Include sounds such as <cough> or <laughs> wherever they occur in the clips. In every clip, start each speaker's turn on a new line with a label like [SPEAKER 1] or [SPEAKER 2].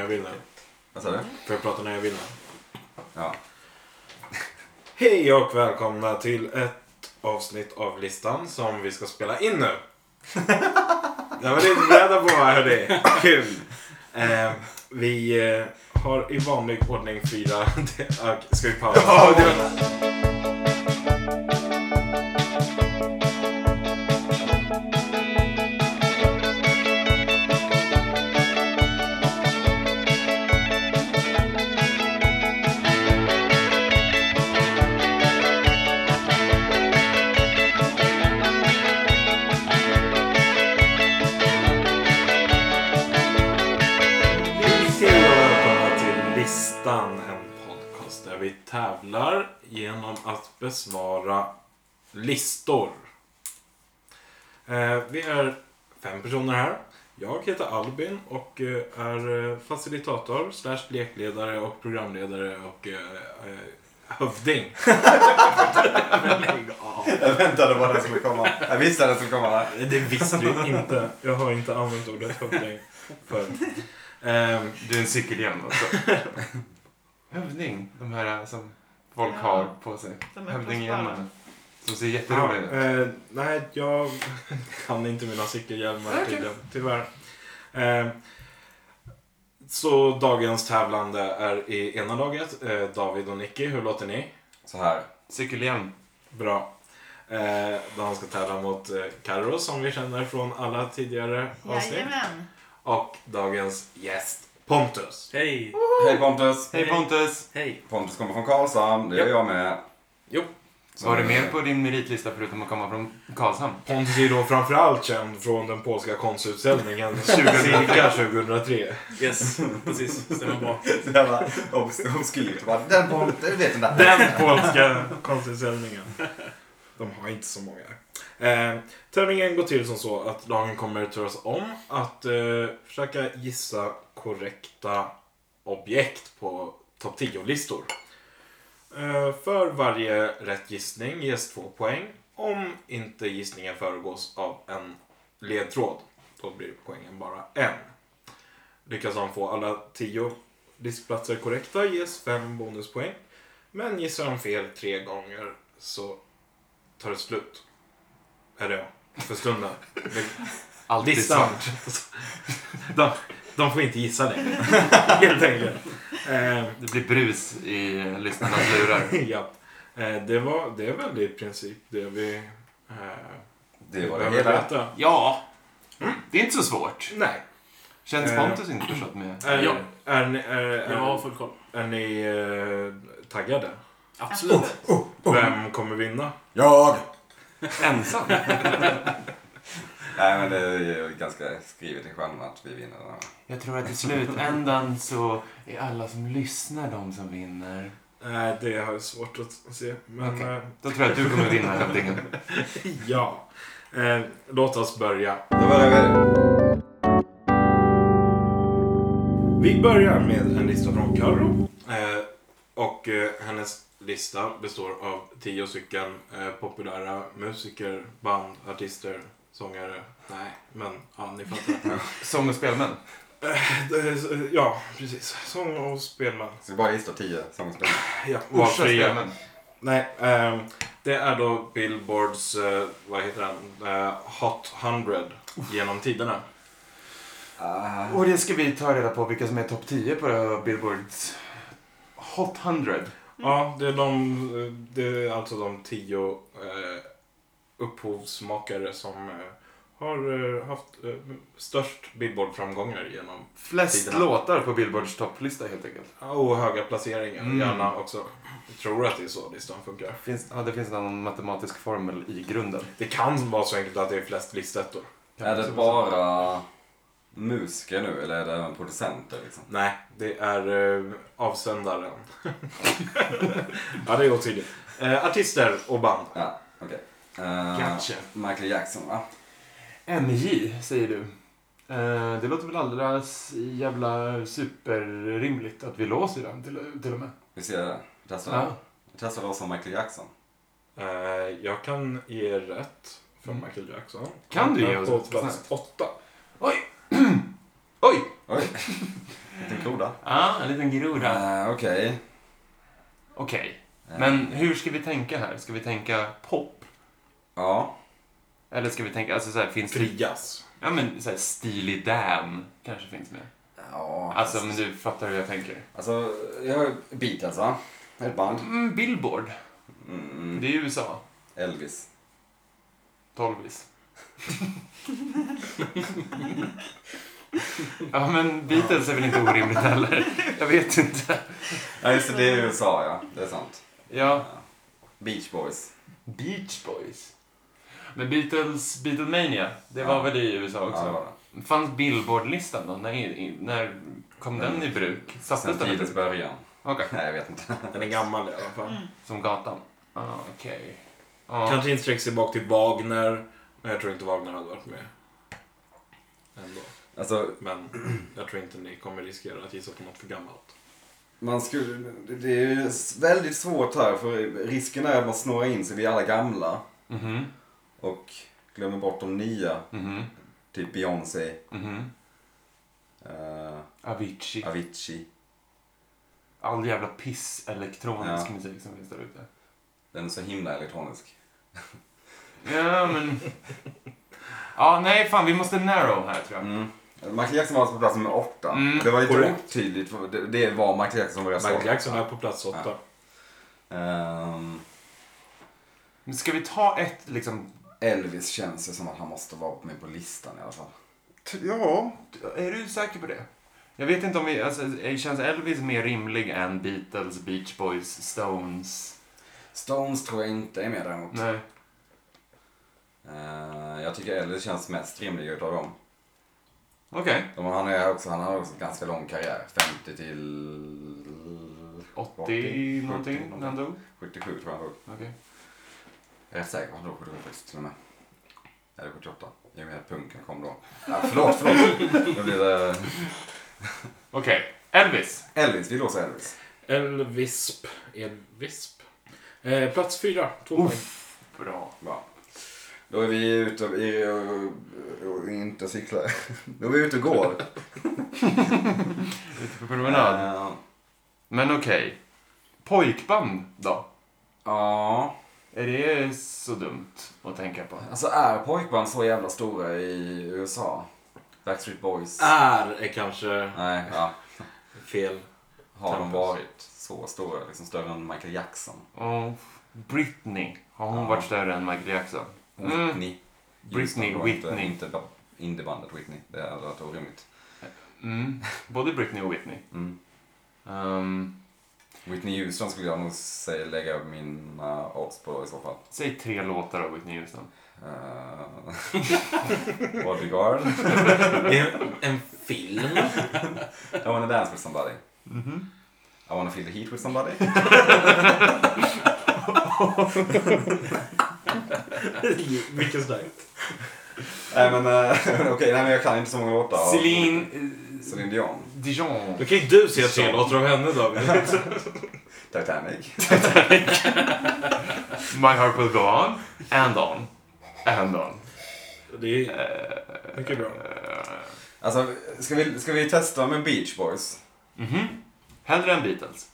[SPEAKER 1] jag vill nu?
[SPEAKER 2] Vad sa du?
[SPEAKER 1] Får jag prata när jag vill nu?
[SPEAKER 2] Ja.
[SPEAKER 1] Hej och välkomna till ett avsnitt av listan som vi ska spela in nu. <laughs> jag var lite beredda på hörni. Kul. Eh, vi eh, har i vanlig ordning fyra <laughs> delar. Ska vi pausa?
[SPEAKER 2] Ja,
[SPEAKER 1] Hej och välkomna till listan. En podcast där vi tävlar genom att besvara listor. Eh, vi är fem personer här. Jag heter Albin och eh, är eh, facilitator, slash lekledare och programledare och eh, eh, hövding. Lägg av.
[SPEAKER 2] Jag väntade på den skulle komma. Jag visste den skulle komma.
[SPEAKER 1] Det visste du inte. Jag har inte använt ordet hövding förut. Ehm,
[SPEAKER 3] Du är en cykel igen alltså. <laughs> Hövding, de här som folk
[SPEAKER 4] Ja.
[SPEAKER 3] har på sig.
[SPEAKER 4] De är
[SPEAKER 3] Hövdinghjälmarna. Som ser
[SPEAKER 1] Ja,
[SPEAKER 3] jätteroliga ut.
[SPEAKER 1] eh, nej, jag <laughs> kan inte mina cykelhjälmar
[SPEAKER 4] Okej.
[SPEAKER 1] tydligen, tyvärr. Eh, så dagens tävlande är i ena laget, eh, David och Nicky. Hur låter ni?
[SPEAKER 2] Så här.
[SPEAKER 3] Cykelhjälm.
[SPEAKER 1] Bra. Eh, de ska tävla mot eh, Karo som vi känner från alla tidigare avsnitt.
[SPEAKER 4] Jajamän.
[SPEAKER 1] Och dagens gäst Pontus.
[SPEAKER 5] Hej!
[SPEAKER 2] Hej Pontus.
[SPEAKER 3] Hej Pontus!
[SPEAKER 5] Hej!
[SPEAKER 2] Pontus kommer från Karlshamn. Det gör jag med.
[SPEAKER 1] Jo.
[SPEAKER 2] Så-
[SPEAKER 3] Var du med på din meritlista förutom att komma från Karlshamn?
[SPEAKER 1] Pontus är då framförallt känd från den
[SPEAKER 5] <laughs>
[SPEAKER 1] polska konstutställningen 2000, cirka 2003.
[SPEAKER 5] Yes, precis. Stämmer bra.
[SPEAKER 2] Så jävla obs- obskyrt. Bara, Den Pontus, du vet den där.
[SPEAKER 1] Den polska konstutställningen. De har inte så många. Eh, tävlingen går till som så att lagen kommer turas om att eh, försöka gissa korrekta objekt på topp 10-listor. Eh, för varje rätt gissning ges två poäng om inte gissningen föregås av en ledtråd. Då blir poängen bara en. Lyckas de få alla 10 listplatser korrekta ges fem bonuspoäng. Men gissar de fel tre gånger så tar det slut. Eller ja, för stunden.
[SPEAKER 2] <laughs>
[SPEAKER 3] Alltid
[SPEAKER 1] Listan.
[SPEAKER 3] svart.
[SPEAKER 1] De, de får inte gissa
[SPEAKER 2] <laughs>
[SPEAKER 1] längre. Helt enkelt. Eh,
[SPEAKER 3] Det blir brus i lyssnarnas lurar.
[SPEAKER 1] ja. eh, det, var, det är väl i princip det vi eh,
[SPEAKER 2] Det var det
[SPEAKER 1] behöver
[SPEAKER 2] hela.
[SPEAKER 1] veta.
[SPEAKER 3] Ja! Det är inte så svårt.
[SPEAKER 1] Nej.
[SPEAKER 3] Känns
[SPEAKER 1] Eh.
[SPEAKER 3] Pontus inte förstått med?
[SPEAKER 1] Är,
[SPEAKER 5] Ja.
[SPEAKER 1] är, ni- är, är,
[SPEAKER 5] Jag har full koll.
[SPEAKER 1] är ni eh, taggade?
[SPEAKER 5] Absolut.
[SPEAKER 2] Oh.
[SPEAKER 1] Vem kommer vinna?
[SPEAKER 2] Jag!
[SPEAKER 3] Oh, Ensam?
[SPEAKER 2] Nej men det är ju ganska skrivet i stjärnorna att vi vinner den här.
[SPEAKER 3] Jag tror att i slutändan så är alla som lyssnar de som vinner.
[SPEAKER 1] Nej, Eh, det har jag svårt att se. Men
[SPEAKER 3] Okej.
[SPEAKER 1] eh,
[SPEAKER 3] Då tror jag att du kommer vinna hövdingen.
[SPEAKER 1] ja. Eh, låt oss börja.
[SPEAKER 2] Då börjar vi.
[SPEAKER 1] Vi börjar med en lista från Carro. Eh, och eh, hennes lista består av tio stycken eh, populära musiker, band, artister, sångare. Nej, men ja, ni fattar.
[SPEAKER 3] Sång och spelmän.
[SPEAKER 1] Eh, det- ja, precis. Sång och spelman.
[SPEAKER 2] Så vi bara gissa tio sångspelare.
[SPEAKER 1] Ja,
[SPEAKER 3] Orsa
[SPEAKER 1] valfria.
[SPEAKER 3] spelmän.
[SPEAKER 1] Nej, ehm, det är då Billboards, eh, vad heter den, eh, Hot 100 genom tiderna.
[SPEAKER 2] Ah.
[SPEAKER 3] Och det ska vi ta reda på vilka som är topp 10 på det här Billboards Hot 100.
[SPEAKER 1] Ja, det är, de, det är alltså de tio eh, upphovsmakare som eh, har eh, haft eh, störst Billboard-framgångar genom
[SPEAKER 3] Flest
[SPEAKER 1] Tiderna.
[SPEAKER 3] låtar på Billboards topplista helt enkelt.
[SPEAKER 1] och höga placeringar
[SPEAKER 3] Mm.
[SPEAKER 1] gärna också. Jag tror att det är så listan funkar.
[SPEAKER 3] Finns, ja, det finns någon matematisk formel i grunden.
[SPEAKER 1] Det kan vara så enkelt att det är flest listettor.
[SPEAKER 2] Är det bara musiker nu eller är det även producenter liksom?
[SPEAKER 1] Nej, det är eh, avsändaren. <laughs> ja, det är otydligt. Eh, artister och band.
[SPEAKER 2] Ja, okej. Eh,
[SPEAKER 3] Gotcha.
[SPEAKER 2] Michael Jackson va?
[SPEAKER 3] MJ säger du. Eh, det låter väl alldeles jävla superrimligt att vi låser den till, till och med.
[SPEAKER 2] Vi ser det. Testar
[SPEAKER 3] Ja.
[SPEAKER 2] Jag testar låsa Michael Jackson.
[SPEAKER 1] Eh, jag kan ge rätt för
[SPEAKER 3] Mm.
[SPEAKER 1] Michael Jackson.
[SPEAKER 3] Kan du ge oss
[SPEAKER 1] På
[SPEAKER 3] ett
[SPEAKER 1] plats
[SPEAKER 3] procent?
[SPEAKER 1] åtta.
[SPEAKER 3] Oj!
[SPEAKER 2] Oj! Liten groda.
[SPEAKER 3] Ja, en liten groda.
[SPEAKER 2] Eh, Okej.
[SPEAKER 3] Okej.
[SPEAKER 2] Eh,
[SPEAKER 3] Men hur ska vi tänka här? Ska vi tänka pop?
[SPEAKER 2] Ja.
[SPEAKER 3] Eller ska vi tänka, alltså så här, finns det...
[SPEAKER 1] Frias.
[SPEAKER 3] Ja men så här, Steely Dan kanske finns med.
[SPEAKER 2] Ja.
[SPEAKER 3] Alltså, men du fattar hur jag tänker.
[SPEAKER 2] Alltså, jag har ju Beatles va? Ett band.
[SPEAKER 3] Mm, Billboard.
[SPEAKER 2] Mm.
[SPEAKER 3] Det är USA.
[SPEAKER 2] Elvis.
[SPEAKER 3] Tolvis. <laughs> ja men Beatles är väl inte orimligt heller. Jag vet inte.
[SPEAKER 2] Ja, just det. Det är USA ja. Det är sant.
[SPEAKER 3] Ja,
[SPEAKER 2] Eh, Beach Boys.
[SPEAKER 3] Beach Boys. Men Beatles, Beatlemania, det var
[SPEAKER 2] Ja.
[SPEAKER 3] väl i USA
[SPEAKER 2] Ja, det var
[SPEAKER 3] också?
[SPEAKER 2] det.
[SPEAKER 3] Fanns Billboard-listan då? När, när kom den i bruk? Sattes
[SPEAKER 2] Sen
[SPEAKER 3] den i
[SPEAKER 2] tidens
[SPEAKER 3] bruk?
[SPEAKER 2] början.
[SPEAKER 3] Okej.
[SPEAKER 2] Nej, jag vet inte.
[SPEAKER 1] Den är gammal i alla fall.
[SPEAKER 4] Mm.
[SPEAKER 3] Som gatan? Ah, Okej. Ja.
[SPEAKER 1] Kanske inte sträcker sig bak till Wagner. Men jag tror inte Wagner hade varit med. Ändå.
[SPEAKER 2] Alltså,
[SPEAKER 1] Men jag tror inte ni kommer riskera att gissa på något för gammalt.
[SPEAKER 2] Man skulle, det- det är ju s- väldigt svårt här för risken är att man snårar in sig vid alla gamla
[SPEAKER 3] Mhm,
[SPEAKER 2] och glömmer bort de nya.
[SPEAKER 3] mhm,
[SPEAKER 2] Typ Beyoncé,
[SPEAKER 3] mhm.
[SPEAKER 2] eh,
[SPEAKER 3] Avicii.
[SPEAKER 2] Avicii.
[SPEAKER 3] All jävla piss-elektronisk
[SPEAKER 2] Ja.
[SPEAKER 3] musik som finns där ute.
[SPEAKER 2] Den är så himla elektronisk.
[SPEAKER 3] Ja, men... <laughs> Ja, nej, fan, vi måste narrow här tror jag.
[SPEAKER 2] Mm. Michael Jackson var alltså på plats nummer åtta.
[SPEAKER 3] Mm,
[SPEAKER 2] det var lite
[SPEAKER 1] korrekt.
[SPEAKER 2] otydligt. för Det, det var Michael Jackson som var jag sa.
[SPEAKER 1] Michael Jackson är på plats åtta.
[SPEAKER 2] Ehm,
[SPEAKER 3] Men ska vi ta ett liksom...
[SPEAKER 2] Elvis känns ju som att han måste vara med på listan i alla fall.
[SPEAKER 3] t- Ja, är du säker på det? Jag vet inte om vi... Alltså, känns Elvis mer rimlig än Beatles, Beach Boys, Stones?
[SPEAKER 2] Stones tror jag inte är med däremot.
[SPEAKER 3] Nej.
[SPEAKER 2] Eh, jag tycker Elvis känns mest rimlig utav dem.
[SPEAKER 3] Okej.
[SPEAKER 2] Ja, men Han, är också, han har också en ganska lång karriär. 50 till...
[SPEAKER 3] 80,
[SPEAKER 2] 80,
[SPEAKER 3] någonting
[SPEAKER 2] 70,
[SPEAKER 3] när han dog?
[SPEAKER 2] 77 tror jag han dog.
[SPEAKER 3] Okej.
[SPEAKER 2] Jag är rätt säker på att han dog 77 faktiskt till och med. Eller 78. Jag menar punken kom då. Ja, förlåt, förlåt. Nu blir det...
[SPEAKER 3] Okej. Elvis.
[SPEAKER 2] Elvis, vi låser Elvis.
[SPEAKER 1] Elvisp. Elvisp. Eh, plats fyra. Två poäng.
[SPEAKER 3] Bra.
[SPEAKER 2] Bra. Då är vi ute och... i- och- och- och Inte cyklar. <laughs> Då är vi ute och går.
[SPEAKER 3] Ute på promenad.
[SPEAKER 2] Eh,
[SPEAKER 3] Men okej. Pojkband då?
[SPEAKER 2] Ja.
[SPEAKER 3] Är det så dumt att tänka på?
[SPEAKER 2] Alltså är pojkband så jävla stora i USA? Backstreet Boys?
[SPEAKER 1] Är är kanske
[SPEAKER 2] Nej, ja.
[SPEAKER 1] fel.
[SPEAKER 2] Har de
[SPEAKER 1] Tempus.
[SPEAKER 2] varit så stora? Liksom större än Michael Jackson?
[SPEAKER 3] Oh, Britney. Har hon
[SPEAKER 2] Ja.
[SPEAKER 3] varit större än Michael Jackson? Mm.
[SPEAKER 2] Whitney.
[SPEAKER 3] Britney,
[SPEAKER 2] Just det, det var Inte,
[SPEAKER 3] Whitney.
[SPEAKER 2] inte ba- indiebandet Whitney. Det hade varit orimligt.
[SPEAKER 3] Mm. Både Britney och Whitney.
[SPEAKER 2] Mm.
[SPEAKER 3] Ehm,
[SPEAKER 2] Whitney Houston skulle jag nog säga, lägga mina odds på i så fall.
[SPEAKER 3] säg tre låtar av Whitney Houston.
[SPEAKER 2] Uh, <laughs> bodyguard.
[SPEAKER 1] En, en film.
[SPEAKER 2] I wanna dance with somebody. I wanna feel the heat with somebody.
[SPEAKER 1] <laughs> Vilken starkt.
[SPEAKER 2] nej men eh, <laughs> okej, nej men jag kan inte så många låtar. av-
[SPEAKER 3] Celine eh,
[SPEAKER 2] Celine Dion. <laughs>
[SPEAKER 3] Dion.
[SPEAKER 1] Då kan ju du se tre låtar av henne David.
[SPEAKER 2] Titanic.
[SPEAKER 3] My heart will go on. And on. And on.
[SPEAKER 1] Det är mycket bra.
[SPEAKER 3] Eh,
[SPEAKER 2] Alltså, ska vi, ska vi testa med Beach Boys?
[SPEAKER 3] Mhm. Hellre än Beatles.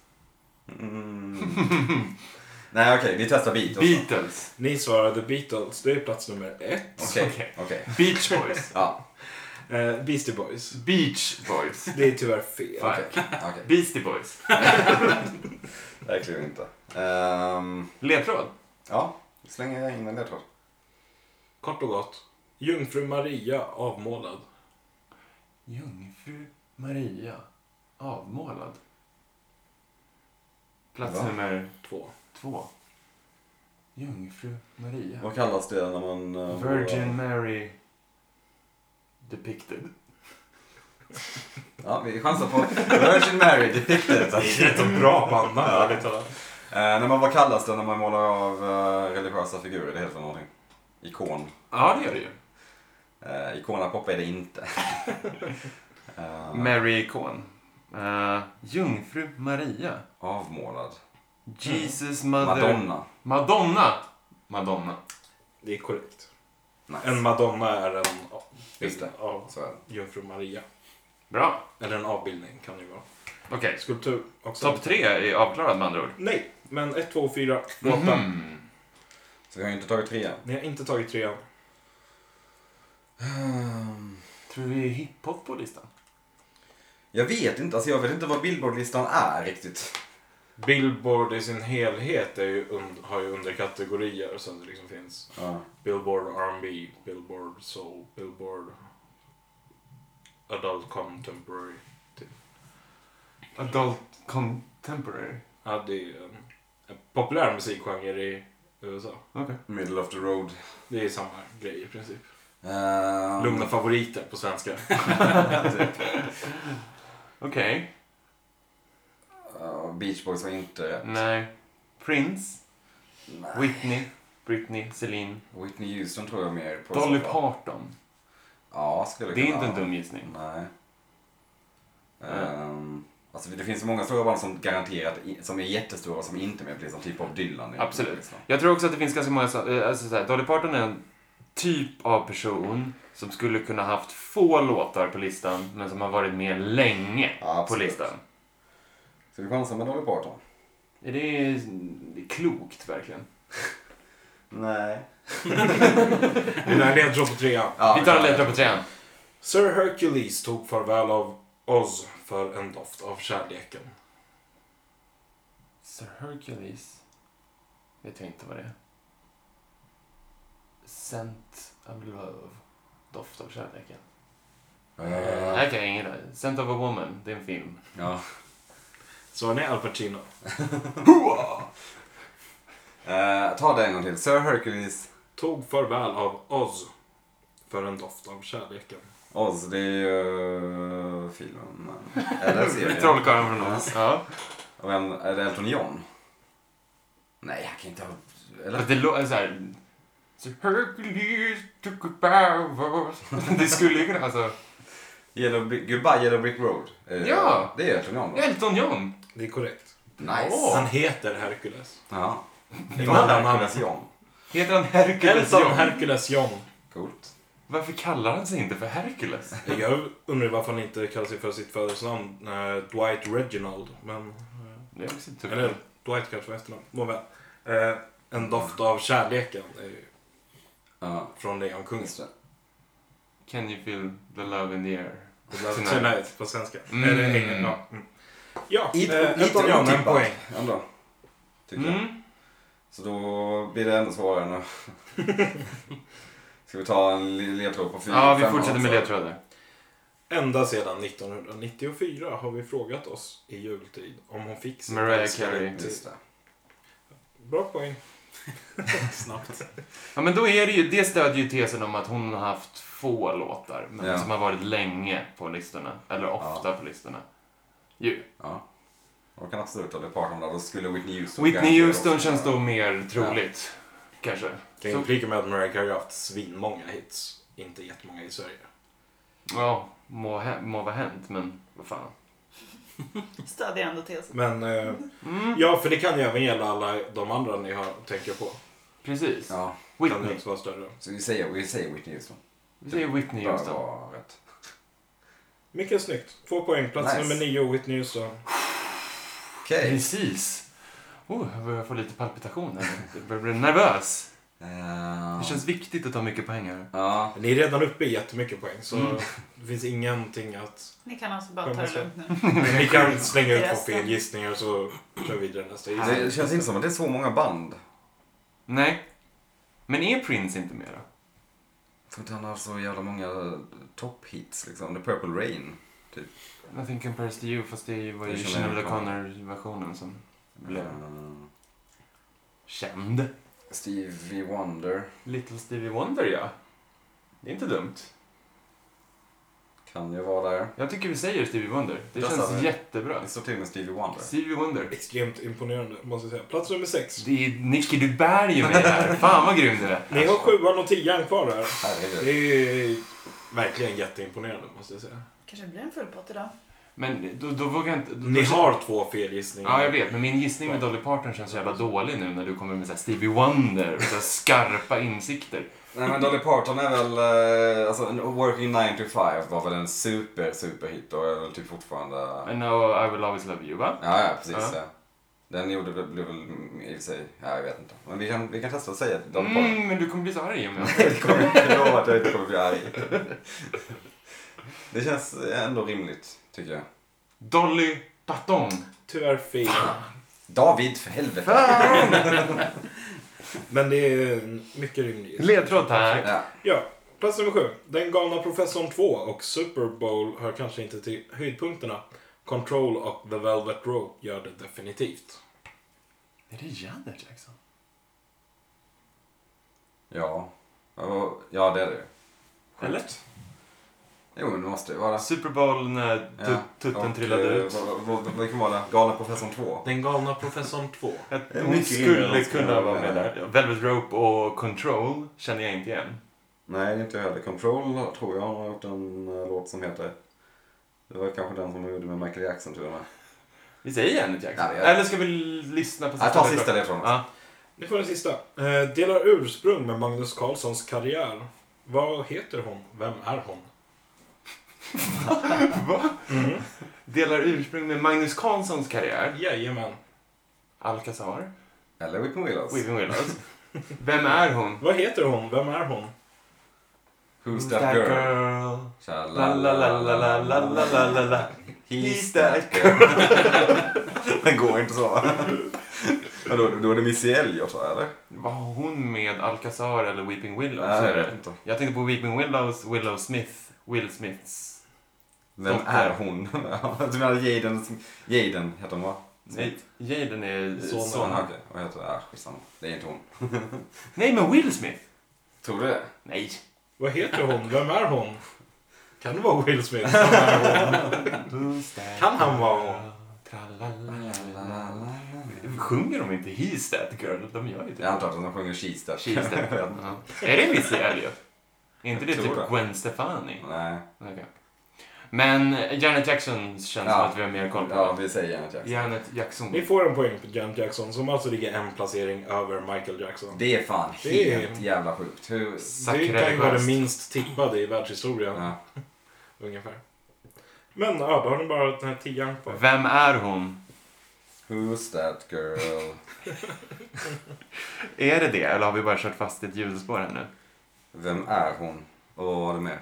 [SPEAKER 2] Mm. Nej okej, vi testar Beatles. då.
[SPEAKER 3] Beatles.
[SPEAKER 1] Ni svarade Beatles. Det är plats nummer ett.
[SPEAKER 2] Okej,
[SPEAKER 3] Okej.
[SPEAKER 2] okej.
[SPEAKER 3] Beach Boys.
[SPEAKER 2] Ja,
[SPEAKER 1] Eh, Beastie Boys.
[SPEAKER 3] Beach Boys.
[SPEAKER 1] Det är tyvärr fel.
[SPEAKER 3] Fan.
[SPEAKER 2] okej. okej. <laughs>
[SPEAKER 3] Beastie Boys.
[SPEAKER 2] Verkligen inte. Ehm,
[SPEAKER 3] Ledtråd.
[SPEAKER 2] ja, slänger jag in en ledtråd.
[SPEAKER 1] Kort och gott. Jungfru Maria avmålad.
[SPEAKER 3] Jungfru Maria avmålad. Plats
[SPEAKER 2] Va?
[SPEAKER 3] nummer
[SPEAKER 1] Två.
[SPEAKER 3] två. Jungfru Maria.
[SPEAKER 2] Vad kallas det när man... eh,
[SPEAKER 3] Virgin Mary depicted.
[SPEAKER 2] får- Ja, vi chansar på Virgin Mary
[SPEAKER 3] <laughs>
[SPEAKER 2] depicted.
[SPEAKER 1] Rätt bra banda.
[SPEAKER 2] Eh, när man, vad kallas det när man målar av eh, religiösa figurer? Det heter väl någonting? Ikon.
[SPEAKER 3] Ja, det gör det ju.
[SPEAKER 2] Uh, Ikonapop är det
[SPEAKER 3] <laughs>
[SPEAKER 2] inte. Eh,
[SPEAKER 3] Mary ikon. Eh, Jungfru Maria.
[SPEAKER 2] avmålad.
[SPEAKER 3] Jesus mother.
[SPEAKER 2] Madonna.
[SPEAKER 3] Mm. Madonna. Madonna.
[SPEAKER 1] Det är korrekt.
[SPEAKER 2] Nice.
[SPEAKER 1] En Madonna är en
[SPEAKER 2] Just det.
[SPEAKER 1] av
[SPEAKER 2] Så är det.
[SPEAKER 1] Jungfru Maria.
[SPEAKER 6] Bra.
[SPEAKER 1] Eller en avbildning kan det ju vara.
[SPEAKER 6] Okej.
[SPEAKER 1] Skulptur också.
[SPEAKER 6] Topp tre är avklarad med andra ord.
[SPEAKER 1] Nej, men 1, 2, 4, 8.
[SPEAKER 6] Mhm.
[SPEAKER 2] Så vi har ju inte tagit trean.
[SPEAKER 1] Ni har inte tagit trean.
[SPEAKER 2] Ehm,
[SPEAKER 3] Tror vi är hiphop på listan?
[SPEAKER 2] Jag vet inte, alltså jag vet inte vad billboardlistan är riktigt.
[SPEAKER 1] Billboard i sin helhet är ju und- har ju underkategorier så att det liksom finns
[SPEAKER 2] Ja.
[SPEAKER 1] Billboard R&B, Billboard Soul, Billboard Adult Contemporary.
[SPEAKER 3] Adult contemporary.
[SPEAKER 1] Ja, det är ju en, en populär musikgenre i USA.
[SPEAKER 3] Okej.
[SPEAKER 2] Middle of the road.
[SPEAKER 1] Det är samma grej i princip.
[SPEAKER 2] Ehm,
[SPEAKER 1] Lugna favoriter på
[SPEAKER 2] <laughs>
[SPEAKER 1] svenska.
[SPEAKER 3] Okej.
[SPEAKER 2] ja, Beach Boys var inte rätt.
[SPEAKER 3] Nej. Prince,
[SPEAKER 2] Nej.
[SPEAKER 3] Whitney, Britney, Celine,
[SPEAKER 2] Whitney Houston tror jag mer på.
[SPEAKER 3] Dolly Parton.
[SPEAKER 2] Ja, skulle
[SPEAKER 3] Det är
[SPEAKER 2] kunna-
[SPEAKER 3] inte en dum gissning.
[SPEAKER 2] Nej.
[SPEAKER 3] Nej.
[SPEAKER 2] Ehm, alltså det finns så många stora band som garanterat, i- som är jättestora och som inte är med på listan. Typ av Dylan. Liksom. är
[SPEAKER 6] Absolut.
[SPEAKER 2] på listan.
[SPEAKER 3] Jag tror också att det finns ganska många... så- eh, Alltså så här, Dolly Parton är en typ av person som skulle kunna haft få låtar på listan men som har varit med länge
[SPEAKER 2] Ja,
[SPEAKER 3] på
[SPEAKER 2] absolut.
[SPEAKER 3] listan.
[SPEAKER 2] Ska vi chansa med Dolly Parton?
[SPEAKER 3] <laughs> Är det det är klokt verkligen?
[SPEAKER 2] Nej.
[SPEAKER 1] Det där ledtråd på trean.
[SPEAKER 3] Vi tar en ledtråd på trean.
[SPEAKER 1] Sir Hercules tog farväl av Oz för en doft av kärleken.
[SPEAKER 3] Sir Hercules. Vet jag inte vad det är. Scent of love. Doft av kärleken. Det
[SPEAKER 2] Eh,
[SPEAKER 3] här kan jag ingen Scent of a woman. Det är en film.
[SPEAKER 2] ja.
[SPEAKER 1] Så ni Al Pacino.
[SPEAKER 2] Eh, ta det en gång till. Sir Hercules.
[SPEAKER 1] Tog farväl av Oz för en doft av kärleken.
[SPEAKER 2] Oz, det är ju eh, filmen. Eller
[SPEAKER 3] <laughs>
[SPEAKER 2] serien.
[SPEAKER 3] Trollkarlen från Oz. Ja.
[SPEAKER 2] Och vem, är det Elton John? Nej, han kan inte ha... Eller?
[SPEAKER 3] Fast det låter såhär... Sir Hercules took a power. <laughs> Det skulle ju kunna... Alltså,
[SPEAKER 2] Yellow, Brick- Goodbye Yellow Brick Road. Eh,
[SPEAKER 3] Ja.
[SPEAKER 2] Det är Elton John då.
[SPEAKER 3] Elton John!
[SPEAKER 1] Det är korrekt.
[SPEAKER 2] Nice.
[SPEAKER 1] Han heter Hercules.
[SPEAKER 2] Ja.
[SPEAKER 1] Innan han
[SPEAKER 2] Hercules John.
[SPEAKER 3] Heter han Hercules
[SPEAKER 1] Elton
[SPEAKER 3] John?
[SPEAKER 1] Hercules John.
[SPEAKER 2] Coolt.
[SPEAKER 3] Varför kallar han sig inte för Hercules?
[SPEAKER 1] Jag undrar varför han inte kallar sig för sitt födelsenamn eh, Dwight Reginald. Men,
[SPEAKER 3] Det är också typ- tufft.
[SPEAKER 1] eller Dwight kanske var efternamn. Nåväl. Eh, en doft av kärleken är ju
[SPEAKER 2] Ja.
[SPEAKER 1] från Lejonkungen.
[SPEAKER 2] Just det.
[SPEAKER 3] Can you feel the love in the air?
[SPEAKER 1] Tonight. Tonight på svenska.
[SPEAKER 3] Mm.
[SPEAKER 1] Eller engelska. Ja, mm. ja
[SPEAKER 2] It-
[SPEAKER 1] eh,
[SPEAKER 2] lite
[SPEAKER 1] Elton John en
[SPEAKER 2] otippat
[SPEAKER 1] poäng.
[SPEAKER 2] Ändå. Tycker jag.
[SPEAKER 3] Mm.
[SPEAKER 2] Så då blir det ändå svårare
[SPEAKER 3] <laughs>
[SPEAKER 2] nu. Ska vi ta en li- ledtråd på fyra?
[SPEAKER 3] Ja, vi
[SPEAKER 2] femman
[SPEAKER 3] fortsätter med
[SPEAKER 2] också?
[SPEAKER 3] ledtrådar.
[SPEAKER 1] Ända sedan 1994 har vi frågat oss i jultid om hon fick sitt
[SPEAKER 3] Mariah
[SPEAKER 1] älskade
[SPEAKER 3] Carey.
[SPEAKER 1] till-
[SPEAKER 2] Just det.
[SPEAKER 1] Bra <laughs> poäng.
[SPEAKER 7] Snabbt.
[SPEAKER 3] Ja, men då är det ju, det stödjer ju tesen om att hon har haft få låtar, men
[SPEAKER 2] Ja.
[SPEAKER 3] som har varit länge på listorna. Eller ofta på listorna. Ju.
[SPEAKER 2] Ja. Och kan absolut ha det parten där. Då skulle Whitney Houston...
[SPEAKER 3] Whitney
[SPEAKER 2] garanterat
[SPEAKER 3] Houston
[SPEAKER 2] också-
[SPEAKER 3] känns då mer troligt. Kanske.
[SPEAKER 1] Kan
[SPEAKER 3] Så-
[SPEAKER 1] implika med att Mariah Carey har haft svinmånga hits. Inte jättemånga i Sverige.
[SPEAKER 3] Ja, må, hä- må vara hänt, men vad fan.
[SPEAKER 4] Stödjer ändå tesen.
[SPEAKER 1] Men eh,
[SPEAKER 3] Mm.
[SPEAKER 1] ja, för det kan ju även gälla alla de andra ni har, tänker på.
[SPEAKER 3] Precis.
[SPEAKER 2] Ja.
[SPEAKER 1] Kan ju
[SPEAKER 3] Whitney.
[SPEAKER 1] också vara större.
[SPEAKER 2] Så vi säger, vi säger Whitney Houston.
[SPEAKER 3] Vi säger Whitney
[SPEAKER 2] Bör
[SPEAKER 3] Houston.
[SPEAKER 2] vara rätt.
[SPEAKER 1] Mycket snyggt. Två poäng. Plats
[SPEAKER 2] Nice.
[SPEAKER 1] nummer nio, Whitney Houston.
[SPEAKER 2] Okej.
[SPEAKER 3] Precis. Oh, jag börjar få lite palpitation här. Jag börjar bli nervös.
[SPEAKER 2] Ehm,
[SPEAKER 3] Det känns viktigt att ta mycket pengar.
[SPEAKER 2] Ja.
[SPEAKER 1] Ni är redan uppe i jättemycket poäng, så
[SPEAKER 3] Mm.
[SPEAKER 1] det finns ingenting
[SPEAKER 3] <laughs>
[SPEAKER 1] att...
[SPEAKER 4] Ni kan alltså bara ta det lugnt nu.
[SPEAKER 1] Ni kan slänga ut två
[SPEAKER 4] Resten.
[SPEAKER 1] felgissningar så kör vi vidare nästa gissning.
[SPEAKER 2] Det känns inte som att det är så många band.
[SPEAKER 3] Nej. Men är Prince inte med då?
[SPEAKER 2] Jag tror inte han har så jävla många topphits liksom. The Purple Rain.
[SPEAKER 3] Nothing compares to you, fast det var ju
[SPEAKER 2] Det känner jag
[SPEAKER 3] Sinéad
[SPEAKER 2] inte.
[SPEAKER 3] O'Connor-versionen som blev
[SPEAKER 2] Ehm,
[SPEAKER 3] känd.
[SPEAKER 2] Stevie Wonder.
[SPEAKER 3] Little Stevie Wonder, ja. Det är inte dumt.
[SPEAKER 2] Kan ju vara där.
[SPEAKER 3] Jag tycker vi säger Stevie Wonder. Det
[SPEAKER 2] Där sa
[SPEAKER 3] känns
[SPEAKER 2] vi.
[SPEAKER 3] jättebra.
[SPEAKER 2] Det står till med Stevie Wonder.
[SPEAKER 3] Stevie Wonder.
[SPEAKER 1] Extremt imponerande, måste jag säga. Plats nummer sex.
[SPEAKER 3] Det är Nicky, du bär ju mig här. Fan vad grym du är.
[SPEAKER 1] Ni har sjuan och tian kvar där. Det
[SPEAKER 2] Herregud.
[SPEAKER 1] är verkligen jätteimponerande, måste jag säga.
[SPEAKER 4] Kanske blir en full pott idag.
[SPEAKER 3] Men då, då vågar jag inte... Då,
[SPEAKER 1] Ni
[SPEAKER 3] då-
[SPEAKER 1] har två felgissningar.
[SPEAKER 3] Ja, jag vet. Men min gissning med Dolly Parton känns så jävla dålig nu när du kommer med så här Stevie Wonder och så här skarpa insikter.
[SPEAKER 2] Nej men Dolly Parton är väl, eh, alltså en Working 9 to 5 var väl en super, super hit och är väl typ fortfarande...
[SPEAKER 3] I know oh, I will always love you, va?
[SPEAKER 2] Ja, ja precis.
[SPEAKER 3] Ja.
[SPEAKER 2] Ja. Den gjorde väl, blev väl mm, i och för sig, ja, jag vet inte. Men vi kan, vi kan testa att säga Dolly Parton. <laughs>
[SPEAKER 3] Mm, men du kommer bli så arg om jag...
[SPEAKER 2] Jag kommer inte lova att jag inte kommer bli arg. Det känns ändå rimligt, tycker jag.
[SPEAKER 3] Dolly Parton.
[SPEAKER 1] Tyvärr fel.
[SPEAKER 2] David, för helvete!
[SPEAKER 1] Men det är en mycket rimlig gissning.
[SPEAKER 3] Ledtråd tack.
[SPEAKER 2] Ja.
[SPEAKER 1] Ja, plats nummer sju. Den galna professorn 2 och Super Bowl hör kanske inte till höjdpunkterna. Control och The Velvet Rope gör det definitivt.
[SPEAKER 3] Är det Janet Jackson?
[SPEAKER 2] Ja. ja, det är det ju.
[SPEAKER 1] Eller?
[SPEAKER 2] Jo, men det måste ju vara.
[SPEAKER 3] Super Bowl när tut-
[SPEAKER 2] Ja.
[SPEAKER 3] tutten
[SPEAKER 2] Och,
[SPEAKER 3] trillade
[SPEAKER 2] eh,
[SPEAKER 3] ut.
[SPEAKER 2] vad- vad- vad- Vilken var det? Galna professorn 2?
[SPEAKER 1] Den galna professorn 2.
[SPEAKER 3] Att
[SPEAKER 2] Mycket
[SPEAKER 3] hon skulle
[SPEAKER 2] yngre
[SPEAKER 3] kunna
[SPEAKER 2] än-
[SPEAKER 3] vara med där. Velvet Rope och Control känner jag inte igen.
[SPEAKER 2] Nej, det är inte jag heller. Control tror jag har gjort en eh, låt som heter... Det var kanske den som de gjorde med Michael Jackson till och med.
[SPEAKER 3] Vi säger Janet Jackson.
[SPEAKER 2] Ja, det är-
[SPEAKER 3] Eller ska vi lyssna på
[SPEAKER 2] Jag tar sista ledtråden.
[SPEAKER 3] Ja.
[SPEAKER 1] Ni får den sista. Eh, delar ursprung med Magnus Carlssons karriär. Vad heter hon? Vem är <laughs> hon? Mm.
[SPEAKER 3] Delar ursprung med Magnus Carlssons karriär.
[SPEAKER 1] Jajamän.
[SPEAKER 3] Alcazar.
[SPEAKER 2] Eller Whitney Willows.
[SPEAKER 3] Weaving Willows. <laughs> Vem är hon?
[SPEAKER 1] Vad heter hon? Vem är hon?
[SPEAKER 2] Who's that girl?
[SPEAKER 3] girl?
[SPEAKER 2] Tja,
[SPEAKER 3] La la la la la la la la la la.
[SPEAKER 2] He's that girl. <laughs> Den går inte så. Ja, då, då är det Missy Elliot va, eller?
[SPEAKER 3] Var hon med Alcazar eller Weeping Willows?
[SPEAKER 2] Nej,
[SPEAKER 3] är
[SPEAKER 2] jag
[SPEAKER 3] det?
[SPEAKER 2] vet inte.
[SPEAKER 3] Jag tänkte på Weeping Willows, Willow Smith, Will Smiths...
[SPEAKER 2] Vem
[SPEAKER 3] Dotter.
[SPEAKER 2] är hon? <laughs> du menar Jaden? Jaden heter hon va?
[SPEAKER 3] Nej, Jaden är
[SPEAKER 1] Sonen.
[SPEAKER 3] son.
[SPEAKER 2] Ja, okej. Vad heter det? Ah, skitsamma. Det är inte hon.
[SPEAKER 3] Nej, men Will <laughs> Smith!
[SPEAKER 2] Tror du det?
[SPEAKER 3] Nej.
[SPEAKER 1] Vad heter hon? Vem är hon? Kan det vara Will Smith? Vem är hon? Kan han vara hon?
[SPEAKER 3] Tralalala. Sjunger de inte He's that girl? De gör ju
[SPEAKER 2] Jag
[SPEAKER 3] <laughs> det.
[SPEAKER 2] antar att de sjunger She's that.
[SPEAKER 3] She's
[SPEAKER 2] <laughs>
[SPEAKER 3] that girl. Ja. Är det Missy Elliot? Är inte det
[SPEAKER 2] Jag tror
[SPEAKER 3] typ
[SPEAKER 2] det.
[SPEAKER 3] Gwen Stefani?
[SPEAKER 2] Nej.
[SPEAKER 3] Okej. Men Janet Jackson känns som
[SPEAKER 2] Ja.
[SPEAKER 3] att vi har mer koll på.
[SPEAKER 2] Ja, vi säger Janet Jackson.
[SPEAKER 3] Janet Jackson.
[SPEAKER 1] Ni får en poäng på Janet Jackson som alltså ligger en placering över Michael Jackson.
[SPEAKER 2] Det är fan
[SPEAKER 1] Det är-
[SPEAKER 2] helt jävla sjukt. Hur...
[SPEAKER 1] Det kan ju vara det
[SPEAKER 3] Sakreligiöst.
[SPEAKER 1] minst tippade i världshistorien.
[SPEAKER 2] Ja.
[SPEAKER 1] Ungefär. Men ja, då har ni bara den här tian kvar.
[SPEAKER 3] Vem är hon?
[SPEAKER 2] Who's that girl?
[SPEAKER 3] Är det det eller har vi bara kört fast i ett hjulspår här nu?
[SPEAKER 2] Vem är hon? Och vad var det mer?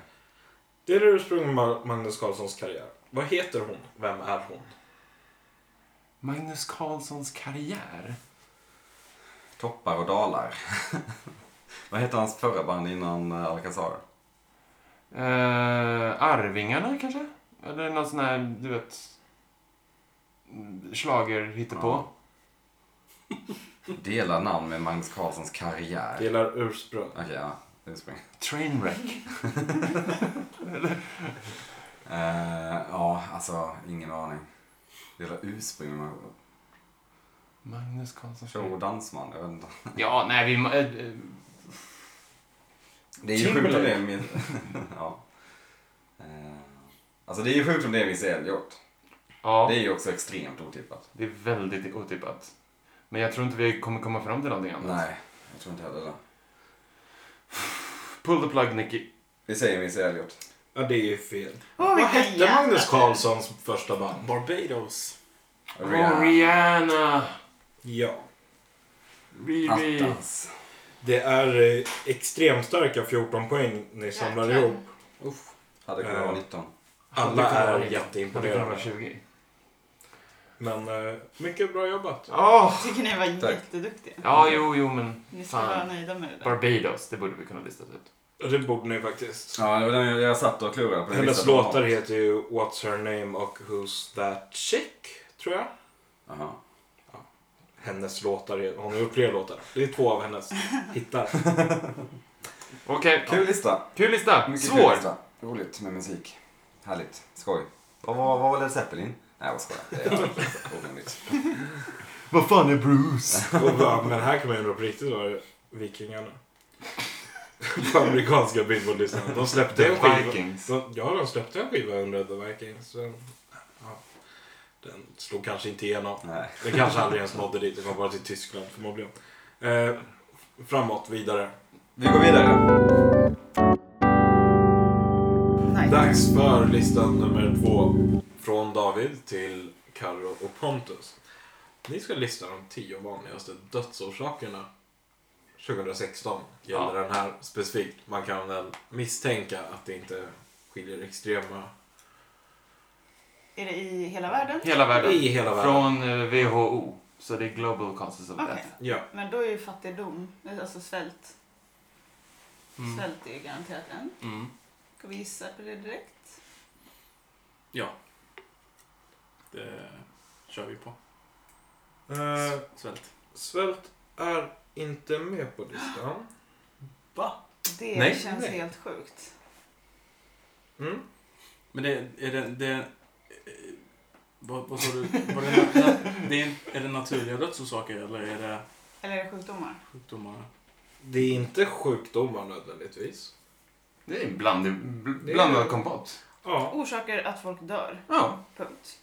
[SPEAKER 1] Det är det ursprungliga Ma- Magnus Carlssons karriär. Vad heter hon? Vem är hon?
[SPEAKER 3] Magnus Carlssons karriär?
[SPEAKER 2] Toppar och dalar. <laughs> vad hette hans förra band innan eh, Alcazar?
[SPEAKER 3] Eh, Arvingarna kanske? Eller någon sån här, du vet, slager hittepå.
[SPEAKER 2] Ja. Dela namn med Magnus Carlssons karriär. Okej,
[SPEAKER 1] Delar ursprung.
[SPEAKER 2] ja. Ursprung.
[SPEAKER 3] Trainwreck.
[SPEAKER 2] Eh, ja, alltså ingen aning. Dela ursprung med
[SPEAKER 3] Magnus Carlssons
[SPEAKER 2] show och
[SPEAKER 3] karriär.
[SPEAKER 2] dansman. Jag vet inte.
[SPEAKER 3] Ja, nej vi... må- eh, eh,
[SPEAKER 2] Det är ju sjukt om det är min... <laughs> ja. Eh, alltså det är ju sjukt om det är Miss Elliot.
[SPEAKER 3] Ja,
[SPEAKER 2] Det är ju också extremt otippat.
[SPEAKER 3] det är väldigt otippat. Men jag tror inte vi kommer komma fram till någonting annat.
[SPEAKER 1] alltså.
[SPEAKER 2] Nej, jag tror inte heller det.
[SPEAKER 3] Pull the plug, Nicky.
[SPEAKER 2] Vi säger Miss Elliot.
[SPEAKER 1] Ja, det är ju fel.
[SPEAKER 4] Åh,
[SPEAKER 1] Vad
[SPEAKER 4] vilken
[SPEAKER 1] hette
[SPEAKER 4] jävla
[SPEAKER 1] Magnus
[SPEAKER 4] tur.
[SPEAKER 1] Carlssons första band?
[SPEAKER 8] Barbados.
[SPEAKER 3] Rihanna. Rihanna.
[SPEAKER 1] Ja.
[SPEAKER 3] Riri.
[SPEAKER 2] Attans.
[SPEAKER 1] Det är eh, extremt starka 14 poäng ni samlar
[SPEAKER 4] Jäklar.
[SPEAKER 1] ihop.
[SPEAKER 2] Uff. Hade kunnat vara
[SPEAKER 1] Eh.
[SPEAKER 2] 19.
[SPEAKER 1] Alla är
[SPEAKER 3] Hade kunnat vara
[SPEAKER 1] jätteimponerande.
[SPEAKER 3] 20.
[SPEAKER 1] Men eh, mycket bra jobbat.
[SPEAKER 3] Åh!
[SPEAKER 4] Jag tycker ni var
[SPEAKER 2] Tack.
[SPEAKER 4] jätteduktiga.
[SPEAKER 3] Ja, jo, jo, men
[SPEAKER 4] Ni ska
[SPEAKER 3] Fan.
[SPEAKER 4] vara nöjda med det där.
[SPEAKER 3] Barbados, det borde vi kunna lista ut.
[SPEAKER 1] Det borde ni faktiskt.
[SPEAKER 2] Ja, det var den jag, jag satt och klurade på. Jag
[SPEAKER 1] Hennes
[SPEAKER 2] visste att de
[SPEAKER 1] låtar
[SPEAKER 2] har-
[SPEAKER 1] heter ju What's Her Name och Who's That Chick, tror jag.
[SPEAKER 2] Jaha.
[SPEAKER 1] Hennes låtar, är- hon har gjort fler låtar. Det är två av <laughs> hennes hittar.
[SPEAKER 3] Okej,
[SPEAKER 2] Kul lista.
[SPEAKER 3] kul lista.
[SPEAKER 2] Mycket
[SPEAKER 3] Svår.
[SPEAKER 2] kul lista. Roligt med musik. Härligt. Skoj. Vad var, vad var Led Zeppelin? Nej, vad skojar. Det är
[SPEAKER 1] <laughs>
[SPEAKER 2] orimligt.
[SPEAKER 3] Vad fan är Bruce?
[SPEAKER 1] Och bara, men här kan man ju undra på riktigt var <laughs> Vikingarna. På amerikanska Billboard-listan. De släppte
[SPEAKER 3] The
[SPEAKER 1] en skiva.
[SPEAKER 3] Vikings.
[SPEAKER 1] De, ja, de släppte en skiva under The Vikings. Den, ja, den slog kanske inte igenom.
[SPEAKER 2] Nej.
[SPEAKER 1] Den kanske aldrig ens nådde dit. Den kom bara till Tyskland förmodligen. Eh, framåt, vidare.
[SPEAKER 2] Vi går vidare.
[SPEAKER 4] Nej.
[SPEAKER 1] Dags för listan nummer två. Från David till Carro och Pontus. Ni ska lista de tio vanligaste dödsorsakerna 2016. Gäller den här specifikt. Man kan väl misstänka att det inte skiljer extrema
[SPEAKER 4] Är det i hela världen?
[SPEAKER 3] Hela världen.
[SPEAKER 1] i hela världen.
[SPEAKER 3] Från eh, WHO. Så det är Global Causes of
[SPEAKER 4] Okej.
[SPEAKER 3] Death.
[SPEAKER 1] Ja.
[SPEAKER 4] Men då är ju fattigdom, alltså svält.
[SPEAKER 3] Mm.
[SPEAKER 4] Svält är ju garanterat en.
[SPEAKER 3] Mm.
[SPEAKER 4] Ska vi gissa på det direkt?
[SPEAKER 9] Ja. Det kör vi på.
[SPEAKER 1] Eh,
[SPEAKER 9] Svält.
[SPEAKER 1] svält är inte med på listan.
[SPEAKER 9] Va?
[SPEAKER 4] Det
[SPEAKER 3] Nej.
[SPEAKER 4] känns
[SPEAKER 1] Nej.
[SPEAKER 4] helt sjukt.
[SPEAKER 1] Mm.
[SPEAKER 9] Men det är det... det eh, vad, vad sa du? Var det, na, na, det är, är det naturliga dödsorsaker eller är det
[SPEAKER 4] Eller är det sjukdomar?
[SPEAKER 9] sjukdomar?
[SPEAKER 1] Det är inte sjukdomar nödvändigtvis.
[SPEAKER 2] Det är en bland, bl-
[SPEAKER 1] Det är-
[SPEAKER 2] blandad kompott.
[SPEAKER 1] Ja.
[SPEAKER 4] Orsaker att folk dör.
[SPEAKER 2] Ja,
[SPEAKER 4] Punkt.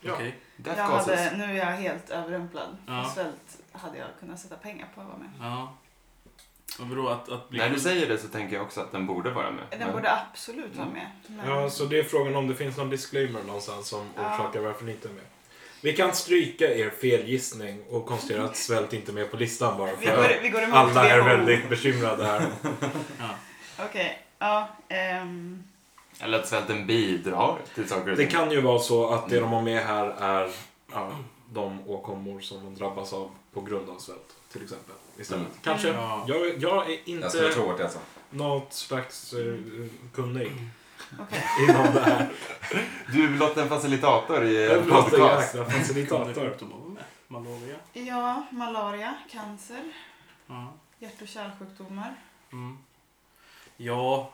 [SPEAKER 1] Ja.
[SPEAKER 9] Okej.
[SPEAKER 2] death
[SPEAKER 4] Jag
[SPEAKER 2] causes.
[SPEAKER 4] hade, nu är jag helt överrumplad.
[SPEAKER 9] Ja.
[SPEAKER 4] Svält hade jag kunnat sätta pengar på att vara med.
[SPEAKER 9] Ja. Och vadå att, att bli
[SPEAKER 3] När du säger det så tänker jag också att den borde vara med.
[SPEAKER 4] Den
[SPEAKER 3] Men-
[SPEAKER 4] borde absolut vara med.
[SPEAKER 9] Mm.
[SPEAKER 4] Men...
[SPEAKER 1] ja, så det är frågan om det finns någon disclaimer någonstans som
[SPEAKER 4] Ja.
[SPEAKER 1] orsakar varför ni inte är med. Vi kan stryka er felgissning och konstatera att svält inte är med på listan bara
[SPEAKER 4] vi,
[SPEAKER 1] för
[SPEAKER 4] går, vi går emot
[SPEAKER 1] alla är
[SPEAKER 4] WHO.
[SPEAKER 1] väldigt bekymrade här.
[SPEAKER 2] Mm.
[SPEAKER 4] Okej, ja. ehm,
[SPEAKER 3] Eller att svälten bidrar till saker
[SPEAKER 1] Det
[SPEAKER 3] och ting.
[SPEAKER 1] kan ju vara så att det de har med här är ja, de åkommor som de drabbas av på grund av svält till exempel. Istället.
[SPEAKER 2] Mm.
[SPEAKER 1] Kanske.
[SPEAKER 9] Ja.
[SPEAKER 1] Jag, jag är
[SPEAKER 2] Jag skulle
[SPEAKER 1] inte
[SPEAKER 2] tro att det är så.
[SPEAKER 1] något slags eh, kunnig
[SPEAKER 4] okej.
[SPEAKER 1] inom det här.
[SPEAKER 3] Du är blott en facilitator
[SPEAKER 2] Eh,
[SPEAKER 3] i
[SPEAKER 1] Jag
[SPEAKER 3] en
[SPEAKER 1] vill låta er
[SPEAKER 3] podcast.
[SPEAKER 1] räkna
[SPEAKER 9] kunde
[SPEAKER 1] facilitator.
[SPEAKER 9] sjukdomar vara med? Malaria?
[SPEAKER 4] Ja, malaria, cancer,
[SPEAKER 9] Ja.
[SPEAKER 4] hjärt och kärlsjukdomar.
[SPEAKER 9] Mm. Ja.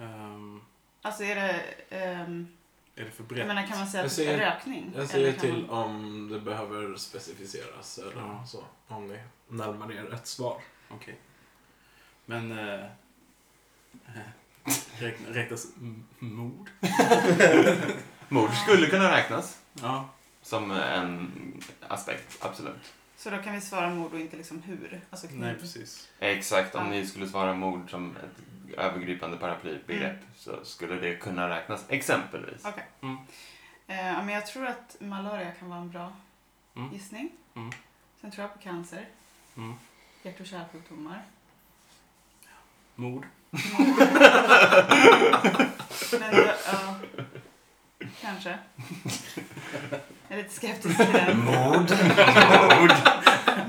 [SPEAKER 9] ehm,
[SPEAKER 4] Alltså är det... ehm,
[SPEAKER 9] är det för
[SPEAKER 4] jag
[SPEAKER 9] brett?
[SPEAKER 4] menar kan man säga
[SPEAKER 1] Jag säger-
[SPEAKER 4] rökning?
[SPEAKER 1] Jag säger
[SPEAKER 4] Eller kan
[SPEAKER 1] till
[SPEAKER 4] Man...
[SPEAKER 1] om det behöver specificeras eller
[SPEAKER 9] Ja.
[SPEAKER 1] så. Om ni närmar er ett svar.
[SPEAKER 9] Okej. Men... Eh, eh, räkna- räknas m- mord?
[SPEAKER 3] Mord skulle kunna räknas
[SPEAKER 9] Ja.
[SPEAKER 3] som en aspekt, absolut.
[SPEAKER 4] Så då kan vi svara mord och inte liksom hur? Alltså kniv.
[SPEAKER 9] Nej, precis.
[SPEAKER 3] Exakt, om
[SPEAKER 4] Ja.
[SPEAKER 3] ni skulle svara mord som ett övergripande paraplybegrepp
[SPEAKER 4] Mm.
[SPEAKER 3] så skulle det kunna räknas, exempelvis.
[SPEAKER 4] Okej.
[SPEAKER 9] Mm.
[SPEAKER 4] Eh, ja, men jag tror att malaria kan vara en bra
[SPEAKER 9] Mm.
[SPEAKER 4] gissning.
[SPEAKER 9] Mm.
[SPEAKER 4] Sen tror jag på cancer,
[SPEAKER 9] Mm.
[SPEAKER 4] hjärt och kärlsjukdomar.
[SPEAKER 9] Mord?
[SPEAKER 4] Men, ja, ja, kanske. Jag är lite skeptisk till den.
[SPEAKER 2] Mord. <laughs>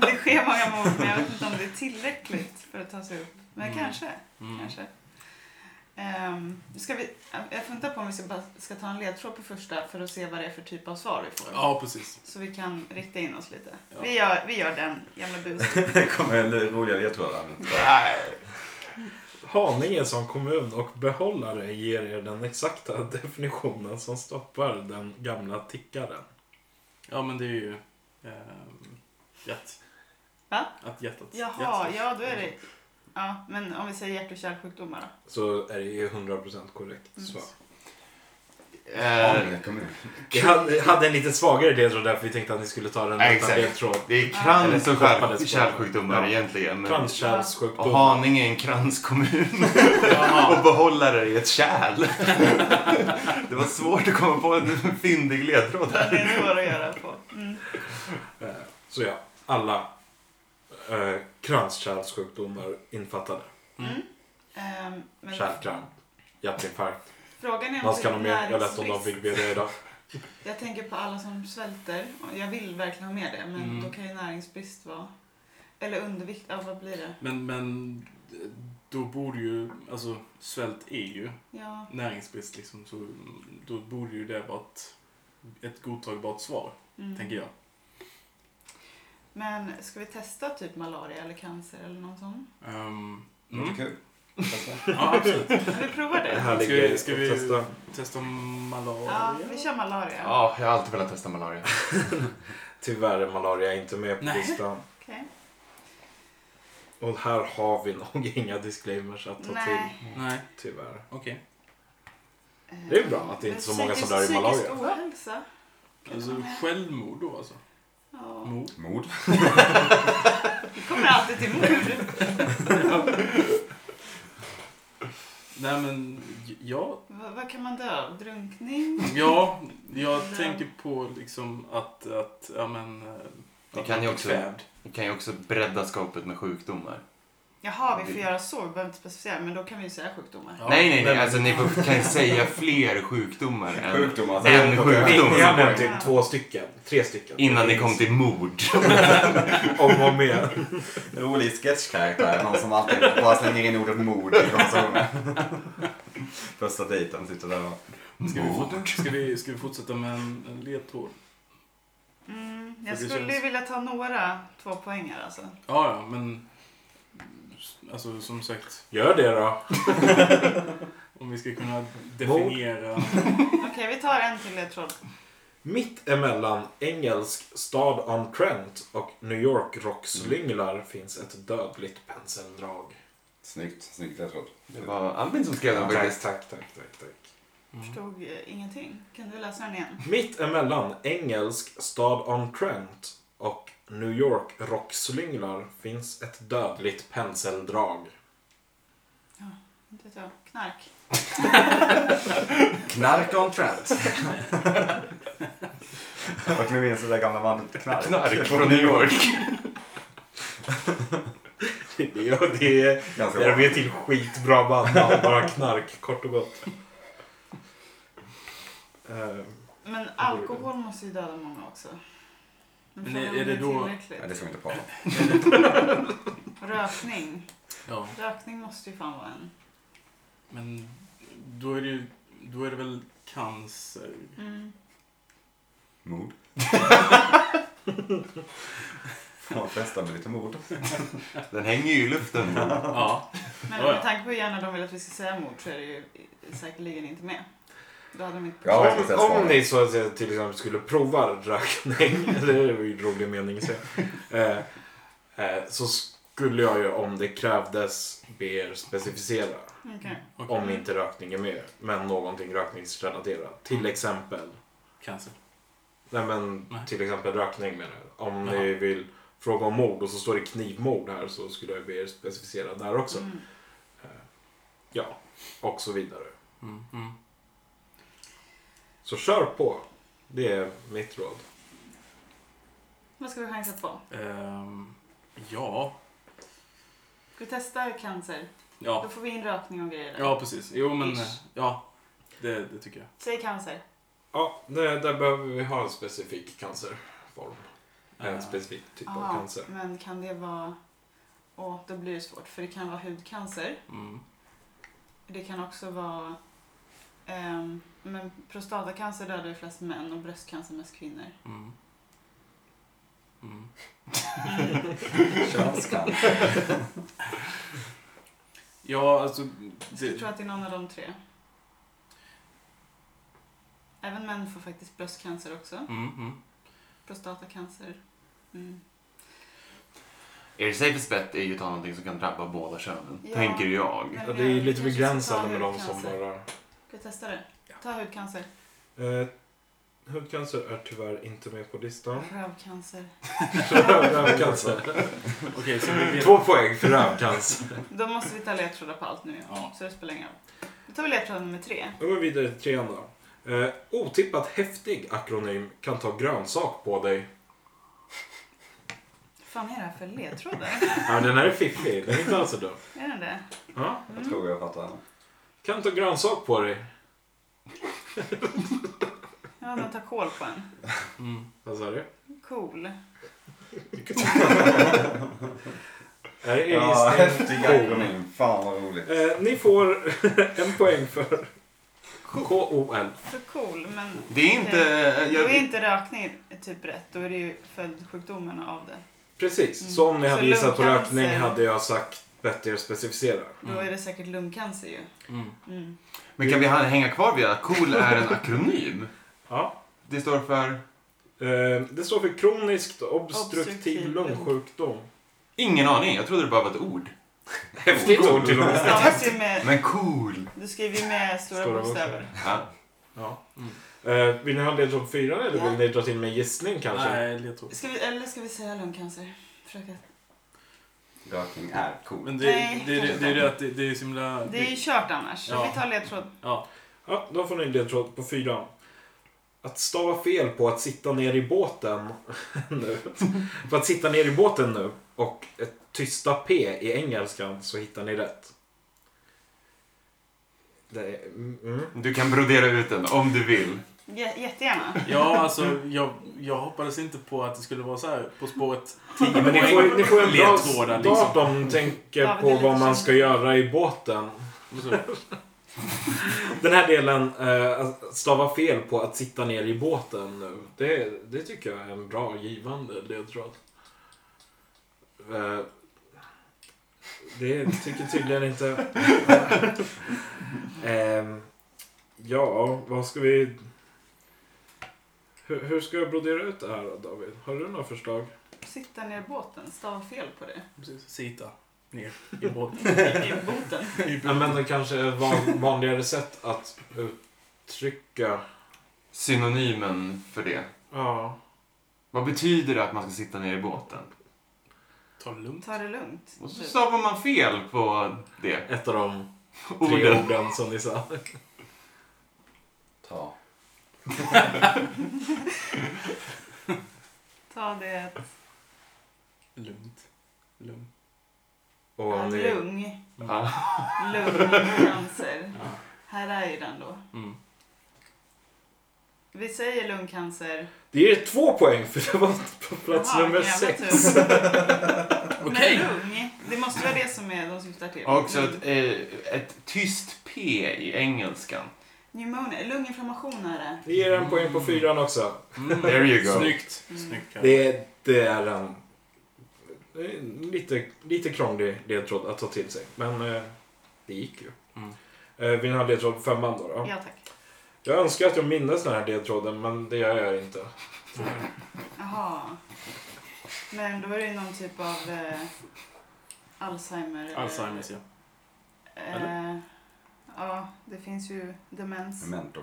[SPEAKER 4] Det sker många mord men jag vet inte om det är tillräckligt för att ta sig upp. Men
[SPEAKER 9] Mm.
[SPEAKER 4] kanske.
[SPEAKER 9] Mm.
[SPEAKER 4] kanske. Ehm, ska vi, jag funderar på om vi ska, bara, ska ta en ledtråd på första för att se vad det är för typ av svar vi får.
[SPEAKER 9] Ja, precis.
[SPEAKER 4] Så vi kan rikta in oss lite.
[SPEAKER 9] Ja.
[SPEAKER 4] Vi, gör, vi gör den
[SPEAKER 9] <laughs>
[SPEAKER 4] gamla busen.
[SPEAKER 2] Det kommer en ny roligare ledtråd.
[SPEAKER 1] Haninge som kommun och behållare ger er den exakta <laughs> definitionen som stoppar den gamla tickaren.
[SPEAKER 9] Ja, men det är ju... ehm, hjärt.
[SPEAKER 4] Va?
[SPEAKER 9] Att hjärtat...
[SPEAKER 4] Jaha,
[SPEAKER 9] hjärtat-
[SPEAKER 4] ja då är det... Ja, men om vi säger hjärt och kärlsjukdomar då?
[SPEAKER 1] Så är det ju 100% korrekt
[SPEAKER 4] Mm.
[SPEAKER 1] svar.
[SPEAKER 3] Eh,
[SPEAKER 2] Haninge kommun.
[SPEAKER 1] Vi hade, hade en lite svagare ledtråd därför vi tänkte att ni skulle ta den
[SPEAKER 3] Ja,
[SPEAKER 1] utan
[SPEAKER 3] exakt.
[SPEAKER 1] ledtråd.
[SPEAKER 3] det är
[SPEAKER 1] Eller
[SPEAKER 3] krans
[SPEAKER 1] så
[SPEAKER 3] och
[SPEAKER 1] hoppades på
[SPEAKER 3] kär-
[SPEAKER 1] det.
[SPEAKER 3] kärlsjukdomar
[SPEAKER 1] Ja.
[SPEAKER 3] egentligen. Men, och
[SPEAKER 1] Kranskärlssjukdom.
[SPEAKER 3] Haninge är en kranskommun. <laughs> och behållare i ett kärl. <laughs> det var svårt att komma på en fyndig ledtråd
[SPEAKER 4] Den
[SPEAKER 3] här.
[SPEAKER 4] är svår att göra på. Mm.
[SPEAKER 1] Eh, Så ja, alla eh, kranskärlssjukdomar infattade.
[SPEAKER 4] Mm. Ehm, men
[SPEAKER 1] Kärlkramp, hjärtinfarkt.
[SPEAKER 4] frågan är om
[SPEAKER 1] Vad ska de
[SPEAKER 4] det är
[SPEAKER 1] mer? Jag läste om de
[SPEAKER 4] näringsbrist.
[SPEAKER 1] fick BD idag.
[SPEAKER 4] Jag tänker på alla som svälter. Och Jag vill verkligen ha med det, men
[SPEAKER 9] Mm.
[SPEAKER 4] då kan ju näringsbrist vara... Eller undervikt, ja vad blir det?
[SPEAKER 9] Men, men... Då borde ju... Alltså, svält är ju
[SPEAKER 4] Ja,
[SPEAKER 9] näringsbrist liksom. Så då borde ju det vara ett, ett godtagbart svar,
[SPEAKER 4] mm.
[SPEAKER 9] tänker jag.
[SPEAKER 4] Men ska vi testa typ malaria eller cancer eller någon sån?
[SPEAKER 9] Ehm,
[SPEAKER 2] Låter
[SPEAKER 9] mm.
[SPEAKER 2] kul.
[SPEAKER 9] Ja, absolut.
[SPEAKER 4] Vi provar
[SPEAKER 1] Det <laughs>
[SPEAKER 4] det.
[SPEAKER 1] här
[SPEAKER 9] Ska
[SPEAKER 1] ligger
[SPEAKER 9] vi- ska
[SPEAKER 1] och
[SPEAKER 9] vi-
[SPEAKER 1] testa.
[SPEAKER 9] Testa malaria.
[SPEAKER 4] Ja, vi kör malaria.
[SPEAKER 3] Ja, jag har alltid velat testa malaria.
[SPEAKER 1] Tyvärr är malaria inte med på
[SPEAKER 9] Nej.
[SPEAKER 1] listan.
[SPEAKER 4] Okej.
[SPEAKER 1] Och här har vi nog <laughs> inga disclaimers att ta till.
[SPEAKER 4] Nej.
[SPEAKER 9] Nej,
[SPEAKER 1] Tyvärr.
[SPEAKER 9] okej.
[SPEAKER 1] Det är bra att det inte är så många som dör i malaria.
[SPEAKER 4] Psykisk ohälsa. Kan
[SPEAKER 9] Alltså
[SPEAKER 4] det vara med?
[SPEAKER 9] självmord då alltså?
[SPEAKER 1] Mm.
[SPEAKER 4] Ja.
[SPEAKER 9] Mord?
[SPEAKER 2] Mord.
[SPEAKER 4] Vi kommer alltid till mord.
[SPEAKER 9] Nej men, ja.
[SPEAKER 4] Va- <laughs> Vad kan man dö av? Drunkning?
[SPEAKER 9] Ja, jag
[SPEAKER 4] Men-
[SPEAKER 9] tänker på liksom att, att ja men... eh,
[SPEAKER 3] Det
[SPEAKER 9] att
[SPEAKER 3] kan
[SPEAKER 9] man
[SPEAKER 3] ju
[SPEAKER 9] blir
[SPEAKER 3] också-
[SPEAKER 9] kvävd.
[SPEAKER 3] Vi kan ju också bredda skapet med sjukdomar.
[SPEAKER 4] Jaha, vi får göra så. Vi behöver inte specificera, men då kan vi ju säga sjukdomar.
[SPEAKER 9] Ja,
[SPEAKER 3] nej, nej, nej.
[SPEAKER 9] men-
[SPEAKER 3] Alltså, ni får- kan ju säga fler <laughs> sjukdomar än,
[SPEAKER 2] Sjukdomar. alltså.
[SPEAKER 3] än
[SPEAKER 1] Ni, ni
[SPEAKER 3] sjukdom.
[SPEAKER 1] hade typ två stycken, tre stycken.
[SPEAKER 3] Innan ni kom till mord.
[SPEAKER 1] <laughs> Om och med.
[SPEAKER 2] Rolig sketchkaraktär. Någon som alltid bara slänger in ordet mord i
[SPEAKER 3] <laughs>
[SPEAKER 2] konversationen. Första dejten sitter där och...
[SPEAKER 9] Ska vi, fort- ska, vi, ska vi fortsätta med en, en ledtråd?
[SPEAKER 4] Mm, jag
[SPEAKER 9] För det
[SPEAKER 4] skulle ju
[SPEAKER 9] känns-
[SPEAKER 4] vilja ta några två poängar alltså.
[SPEAKER 9] Ja, ja, men... Alltså som sagt,
[SPEAKER 1] Gör det då.
[SPEAKER 9] om vi ska kunna definiera...
[SPEAKER 4] <laughs> Okej, vi tar en till ledtråd.
[SPEAKER 1] Mitt emellan engelsk stad on Trent och New York rockslynglar
[SPEAKER 3] Mm.
[SPEAKER 1] finns ett dödligt penseldrag.
[SPEAKER 2] Snyggt, snyggt jag tror.
[SPEAKER 3] Det var Albin som skrev den faktiskt.
[SPEAKER 1] tack, tack, tack, tack.
[SPEAKER 9] Mm.
[SPEAKER 4] Förstod eh, ingenting. Kan du läsa den igen?
[SPEAKER 1] Mitt emellan engelsk stad on Trent och New York rockslynglar finns ett dödligt
[SPEAKER 3] <laughs>
[SPEAKER 1] penseldrag.
[SPEAKER 4] Inte vet jag.
[SPEAKER 9] <laughs>
[SPEAKER 4] Knark.
[SPEAKER 2] Knark on
[SPEAKER 3] <laughs>
[SPEAKER 2] Trent. Och nu minns det där gamla bandet Knark.
[SPEAKER 3] <laughs> Knark från New York.
[SPEAKER 1] Det är, det är,
[SPEAKER 2] Ganska
[SPEAKER 1] det är
[SPEAKER 2] bra.
[SPEAKER 1] ett till skitbra band. Bara knark, kort och gott. Ehm,
[SPEAKER 4] Men alkohol måste ju döda många också. Men
[SPEAKER 9] Men
[SPEAKER 4] frågan
[SPEAKER 9] är-
[SPEAKER 4] om
[SPEAKER 9] är det då-
[SPEAKER 2] Nej, det
[SPEAKER 4] tillräckligt.
[SPEAKER 2] ska vi inte prata om.
[SPEAKER 4] <laughs> Rökning.
[SPEAKER 9] Ja,
[SPEAKER 4] Rökning måste ju fan vara en.
[SPEAKER 9] men då är det ju... Då är det väl cancer?
[SPEAKER 4] Mm.
[SPEAKER 2] <laughs> Mord. Får man festa med lite mord?
[SPEAKER 3] Den hänger ju i <laughs> luften.
[SPEAKER 9] Ja.
[SPEAKER 4] Men
[SPEAKER 9] Ja, ja.
[SPEAKER 4] med tanke på hur gärna de vill att vi ska säga mord så är det ju eh, säkerligen inte med. Då hade de inte...
[SPEAKER 2] Ja, jag ska säga
[SPEAKER 1] om, om
[SPEAKER 2] svaret.
[SPEAKER 1] ni så att säga till exempel skulle prova rökning, <laughs> det är ju en rolig mening att säga, eh, eh, så skulle jag ju om det krävdes be er specificera
[SPEAKER 4] Okej.
[SPEAKER 9] Okej.
[SPEAKER 1] om inte rökning är med, men någonting rökningsrelaterat. Till exempel,
[SPEAKER 9] Cancer.
[SPEAKER 1] nej men
[SPEAKER 9] Nej.
[SPEAKER 1] till exempel rökning menar jag. Om
[SPEAKER 9] Jaha.
[SPEAKER 1] ni vill fråga om mord och så står det knivmord här så skulle jag be er specificera där också.
[SPEAKER 4] Mm.
[SPEAKER 1] Eh, Ja, och så vidare.
[SPEAKER 9] Mm, mm.
[SPEAKER 1] Så kör på. Det är mitt råd.
[SPEAKER 4] Vad ska vi chansa på?
[SPEAKER 9] Ehm, ja.
[SPEAKER 4] Ska vi testa cancer?
[SPEAKER 9] Ja.
[SPEAKER 4] Då får vi in rökning och grejer där.
[SPEAKER 9] Ja, precis. Jo, men...
[SPEAKER 4] Ish.
[SPEAKER 9] eh, Ja. Det, det tycker jag.
[SPEAKER 4] Säg cancer.
[SPEAKER 1] Ja, det, där behöver vi ha en specifik cancerform.
[SPEAKER 9] Eh,
[SPEAKER 1] En specifik typ av
[SPEAKER 4] Aha,
[SPEAKER 1] cancer.
[SPEAKER 4] Men kan det vara... Åh, då blir det svårt. För det kan vara hudcancer.
[SPEAKER 9] Mm.
[SPEAKER 4] Det kan också vara... ehm, men prostatacancer dödar ju flest män och bröstcancer mest kvinnor.
[SPEAKER 9] <laughs> Mm. Mm.
[SPEAKER 2] Könscancer.
[SPEAKER 9] Ja, alltså...
[SPEAKER 4] Jag skulle tro
[SPEAKER 9] Det,
[SPEAKER 4] att det är någon av de tre. Även män får faktiskt bröstcancer också.
[SPEAKER 9] mm, mm.
[SPEAKER 4] Prostatacancer. Mm.
[SPEAKER 3] Er safest bet är ju att ta någonting som kan drabba båda könen.
[SPEAKER 4] Ja.
[SPEAKER 3] Tänker jag.
[SPEAKER 1] Ja, det är ju lite
[SPEAKER 4] Kanske ska
[SPEAKER 1] begränsande
[SPEAKER 4] ta
[SPEAKER 1] med de som
[SPEAKER 4] hudcancer.
[SPEAKER 1] bara...
[SPEAKER 4] Ska jag testa det?
[SPEAKER 1] Ja.
[SPEAKER 4] Ta hudcancer.
[SPEAKER 1] Eh, hudcancer är tyvärr inte med på listan.
[SPEAKER 4] Rövcancer.
[SPEAKER 1] Rövcancer.
[SPEAKER 9] Okej, så vi vet...
[SPEAKER 1] Två poäng för rövcancer.
[SPEAKER 4] Då måste vi ta ledtrådar på allt nu.
[SPEAKER 9] Ja.
[SPEAKER 4] Så det spelar ingen roll. Då tar vi ledtråd nummer tre.
[SPEAKER 1] Då går vi vidare till trean då. Eh, otippat häftig akronym kan ta grönsak på dig.
[SPEAKER 4] Vad fan är det här för ledtrådar? <laughs>
[SPEAKER 1] Ja, den här är fiffig. Den är inte alls så dum.
[SPEAKER 4] är den det?
[SPEAKER 1] Ja.
[SPEAKER 2] Jag tror jag fattar.
[SPEAKER 1] Kan ta grönsak på dig.
[SPEAKER 4] Ja, de tar kol på en.
[SPEAKER 9] Mm.
[SPEAKER 1] Vad sa du?
[SPEAKER 4] Cool.
[SPEAKER 1] <laughs> Är det
[SPEAKER 2] Ja,
[SPEAKER 1] gissning?
[SPEAKER 2] häftig
[SPEAKER 1] Cool.
[SPEAKER 2] akronym. Fan vad roligt.
[SPEAKER 1] Eh, ni får <laughs> en poäng för KOL.
[SPEAKER 4] För cool, men... Eh,
[SPEAKER 3] Det är inte... eh,
[SPEAKER 4] Då är
[SPEAKER 3] Jag,
[SPEAKER 4] inte rökning typ rätt. Då är det ju följdsjukdomarna av det.
[SPEAKER 1] Precis,
[SPEAKER 4] Mm.
[SPEAKER 1] så om ni
[SPEAKER 4] Så
[SPEAKER 1] hade gissat på
[SPEAKER 4] lungcancer.
[SPEAKER 1] rökning hade jag sagt bättre specificera.
[SPEAKER 4] Då
[SPEAKER 3] Mm.
[SPEAKER 4] är det säkert lungcancer ju.
[SPEAKER 9] Mm.
[SPEAKER 3] <laughs>
[SPEAKER 4] Mm.
[SPEAKER 3] men kan vi ha- hänga kvar vid att KOL är en akronym?
[SPEAKER 1] Ja.
[SPEAKER 3] Det står för
[SPEAKER 1] Eh, det står för kroniskt obstruktiv,
[SPEAKER 4] Obstruktiv
[SPEAKER 1] lungsjukdom.
[SPEAKER 3] Ingen aning, jag trodde det bara var ett ord.
[SPEAKER 1] Häftigt ord till och
[SPEAKER 4] Det
[SPEAKER 1] med.
[SPEAKER 4] stavas ju med...
[SPEAKER 3] Men cool!
[SPEAKER 4] Du skriver ju med stora,
[SPEAKER 1] Stora
[SPEAKER 4] bokstäver.
[SPEAKER 3] Ja.
[SPEAKER 1] Ja. Eh, vill ni ha ledtråd fyra eller
[SPEAKER 4] Ja.
[SPEAKER 1] vill ni dra till med gissning kanske?
[SPEAKER 9] Nej, ledtråd.
[SPEAKER 4] Ska vi, eller ska vi säga lungcancer? Försöka
[SPEAKER 2] Rökning är cool.
[SPEAKER 9] Men det,
[SPEAKER 4] Nej,
[SPEAKER 9] det, det, det,
[SPEAKER 4] kanske
[SPEAKER 9] det är
[SPEAKER 4] inte.
[SPEAKER 9] det att det, det är så himla...
[SPEAKER 4] Det är ju kört annars.
[SPEAKER 9] Ja.
[SPEAKER 4] Så vi tar ledtråd.
[SPEAKER 9] Ja.
[SPEAKER 1] Ja, då får ni en ledtråd på fyran. Att stava fel på att sitta ner i båten <laughs> nu. För att sitta ner i båten nu och ett tysta P i engelskan så hittar ni rätt. Det är, mm,
[SPEAKER 9] <laughs>
[SPEAKER 1] mm.
[SPEAKER 3] Du kan brodera ut den om du vill.
[SPEAKER 4] J- jättegärna.
[SPEAKER 9] Ja, alltså jag, jag hoppades inte på att det skulle vara så här På spåret 10
[SPEAKER 1] Men ni får, ni får en bra
[SPEAKER 9] ledtrådar
[SPEAKER 1] start
[SPEAKER 9] liksom.
[SPEAKER 1] om ni tänker
[SPEAKER 4] Ja,
[SPEAKER 1] på
[SPEAKER 4] det är lite
[SPEAKER 1] vad man
[SPEAKER 4] så.
[SPEAKER 1] ska göra i båten.
[SPEAKER 9] Och så-
[SPEAKER 1] Den här delen, eh, att stava fel på att sitta ner i båten nu. Det, det tycker jag är en bra givande ledtråd. Eh, det tycker tydligen inte... Ehm, ja, vad ska vi... Hur, hur ska jag brodera ut det här då, David? Har du några förslag?
[SPEAKER 4] Sitta ner i båten. Stava fel på
[SPEAKER 3] <laughs>
[SPEAKER 4] det.
[SPEAKER 9] Precis. Sita ner i båten.
[SPEAKER 4] I i boten.
[SPEAKER 9] I
[SPEAKER 1] Ja, men det kanske är van, vanligare sätt att uttrycka...
[SPEAKER 3] Synonymen för det.
[SPEAKER 1] Ja.
[SPEAKER 3] Vad betyder det att man ska sitta ner i båten?
[SPEAKER 9] Ta det lugnt.
[SPEAKER 4] Ta det lugnt.
[SPEAKER 3] Och så
[SPEAKER 4] typ.
[SPEAKER 3] stavar man fel på det
[SPEAKER 1] Ett av de tre
[SPEAKER 3] ordet.
[SPEAKER 1] orden som ni sa.
[SPEAKER 2] Ta.
[SPEAKER 4] Ta det
[SPEAKER 9] Lugnt. Lugnt.
[SPEAKER 1] Och om ni-
[SPEAKER 4] lugn.
[SPEAKER 3] Ja.
[SPEAKER 4] Lugn cancer.
[SPEAKER 9] Ja.
[SPEAKER 4] Här är ju den då.
[SPEAKER 9] Mm.
[SPEAKER 4] Vi säger lungcancer.
[SPEAKER 1] Det ger två poäng för det var på plats
[SPEAKER 4] Jaha,
[SPEAKER 1] nummer
[SPEAKER 4] jävla
[SPEAKER 1] sex.
[SPEAKER 4] tur.
[SPEAKER 9] Okej.
[SPEAKER 4] Men lugn, det måste vara det som är de syftar till.
[SPEAKER 3] Och Också
[SPEAKER 4] Lugn.
[SPEAKER 3] ett, eh, ett tyst P i engelskan.
[SPEAKER 4] Pneumonia, lunginflammation är det.
[SPEAKER 1] Det ger en poäng på fyran också.
[SPEAKER 9] Mm.
[SPEAKER 3] There you go.
[SPEAKER 9] Snyggt.
[SPEAKER 4] Mm.
[SPEAKER 9] Snyggt. Kalle.
[SPEAKER 1] Det är, det är en det är en lite, lite krånglig ledtråd att ta till sig. Men eh, det gick ju.
[SPEAKER 9] Mm.
[SPEAKER 1] Eh, vill ni ha ledtråd på femman då? då?
[SPEAKER 4] Ja tack.
[SPEAKER 1] Jag önskar att jag mindes den här ledtråden men det gör jag inte.
[SPEAKER 4] Jaha. Men då är det ju någon typ av eh, Alzheimer. eller-
[SPEAKER 9] Alzheimers ja.
[SPEAKER 4] Eh, ja, det finns ju demens.
[SPEAKER 2] Memento.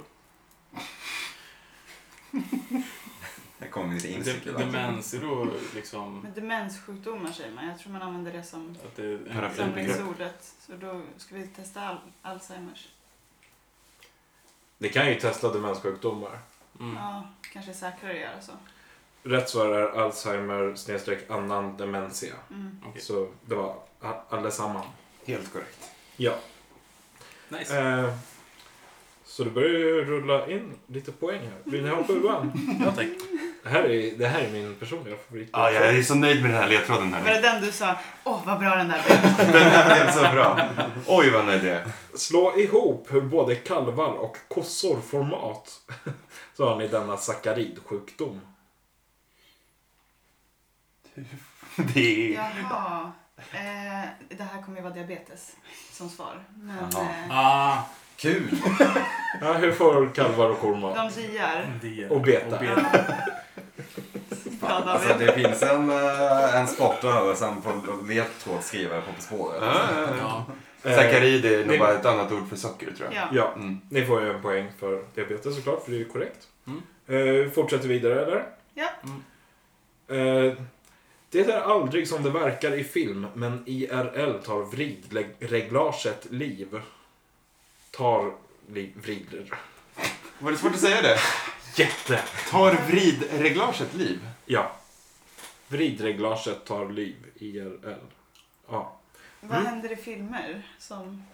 [SPEAKER 2] Det kommer inte in
[SPEAKER 9] Dem- Demens är då liksom
[SPEAKER 4] Men Mm. demenssjukdomar säger man. Jag tror man använder det som
[SPEAKER 9] att det är en,
[SPEAKER 3] Paraply. Paraplybegrep.
[SPEAKER 4] samlingsordet. Så då ska vi testa al Alzheimers.
[SPEAKER 1] Det kan ju testa demenssjukdomar.
[SPEAKER 9] mm.
[SPEAKER 4] Ja, kanske är säkrare att göra så.
[SPEAKER 1] Rätt svar är Alzheimer snedstreck annan demensia.
[SPEAKER 4] Mm.
[SPEAKER 9] Okej.
[SPEAKER 1] Så det var a- allesamman.
[SPEAKER 3] Helt korrekt.
[SPEAKER 1] Ja.
[SPEAKER 9] Nice.
[SPEAKER 1] Eh, så det börjar ju rulla in lite poäng här. Vill ni ha sjuan?
[SPEAKER 9] Ja tack.
[SPEAKER 1] Det här är, det här är min personliga favorit.
[SPEAKER 3] Ah, Ja, jag är så nöjd med den här ledtråden.
[SPEAKER 4] Var
[SPEAKER 3] Här.
[SPEAKER 4] det den du sa? Åh, vad bra den där blev.
[SPEAKER 3] Den <laughs> här blev så bra. Oj, vad nöjd jag är. <laughs>
[SPEAKER 1] Slå ihop hur både kalvar och kossor får mat. Så har ni denna sakaridsjukdom.
[SPEAKER 3] Det är...
[SPEAKER 4] Jaha. Eh, det här kommer ju vara diabetes som svar. Men
[SPEAKER 2] Jaha.
[SPEAKER 4] eh,
[SPEAKER 9] Ah,
[SPEAKER 2] Kul!
[SPEAKER 1] Ja, hur får kalvar och kor mat?
[SPEAKER 4] eh, de diar.
[SPEAKER 9] det.
[SPEAKER 1] Och beta.
[SPEAKER 4] <laughs> Ja,
[SPEAKER 2] Alltså
[SPEAKER 4] David.
[SPEAKER 2] det finns en, eh, en sport över sen på ledtrådsskrivare på På spåret.
[SPEAKER 9] Ja.
[SPEAKER 1] Eh,
[SPEAKER 3] Sakarid är
[SPEAKER 1] det-
[SPEAKER 3] nog bara ett annat ord för socker, tror jag.
[SPEAKER 4] Ja.
[SPEAKER 1] Eh, Ja,
[SPEAKER 3] Mm.
[SPEAKER 1] ni får ju en poäng för diabetes såklart, för det är ju korrekt.
[SPEAKER 9] Mm.
[SPEAKER 1] Eh, fortsätter vidare eller?
[SPEAKER 4] Ja.
[SPEAKER 1] Eh, det är aldrig som det verkar i film, men IRL tar vridreglaget liv. Tar liv, vrider.
[SPEAKER 3] Var det svårt att säga det?
[SPEAKER 1] Jätte!
[SPEAKER 3] Tar vridreglaget liv?
[SPEAKER 1] Ja. Vridreglaget tar liv, IRL. Ja.
[SPEAKER 4] Vad händer i filmer som...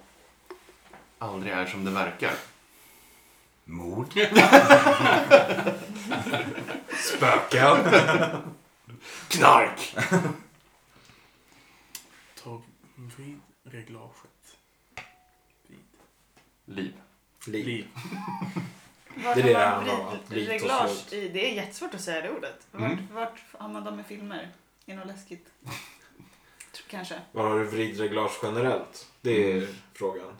[SPEAKER 3] Aldrig är som det verkar.
[SPEAKER 2] Mord?
[SPEAKER 1] Spöken!
[SPEAKER 3] Knark!
[SPEAKER 9] Ta vid reglaget. Vid.
[SPEAKER 3] Liv.
[SPEAKER 1] Liv.
[SPEAKER 9] Liv.
[SPEAKER 4] Var
[SPEAKER 1] Det är
[SPEAKER 4] tar
[SPEAKER 1] det
[SPEAKER 4] man
[SPEAKER 1] han har, att
[SPEAKER 4] vrid-
[SPEAKER 1] bryta
[SPEAKER 4] reglage
[SPEAKER 1] slut.
[SPEAKER 4] i? Det är jättesvårt att säga det ordet. Vart,
[SPEAKER 3] Mm.
[SPEAKER 4] vart har man dem i filmer? I något läskigt? Tror- Kanske.
[SPEAKER 1] Var har du vridreglage generellt? Det är frågan.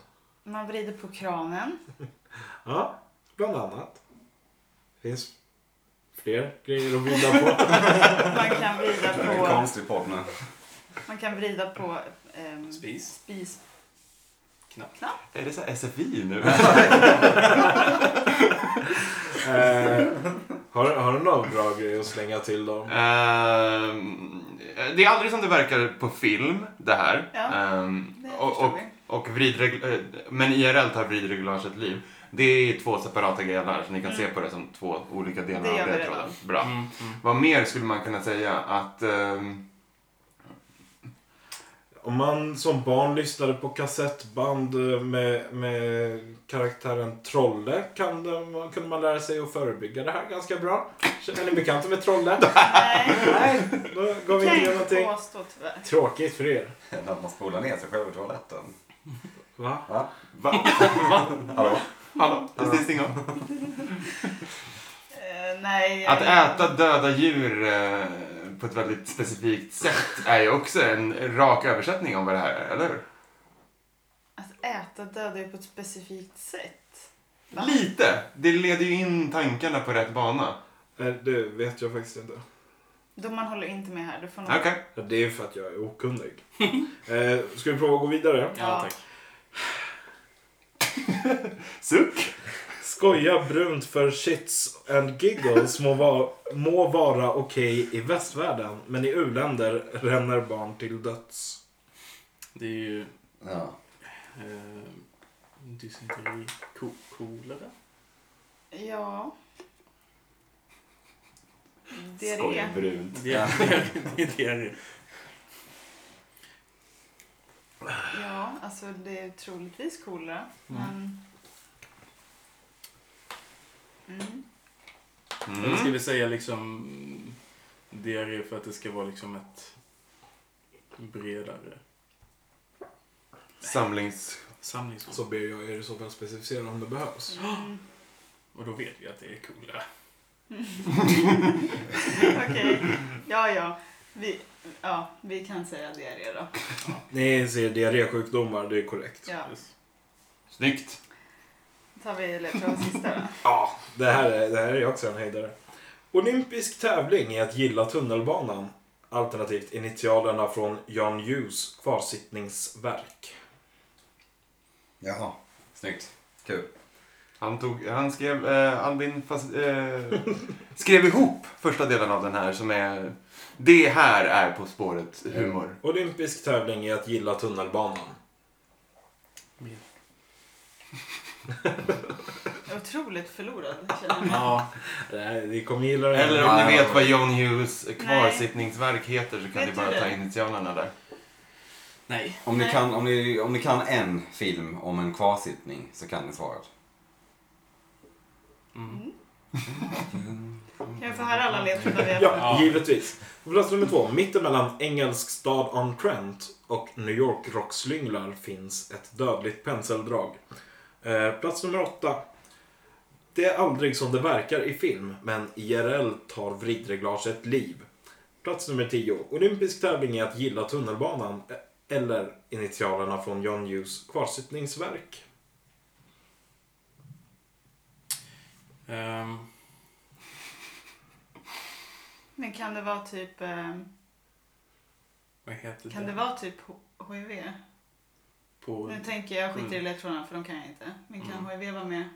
[SPEAKER 4] Man vrider på kranen.
[SPEAKER 1] Ja, bland annat. Det finns fler grejer att vrida <laughs> på.
[SPEAKER 4] Man kan vrida
[SPEAKER 2] Det är en
[SPEAKER 4] på,
[SPEAKER 2] konstig podd <laughs> nu.
[SPEAKER 4] man kan vrida på ehm,
[SPEAKER 9] Spis.
[SPEAKER 4] spis...
[SPEAKER 9] Knapp.
[SPEAKER 4] Knapp.
[SPEAKER 3] Är det så här SFI nu?
[SPEAKER 1] eh, Har, har du några bra grejer att slänga till dem?
[SPEAKER 3] Ehm, det är aldrig som det verkar på film, det här.
[SPEAKER 4] Ja,
[SPEAKER 3] Ehm,
[SPEAKER 4] Det
[SPEAKER 3] och,
[SPEAKER 4] förstår
[SPEAKER 3] och,
[SPEAKER 4] vi.
[SPEAKER 3] och vridregl- eh, men IRL tar vridreglage ett liv. Det är två separata delar, så ni kan se på det som två olika delar
[SPEAKER 4] Mm. Det gör
[SPEAKER 3] av
[SPEAKER 4] vi
[SPEAKER 3] det.
[SPEAKER 4] redan.
[SPEAKER 3] tråden. Bra.
[SPEAKER 9] Mm, mm.
[SPEAKER 3] Vad mer skulle man kunna säga? Att... ehm,
[SPEAKER 1] Om man som barn lyssnade på kassettband eh, med, med karaktären Trolle kan de, kunde man lära sig att förebygga det här ganska bra. Är ni bekanta med Trolle?
[SPEAKER 4] Nej,
[SPEAKER 1] <laughs> Nej, då går
[SPEAKER 4] det
[SPEAKER 1] vi inte
[SPEAKER 4] kan
[SPEAKER 1] igenom
[SPEAKER 4] jag inte
[SPEAKER 1] någonting.
[SPEAKER 4] påstå tyvärr.
[SPEAKER 1] Tråkigt för er.
[SPEAKER 2] När man spolar ner sig själv i toaletten.
[SPEAKER 1] Va?
[SPEAKER 2] Va?
[SPEAKER 3] va?
[SPEAKER 2] Hallå?
[SPEAKER 3] Hallå?
[SPEAKER 4] Mm.
[SPEAKER 3] Is this thing on?
[SPEAKER 4] Eh, nej.
[SPEAKER 3] Att
[SPEAKER 4] jag-
[SPEAKER 3] äta döda djur eh, på ett väldigt specifikt sätt är ju också en rak översättning om vad det här är, eller hur?
[SPEAKER 4] Att äta döda är på ett specifikt sätt. Va?
[SPEAKER 3] Lite! Det leder ju in tankarna på rätt bana.
[SPEAKER 1] Nej, Eh, det vet jag faktiskt inte.
[SPEAKER 4] Då man håller inte med här. Du får nog...
[SPEAKER 3] Okej.
[SPEAKER 1] Ja, Det är för att jag är okunnig. eh, ska vi prova att gå vidare?
[SPEAKER 9] Ja, tack.
[SPEAKER 3] Suck!
[SPEAKER 1] Skoja brunt för shits and giggles må, va- må vara okej i västvärlden men i u-länder ränner barn till döds.
[SPEAKER 9] Det är ju...
[SPEAKER 2] Ja.
[SPEAKER 9] Eh, dysenteri. Ko- Kolera?
[SPEAKER 4] Ja. Det är
[SPEAKER 3] Skoj,
[SPEAKER 4] det.
[SPEAKER 3] brunt.
[SPEAKER 9] Det är det. Är, det, är det.
[SPEAKER 4] Ja, alltså det är troligtvis coolare. Men... Mm.
[SPEAKER 9] Eller ska
[SPEAKER 3] Mm.
[SPEAKER 9] vi säga liksom diarré för att det ska vara liksom ett bredare
[SPEAKER 3] Samlings...
[SPEAKER 9] samlingsord?
[SPEAKER 1] Så ber jag er i så fall specificera om det behövs.
[SPEAKER 4] Mm. <laughs>
[SPEAKER 9] Och då vet vi att det är coolare.
[SPEAKER 4] Okej. Ja, ja. Vi, ja. vi kan säga det är det då.
[SPEAKER 1] Ni ser diarrésjukdomar, det är korrekt.
[SPEAKER 4] Ja.
[SPEAKER 3] Snyggt!
[SPEAKER 4] tar vi ledtråden sista då.
[SPEAKER 1] Ja, det här är, det här är också en höjdare. Olympisk tävling i att gilla tunnelbanan. Alternativt initialerna från John Hughes kvarsittningsverk.
[SPEAKER 2] Jaha. Snyggt. Kul.
[SPEAKER 3] Han, tog, han skrev... Eh, Albin fast, eh, skrev ihop första delen av den här som är... Det här är På spåret-humor.
[SPEAKER 1] Olympisk tävling i att gilla tunnelbanan.
[SPEAKER 4] Otroligt förlorad känner jag.
[SPEAKER 9] Ja,
[SPEAKER 1] Nej, ni kommer gilla det.
[SPEAKER 3] Eller om ni vet vad John Hughes kvarsittningsverk heter så
[SPEAKER 4] Vet
[SPEAKER 3] kan ni
[SPEAKER 4] du
[SPEAKER 3] bara ta
[SPEAKER 4] det?
[SPEAKER 3] initialerna där.
[SPEAKER 9] nej.
[SPEAKER 2] Om ni,
[SPEAKER 4] Nej.
[SPEAKER 2] kan, om, ni, om ni kan en film om en kvarsittning så kan ni svaret.
[SPEAKER 9] Mm.
[SPEAKER 4] Kan jag få höra alla ledtrådar vi har
[SPEAKER 1] Ja,
[SPEAKER 9] Ja.
[SPEAKER 1] givetvis. På plats nummer två, mittemellan engelsk stad on Trent och New York rockslynglar finns ett dödligt penseldrag. Eh, plats nummer åtta. Det är aldrig som det verkar i film, men IRL tar vridreglaget liv. Plats nummer tio. Olympisk tävling är att gilla tunnelbanan eh, eller initialerna från John Hughes kvarsittningsverk.
[SPEAKER 9] Ehm,
[SPEAKER 4] Men kan det vara typ, eh,
[SPEAKER 9] vad heter
[SPEAKER 4] kan det vara typ H- HIV?
[SPEAKER 9] På,
[SPEAKER 4] Nu tänker jag, jag skiter i ledtrådarna för de kan jag inte. Men kan
[SPEAKER 9] Mm.
[SPEAKER 4] HIV vara med?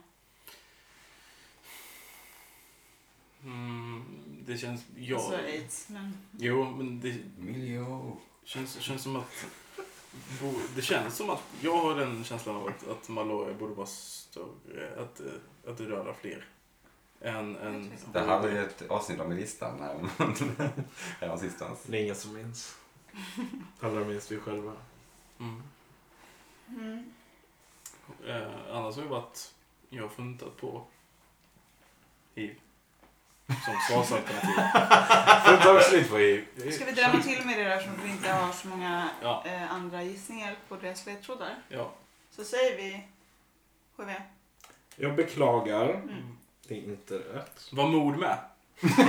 [SPEAKER 9] mm, det känns...
[SPEAKER 4] Ja.
[SPEAKER 9] Ja.
[SPEAKER 4] Alltså aids. Men...
[SPEAKER 9] Jo, men det
[SPEAKER 2] Miljö.
[SPEAKER 9] känns, känns som att... bo- Det känns som att... Jag har den känslan av att, att Maloria borde vara större. Att, eh, att det dödar fler. Än... än
[SPEAKER 2] Det här var ju ett avsnitt om listan här. <laughs> Häromsistens.
[SPEAKER 1] Det är ingen som minns. Allra minst vi själva.
[SPEAKER 9] Mm.
[SPEAKER 4] Mm.
[SPEAKER 9] Eh, annars har det varit... Jag har funtat på... Hiv. Som svarsalternativ.
[SPEAKER 1] Får du ta ett slut på i?
[SPEAKER 4] Ska vi drämma till med det där som vi inte har så många
[SPEAKER 9] Ja.
[SPEAKER 4] eh, andra gissningar på deras ledtrådar?
[SPEAKER 9] Ja.
[SPEAKER 4] Så säger vi HIV.
[SPEAKER 1] Jag beklagar.
[SPEAKER 9] Mm.
[SPEAKER 1] Det är inte rätt.
[SPEAKER 9] Var mord med?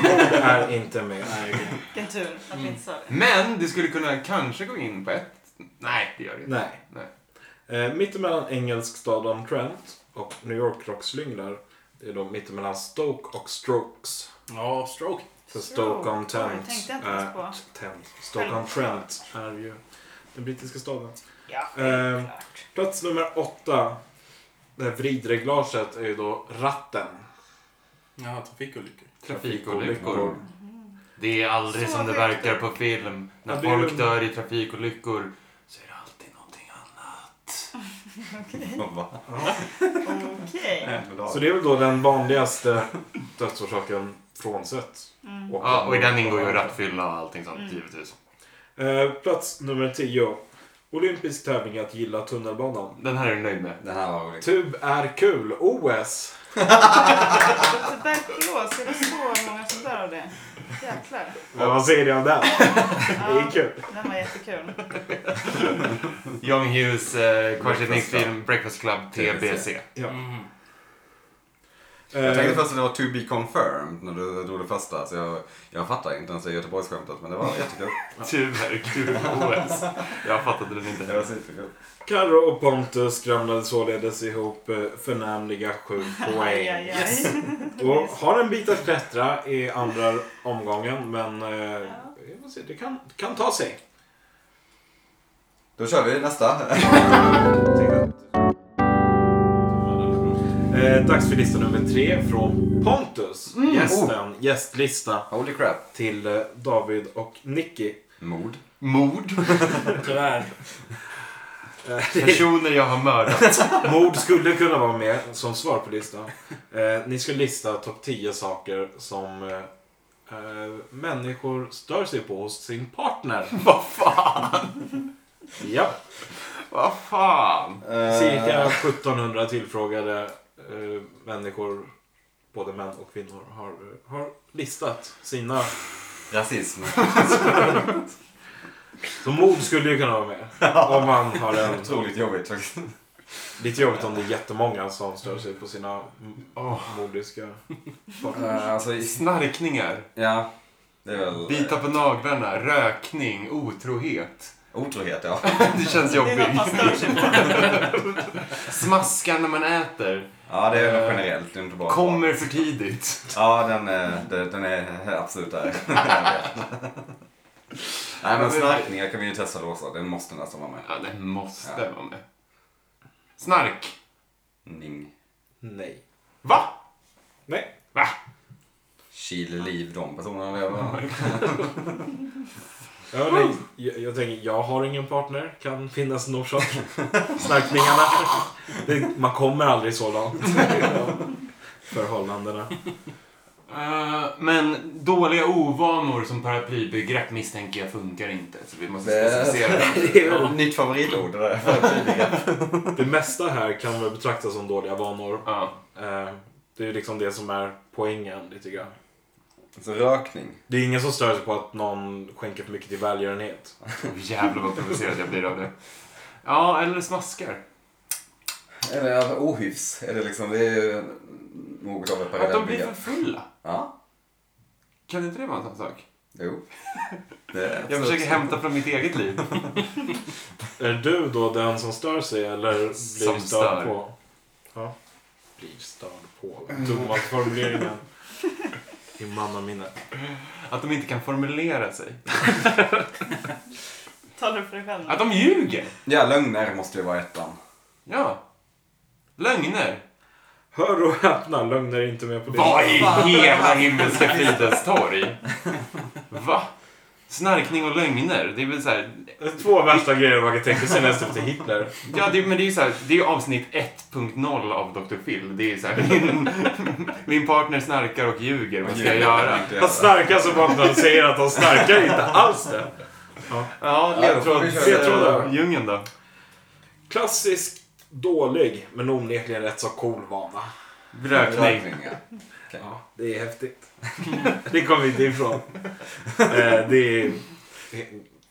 [SPEAKER 1] Det är inte med.
[SPEAKER 9] Nej, okej.
[SPEAKER 4] Vilken tur att vi
[SPEAKER 9] Mm.
[SPEAKER 4] inte sa det.
[SPEAKER 3] Men det skulle kunna kanske gå in på ett... Nej, det gör det inte.
[SPEAKER 1] Nej. Eh, mittemellan engelsk stad on Trent och New York rockslynglar. Det är då mittemellan Stoke och Strokes.
[SPEAKER 9] Ja, stroke.
[SPEAKER 1] För
[SPEAKER 4] Stroke.
[SPEAKER 1] Stoke on
[SPEAKER 4] Oj,
[SPEAKER 1] Trent.
[SPEAKER 4] tänkte jag inte ens på.
[SPEAKER 1] eh, Trent. Stoke on Trent är ju den brittiska staden.
[SPEAKER 4] Ja,
[SPEAKER 1] Ehm.
[SPEAKER 4] klart.
[SPEAKER 1] Plats nummer åtta. Det här vridreglaget är ju då ratten.
[SPEAKER 9] Ja, trafikolyckor.
[SPEAKER 3] Trafikolyckor.
[SPEAKER 4] Mm.
[SPEAKER 1] <laughs>
[SPEAKER 3] Det är aldrig
[SPEAKER 4] Så
[SPEAKER 3] som det
[SPEAKER 4] sjukt.
[SPEAKER 3] verkar på film. När
[SPEAKER 1] Ja, det är
[SPEAKER 3] folk
[SPEAKER 1] ju-
[SPEAKER 3] dör i trafikolyckor så är det alltid någonting annat.
[SPEAKER 2] <laughs> Va?
[SPEAKER 4] Okej.
[SPEAKER 1] Så det är väl då den vanligaste dödsorsaken frånsett.
[SPEAKER 4] Mm.
[SPEAKER 1] åkande.
[SPEAKER 3] Ja, och i den ingår ju rattfylla och allting sånt
[SPEAKER 4] Mm.
[SPEAKER 3] givetvis.
[SPEAKER 1] Eh, plats nummer 10. Olympisk tävling att gilla tunnelbanan.
[SPEAKER 3] Den här är du nöjd med.
[SPEAKER 2] Den här var rolig.
[SPEAKER 1] Tub är kul. OS.
[SPEAKER 4] Tuberkulos, är det så många som dör av det?
[SPEAKER 1] <laughs>
[SPEAKER 4] Jäklar.
[SPEAKER 1] Ja, vad säger ni om det? Det är
[SPEAKER 4] Ja,
[SPEAKER 1] kul.
[SPEAKER 4] den var jättekul.
[SPEAKER 3] John Hughes eh, kvartsittningsfilm Breakfast Club TBC.
[SPEAKER 9] Mm.
[SPEAKER 2] Jag tänkte
[SPEAKER 1] Eh,
[SPEAKER 2] först att det var to be confirmed när du drog det första. Så jag, jag fattar inte ens det Göteborgsskämtet. Men det var jättekul.
[SPEAKER 3] Tuberkulos. Jag fattade den inte
[SPEAKER 2] Det var
[SPEAKER 3] heller.
[SPEAKER 2] superkul.
[SPEAKER 1] Carro och Pontus skramlade således ihop eh, förnämliga sju
[SPEAKER 4] Aj,
[SPEAKER 1] poäng.
[SPEAKER 4] aj, aj.
[SPEAKER 1] Och har en bit att klättra i andra omgången, men eh,
[SPEAKER 4] Ja.
[SPEAKER 1] vi får se, det kan, kan ta sig.
[SPEAKER 2] Då kör vi nästa. <laughs>
[SPEAKER 1] Eh, dags för lista nummer tre från Pontus.
[SPEAKER 2] Mm.
[SPEAKER 1] Gästen, gästlista
[SPEAKER 2] Holy crap.
[SPEAKER 1] till eh, David och Nicky.
[SPEAKER 2] Mord.
[SPEAKER 3] Mord.
[SPEAKER 9] Tyvärr.
[SPEAKER 1] Eh,
[SPEAKER 3] Personer jag har mördat. <laughs>
[SPEAKER 1] Mord skulle kunna vara med som svar på listan. Eh, ni ska lista topp 10 saker som eh, eh, människor stör sig på hos sin partner.
[SPEAKER 3] <laughs> Vad fan?
[SPEAKER 1] Ja,
[SPEAKER 3] Vad fan?
[SPEAKER 2] Eh,
[SPEAKER 1] cirka 1700 tillfrågade eh, människor, både män och kvinnor, har, eh, har listat sina.
[SPEAKER 2] Rasism.
[SPEAKER 1] Så mord skulle ju kunna vara
[SPEAKER 3] <laughs>
[SPEAKER 1] med. Om man har en...
[SPEAKER 2] Otroligt jobbigt faktiskt.
[SPEAKER 1] Lite jobbigt om det är jättemånga som stör sig på sina m- mordiska partners.
[SPEAKER 2] Eh, alltså, i-
[SPEAKER 3] Snarkningar.
[SPEAKER 2] ja. Det är väl... eh,
[SPEAKER 3] Bita på naglarna. Rökning. Otrohet.
[SPEAKER 2] Otrohet, ja.
[SPEAKER 3] Det känns
[SPEAKER 4] Det är något
[SPEAKER 1] <laughs>
[SPEAKER 3] jobbigt.
[SPEAKER 4] man stör sig på.
[SPEAKER 3] Smaskar när man äter.
[SPEAKER 2] Ja, det är väl generellt. Det är inte bara...
[SPEAKER 3] Kommer för tidigt.
[SPEAKER 2] Ja, den är, den den är absolut där. <laughs> Nej, men snarkningar kan vi ju testa då också. Den måste nästan vara med.
[SPEAKER 3] Ja, det måste
[SPEAKER 2] Ja.
[SPEAKER 3] vara med. Snark.
[SPEAKER 2] Ning.
[SPEAKER 1] Nej.
[SPEAKER 3] Va?
[SPEAKER 1] Nej.
[SPEAKER 3] Va?
[SPEAKER 2] Kil liv de personerna lever.
[SPEAKER 1] Ja, nej, jag, jag tänker, jag har ingen partner. Kan finnas en orsak. Snarkningarna. Det, man kommer aldrig så långt. Förhållandena.
[SPEAKER 3] Eh, men dåliga ovanor som paraplybegrepp misstänker jag funkar inte. Så vi måste
[SPEAKER 2] Det-
[SPEAKER 3] specificera
[SPEAKER 2] <laughs>
[SPEAKER 3] det.
[SPEAKER 2] Det är väl nytt favoritord det där.
[SPEAKER 1] Det mesta här kan väl betraktas som dåliga vanor.
[SPEAKER 3] Ja.
[SPEAKER 1] Eh, det är ju liksom det som är poängen lite grann.
[SPEAKER 2] Så rökning.
[SPEAKER 1] Det är ingen som stör sig på att någon skänker för mycket till välgörenhet.
[SPEAKER 3] Åh, jävlar vad provocerad jag blir av det. Ja, eller smaskar.
[SPEAKER 2] Eller alltså, ohyfs. Är det, liksom, det är ju något av ett
[SPEAKER 3] Att de blir
[SPEAKER 2] parallellbegrepp.
[SPEAKER 3] för fulla.
[SPEAKER 2] Ja,
[SPEAKER 3] Kan inte det vara en sån sak?
[SPEAKER 2] jo. Det är
[SPEAKER 3] Jag
[SPEAKER 2] absolut
[SPEAKER 3] försöker
[SPEAKER 2] så.
[SPEAKER 3] hämta från mitt eget liv.
[SPEAKER 1] Är du då den som stör sig eller blir
[SPEAKER 3] Som
[SPEAKER 1] störd
[SPEAKER 3] stör.
[SPEAKER 1] på? Ja. Mm. Blir störd på. Dumma formuleringen. I mannaminne.
[SPEAKER 3] Att de inte kan formulera sig.
[SPEAKER 4] Talar du för dig själv nu?
[SPEAKER 3] Att de ljuger.
[SPEAKER 2] Ja, lögner måste ju vara ettan.
[SPEAKER 3] Ja. Lögner.
[SPEAKER 1] Hör och häpna, lögner är inte med på det.
[SPEAKER 3] Vad i
[SPEAKER 4] Fan.
[SPEAKER 3] hela himmelska fridens torg? Va? Snarkning och lögner. Det är väl så här,
[SPEAKER 1] Det är Två värsta grejer man kan tänka sig näst efter Hitler.
[SPEAKER 3] Ja, det, men det är ju så här, det är ju avsnitt 1.0 av Dr. Phil. Det är ju så här, min, <laughs> min partner snarkar och ljuger. Vad ska jag göra?
[SPEAKER 1] Han snarkar så bara han säger att han snarkar inte alls det.
[SPEAKER 3] Ja,
[SPEAKER 2] Ja, då får
[SPEAKER 3] ledtråd.
[SPEAKER 2] vi köra.
[SPEAKER 3] ledtråd då. Djungeln då?
[SPEAKER 1] Klassiskt dålig, men onekligen rätt så cool vana.
[SPEAKER 3] Rökning.
[SPEAKER 2] ja.
[SPEAKER 1] Ja, det är häftigt. det kommer vi inte ifrån. Eh, det är...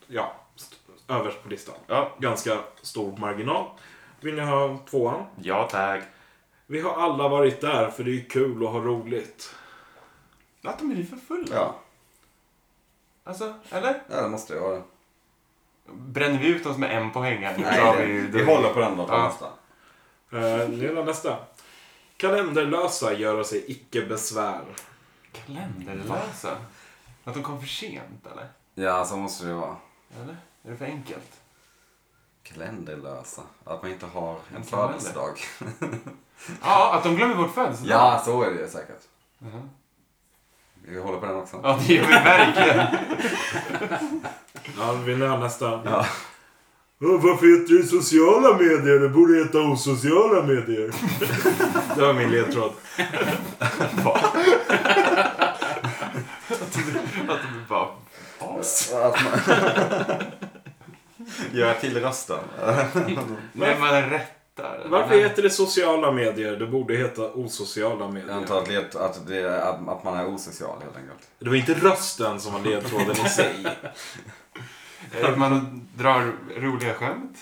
[SPEAKER 1] Ja, st- överst på listan.
[SPEAKER 3] Ja.
[SPEAKER 1] Ganska stor marginal. Vill ni ha tvåan?
[SPEAKER 3] Ja, tack.
[SPEAKER 1] Vi har alla varit där för det är kul och har roligt.
[SPEAKER 3] Att de blir för fulla.
[SPEAKER 2] Ja,
[SPEAKER 3] Alltså, eller?
[SPEAKER 2] ja, det måste ju vara det.
[SPEAKER 3] Bränner vi ut oss med en poäng här nu så har
[SPEAKER 2] Nej,
[SPEAKER 3] vi
[SPEAKER 2] det,
[SPEAKER 3] ju...
[SPEAKER 2] vi håller på den då, på
[SPEAKER 3] Ja.
[SPEAKER 2] nästa.
[SPEAKER 1] Eh, nu är det nästa. Kalenderlösa göra sig icke besvär.
[SPEAKER 3] Kalenderlösa. Att de kom för sent, eller?
[SPEAKER 2] Ja, så måste det ju vara.
[SPEAKER 3] Eller? Är det för enkelt?
[SPEAKER 2] Kalenderlösa. Att man inte har en
[SPEAKER 3] En kalender.
[SPEAKER 2] födelsedag.
[SPEAKER 3] Ja, att de glömmer bort födelsedag.
[SPEAKER 2] Ja, så är det ju säkert.
[SPEAKER 3] Mhm.
[SPEAKER 2] Vi håller på den också.
[SPEAKER 3] Ja, det gör vi verkligen.
[SPEAKER 1] Ja, vi lär nästa.
[SPEAKER 2] Ja.
[SPEAKER 1] Varför heter det sociala medier? Det borde heta osociala medier. <laughs> det var min ledtråd.
[SPEAKER 3] Att de bara...
[SPEAKER 2] <laughs> Att <laughs> man- Gör till rösten.
[SPEAKER 3] Nej, man rättar.
[SPEAKER 1] Varför heter det sociala medier? Det borde heta osociala
[SPEAKER 2] Jag
[SPEAKER 1] medier.
[SPEAKER 2] antar att, led, att, det, att, att man är osocial helt <laughs> enkelt.
[SPEAKER 1] Det var inte rösten som var ledtråden i sig.
[SPEAKER 3] Att man drar roliga skämt?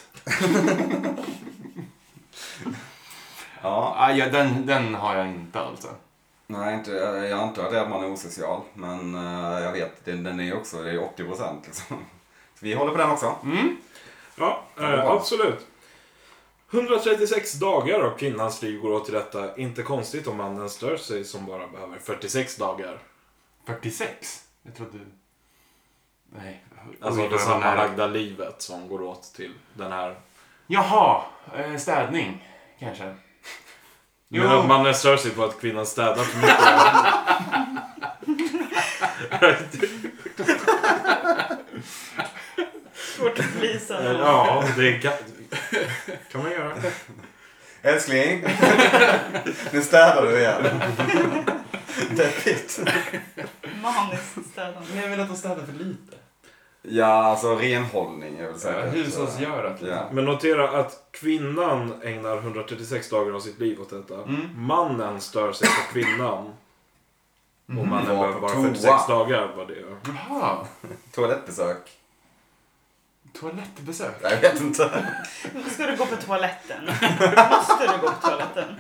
[SPEAKER 2] Ja,
[SPEAKER 3] Ah, ja, den, den har jag inte alltså.
[SPEAKER 2] nej, inte, jag antar det att man är osocial. Men eh, jag vet, den, den är ju också, det är 80 procent liksom. Så vi håller på den också.
[SPEAKER 3] Mm.
[SPEAKER 1] <laughs> Ja, eh,
[SPEAKER 2] Ja.
[SPEAKER 1] absolut. 136 dagar av kvinnans liv går åt till detta. Inte konstigt om mannen stör sig som bara behöver 46 dagar.
[SPEAKER 3] 46? Jag trodde... Nej.
[SPEAKER 1] Alltså
[SPEAKER 3] Oj,
[SPEAKER 1] det
[SPEAKER 3] vad jag var nära.
[SPEAKER 1] sammanlagda livet som går åt till den här.
[SPEAKER 3] Jaha, eh, städning kanske. Jo.
[SPEAKER 1] Men att mannen stör sig på att kvinnan städar för mycket.
[SPEAKER 4] Svårt att bli så här.
[SPEAKER 1] Eh, ja, det kan, kan man göra.
[SPEAKER 2] Älskling, <laughs> nu städar du igen. Det är pitt.
[SPEAKER 4] Maniskt städande.
[SPEAKER 9] Nej, jag vill att de städar för lite.
[SPEAKER 2] Ja, alltså renhållning är väl säkert. eh,
[SPEAKER 3] Hushållsgörat. liksom.
[SPEAKER 2] Ja.
[SPEAKER 1] Men notera att kvinnan ägnar 136 dagar av sitt liv åt detta.
[SPEAKER 3] Mm.
[SPEAKER 1] Mannen stör sig på kvinnan. Och mannen
[SPEAKER 2] Var på
[SPEAKER 1] behöver bara
[SPEAKER 2] toa.
[SPEAKER 1] 46 dagar. Vad det gör.
[SPEAKER 3] Jaha,
[SPEAKER 2] Toalettbesök.
[SPEAKER 3] toalettbesök.
[SPEAKER 2] Jag vet inte.
[SPEAKER 4] Ska du gå på toaletten? Måste du gå på toaletten?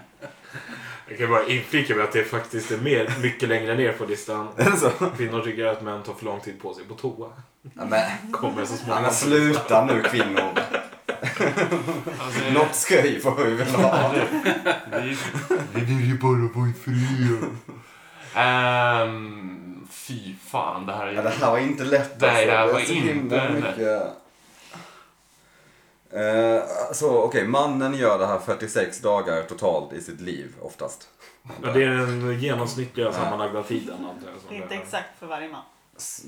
[SPEAKER 1] Jag kan bara inflika med att det faktiskt är mer, mycket längre ner på listan.
[SPEAKER 2] Är det så?
[SPEAKER 1] Kvinnor tycker att män tar för lång tid på sig på toa.
[SPEAKER 2] Ja, men,
[SPEAKER 1] Kommer så
[SPEAKER 2] ja,
[SPEAKER 1] småningom.
[SPEAKER 2] men sluta nu kvinnor.
[SPEAKER 10] Alltså,
[SPEAKER 2] Något skoj får vi väl ha.
[SPEAKER 10] vi,
[SPEAKER 3] Vi vill ju bara vara fria. Ehm, fy fan, det här är
[SPEAKER 2] Ja, det här var inte lätt alltså.
[SPEAKER 3] Nej, det här
[SPEAKER 2] är
[SPEAKER 3] var
[SPEAKER 2] så himla
[SPEAKER 3] inte lätt.
[SPEAKER 2] mycket... Eh, så okej, mannen gör det här 46 dagar totalt i sitt liv oftast.
[SPEAKER 1] Ja, det är den genomsnittliga sammanlagda tiden. antar jag, som
[SPEAKER 4] Det är inte
[SPEAKER 1] det är.
[SPEAKER 4] exakt för varje man.
[SPEAKER 2] S-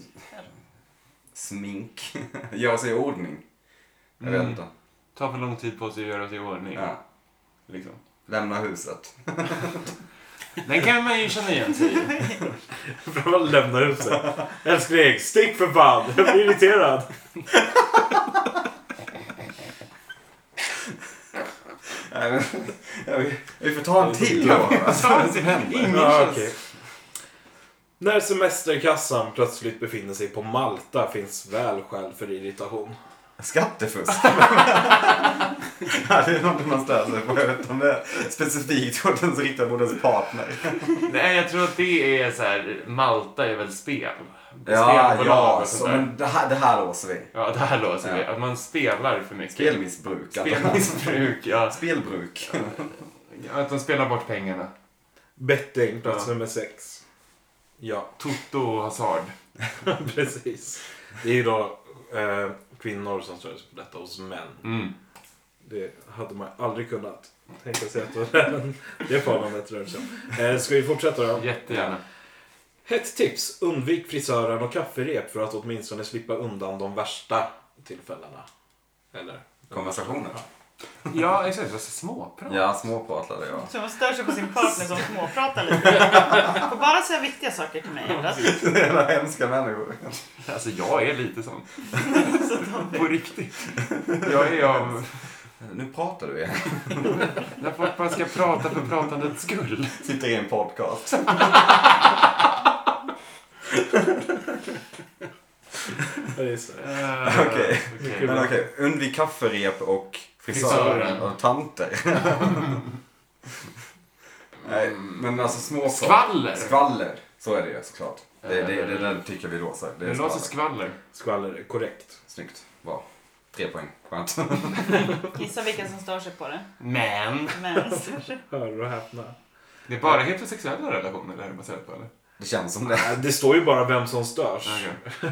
[SPEAKER 2] smink. <laughs> Gör sig i ordning. Jag vet
[SPEAKER 3] Mm.
[SPEAKER 2] inte.
[SPEAKER 3] tar för lång tid på sig att göra sig i ordning.
[SPEAKER 2] Ja.
[SPEAKER 3] Liksom.
[SPEAKER 2] Lämna huset.
[SPEAKER 3] Den kan man ju känna igen sig i.
[SPEAKER 1] För man lämnar huset. Älskling, stick för fan! Jag blir irriterad.
[SPEAKER 2] Nej,
[SPEAKER 3] <laughs>
[SPEAKER 2] men, ja, vi, vi får ta en till då. Alltså, vad som händer?
[SPEAKER 3] Ingen
[SPEAKER 1] Ja,
[SPEAKER 3] känns-
[SPEAKER 1] okej. När semesterkassan plötsligt befinner sig på Malta finns väl skäl för irritation.
[SPEAKER 2] Skattefusk. <laughs> ja, det är något man stör sig på. Jag vet inte om det är specifikt mot ens riktat mot ens partner.
[SPEAKER 3] Nej, jag tror att det är så här, Malta är väl spel?
[SPEAKER 2] Ja, ja.
[SPEAKER 3] och
[SPEAKER 2] Så,
[SPEAKER 3] sånt där.
[SPEAKER 2] men det här, det här låser vi.
[SPEAKER 3] Ja, det här låser vi.
[SPEAKER 2] Ja.
[SPEAKER 3] Att man spelar för mycket.
[SPEAKER 2] Spelmissbruk. alltså.
[SPEAKER 3] Spelmissbruk, ja.
[SPEAKER 2] Spelbruk.
[SPEAKER 3] Att de spelar bort pengarna.
[SPEAKER 1] Betting, plats
[SPEAKER 3] Ja.
[SPEAKER 1] nummer sex. Ja, <laughs>
[SPEAKER 3] Toto och hasard.
[SPEAKER 1] precis. Det är ju då eh, kvinnor som stör sig på detta hos män.
[SPEAKER 3] Mm.
[SPEAKER 1] Det hade man aldrig kunnat tänka sig att det var den- <laughs> det förhållandet rör sig om. Eh, ska vi fortsätta då?
[SPEAKER 3] Jättegärna.
[SPEAKER 1] Hett tips. Undvik frisören och kafferep för att åtminstone slippa undan de värsta tillfällena. Eller?
[SPEAKER 2] Konversationer.
[SPEAKER 3] Ja, exakt. Alltså, småprat.
[SPEAKER 2] Ja, småpratade jag.
[SPEAKER 4] Så man stör sig på sin partner som småpratar lite. Får bara säga viktiga saker till mig. annars-
[SPEAKER 2] Jävla hemska människor.
[SPEAKER 3] Alltså, jag är
[SPEAKER 2] <laughs>
[SPEAKER 3] lite sån.
[SPEAKER 4] Så de-
[SPEAKER 3] På riktigt. Jag är av...
[SPEAKER 2] Nu pratar du igen.
[SPEAKER 3] När folk bara ska prata för pratandets skull.
[SPEAKER 2] Sitter i en podcast.
[SPEAKER 1] Ja, just det.
[SPEAKER 3] Eh,
[SPEAKER 2] Okej.
[SPEAKER 3] okej.
[SPEAKER 2] Men okej, undvik kafferep och frisören
[SPEAKER 3] Frisören.
[SPEAKER 2] och
[SPEAKER 3] <laughs>
[SPEAKER 2] tanter. Nej, men alltså småprat.
[SPEAKER 3] Skvaller!
[SPEAKER 2] Skvaller. Så är det ju såklart. Det, det, det, det tycker vi låser. Det
[SPEAKER 3] Det
[SPEAKER 2] är
[SPEAKER 3] låter
[SPEAKER 2] skvaller.
[SPEAKER 3] skvaller.
[SPEAKER 1] Skvaller är korrekt.
[SPEAKER 2] Snyggt. Bra. Tre poäng. Skönt.
[SPEAKER 4] Gissa vilka som stör sig på det.
[SPEAKER 3] Men!
[SPEAKER 4] Men
[SPEAKER 1] Hör och häpna.
[SPEAKER 3] Det är bara heterosexuella relationer det här är baserat på, eller?
[SPEAKER 2] Det känns som det.
[SPEAKER 1] Nej, Äh, Det står ju bara vem som störs.
[SPEAKER 3] Okej.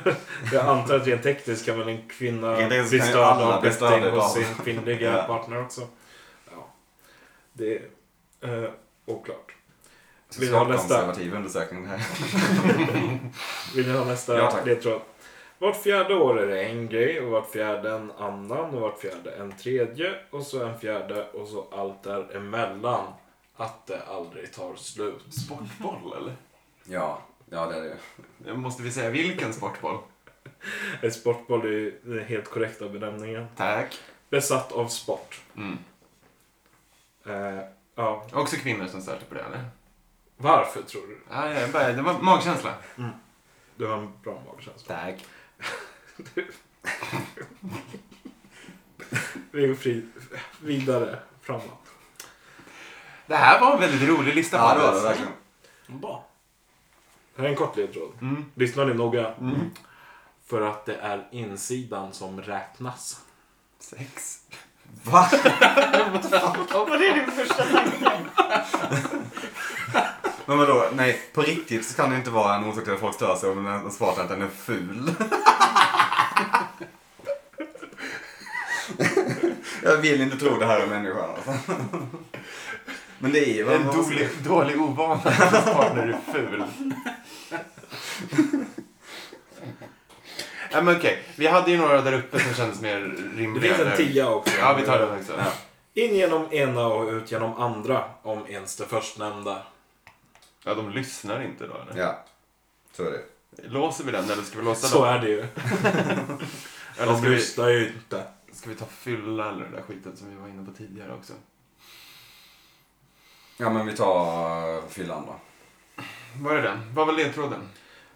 [SPEAKER 1] Jag antar att rent tekniskt kan väl en kvinna
[SPEAKER 2] Rent tekniskt
[SPEAKER 1] bli
[SPEAKER 2] kan ju
[SPEAKER 1] störd
[SPEAKER 2] alla
[SPEAKER 1] av
[SPEAKER 2] bli störda
[SPEAKER 1] betting hos
[SPEAKER 2] av.
[SPEAKER 1] sin kvinnliga
[SPEAKER 2] Ja.
[SPEAKER 1] partner också. Ja. Det är eh, oklart. Vill du ha nästa?
[SPEAKER 2] Socialkonservativ undersökning här.
[SPEAKER 1] Vill ni ha nästa
[SPEAKER 2] Ja, tack.
[SPEAKER 1] ledtråd? Vart fjärde år är det en grej och vart fjärde en annan och vart fjärde en tredje och så en fjärde och så allt däremellan. Att det aldrig tar slut.
[SPEAKER 3] Sportboll eller?
[SPEAKER 2] Ja, ja det är det ju.
[SPEAKER 3] Måste vi säga vilken sportboll?
[SPEAKER 1] En sportboll är ju den helt korrekta benämningen.
[SPEAKER 3] Tack.
[SPEAKER 1] Besatt av sport.
[SPEAKER 3] Mm.
[SPEAKER 1] Eh, ja.
[SPEAKER 3] Också kvinnor som stöter på det eller?
[SPEAKER 1] Varför tror du?
[SPEAKER 3] Ah, ja, bara- det var magkänsla.
[SPEAKER 1] Du har en bra magkänsla.
[SPEAKER 3] Tack.
[SPEAKER 1] Vi går fri- vidare framåt.
[SPEAKER 3] Det här var en väldigt rolig lista.
[SPEAKER 2] Ja, det var det
[SPEAKER 3] Paulus.
[SPEAKER 2] verkligen.
[SPEAKER 9] Bra.
[SPEAKER 1] Här är en kort ledtråd.
[SPEAKER 3] Mm.
[SPEAKER 1] Lyssna ni noga.
[SPEAKER 3] Mm.
[SPEAKER 1] För att det är insidan som räknas.
[SPEAKER 3] Sex.
[SPEAKER 2] Va?
[SPEAKER 4] Var det din första tanke?
[SPEAKER 2] Men vadå, nej på riktigt så kan det inte vara en orsak till att folk stör sig om den har svarat att den är ful. <laughs> Jag vill inte tro det här om människan alltså. Men det är ju...
[SPEAKER 3] En dålig, dålig ovana partner är ful. ja, men okej. Vi hade ju några där uppe som kändes mer
[SPEAKER 1] Det
[SPEAKER 3] rimliga.
[SPEAKER 1] finns en
[SPEAKER 3] där.
[SPEAKER 1] tia också.
[SPEAKER 3] Ja, vi tar den också.
[SPEAKER 2] Ja.
[SPEAKER 1] In genom ena och ut genom andra, om ens det förstnämnda.
[SPEAKER 3] Ja, de lyssnar inte då eller?
[SPEAKER 2] Ja, så är det.
[SPEAKER 3] Låser vi den eller ska vi låsa
[SPEAKER 1] Så
[SPEAKER 3] den?
[SPEAKER 1] är det ju.
[SPEAKER 3] Eller
[SPEAKER 1] De
[SPEAKER 3] ska vi,
[SPEAKER 1] lyssnar ju inte.
[SPEAKER 3] ska vi ta fylla eller det där skiten som vi var inne på tidigare också?
[SPEAKER 2] Ja men vi tar fyllan då.
[SPEAKER 3] Var är den? Vad var ledtråden?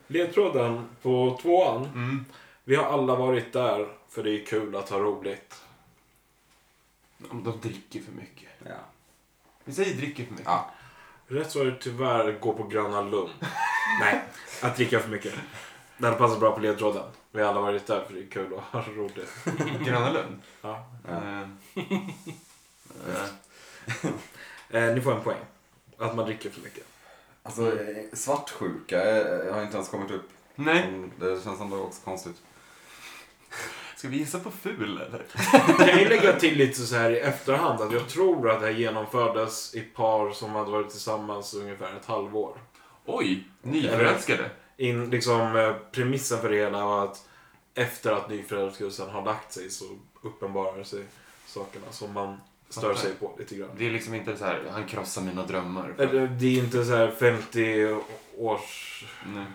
[SPEAKER 1] Ledtråden på tvåan.
[SPEAKER 3] Mm.
[SPEAKER 1] Vi har alla varit där, för det är kul att ha roligt.
[SPEAKER 3] Om de dricker för mycket.
[SPEAKER 2] Ja.
[SPEAKER 3] Vi säger dricker för mycket.
[SPEAKER 2] Ja.
[SPEAKER 1] Rätt svar är tyvärr gå på Gröna <laughs> Lund. Nej, att dricka för mycket. Det hade passat bra på ledtråden. Vi har alla varit där, för det är kul att ha <laughs> roligt.
[SPEAKER 3] Gröna Lund?
[SPEAKER 1] Ja.
[SPEAKER 2] Ja.
[SPEAKER 3] Eh, eh,
[SPEAKER 1] Eh, ni får en poäng. Att man dricker för mycket.
[SPEAKER 2] Alltså eh, svartsjuka eh, har inte ens kommit upp.
[SPEAKER 3] Mm. Nej.
[SPEAKER 2] Som- Det känns ändå också konstigt.
[SPEAKER 3] Ska vi gissa på ful eller?
[SPEAKER 1] <laughs> Jag kan ju lägga till lite så här i efterhand att jag tror att det här genomfördes i par som hade varit tillsammans ungefär ett halvår.
[SPEAKER 3] Oj, nyförälskade.
[SPEAKER 1] In, liksom, eh, premissen för det hela var att efter att nyförälskelsen har lagt sig så uppenbarar sig sakerna som man stör sig på lite grann.
[SPEAKER 3] Det är liksom inte så här, han krossar mina drömmar.
[SPEAKER 1] Eller, Det är inte så här 50 års
[SPEAKER 3] Nej.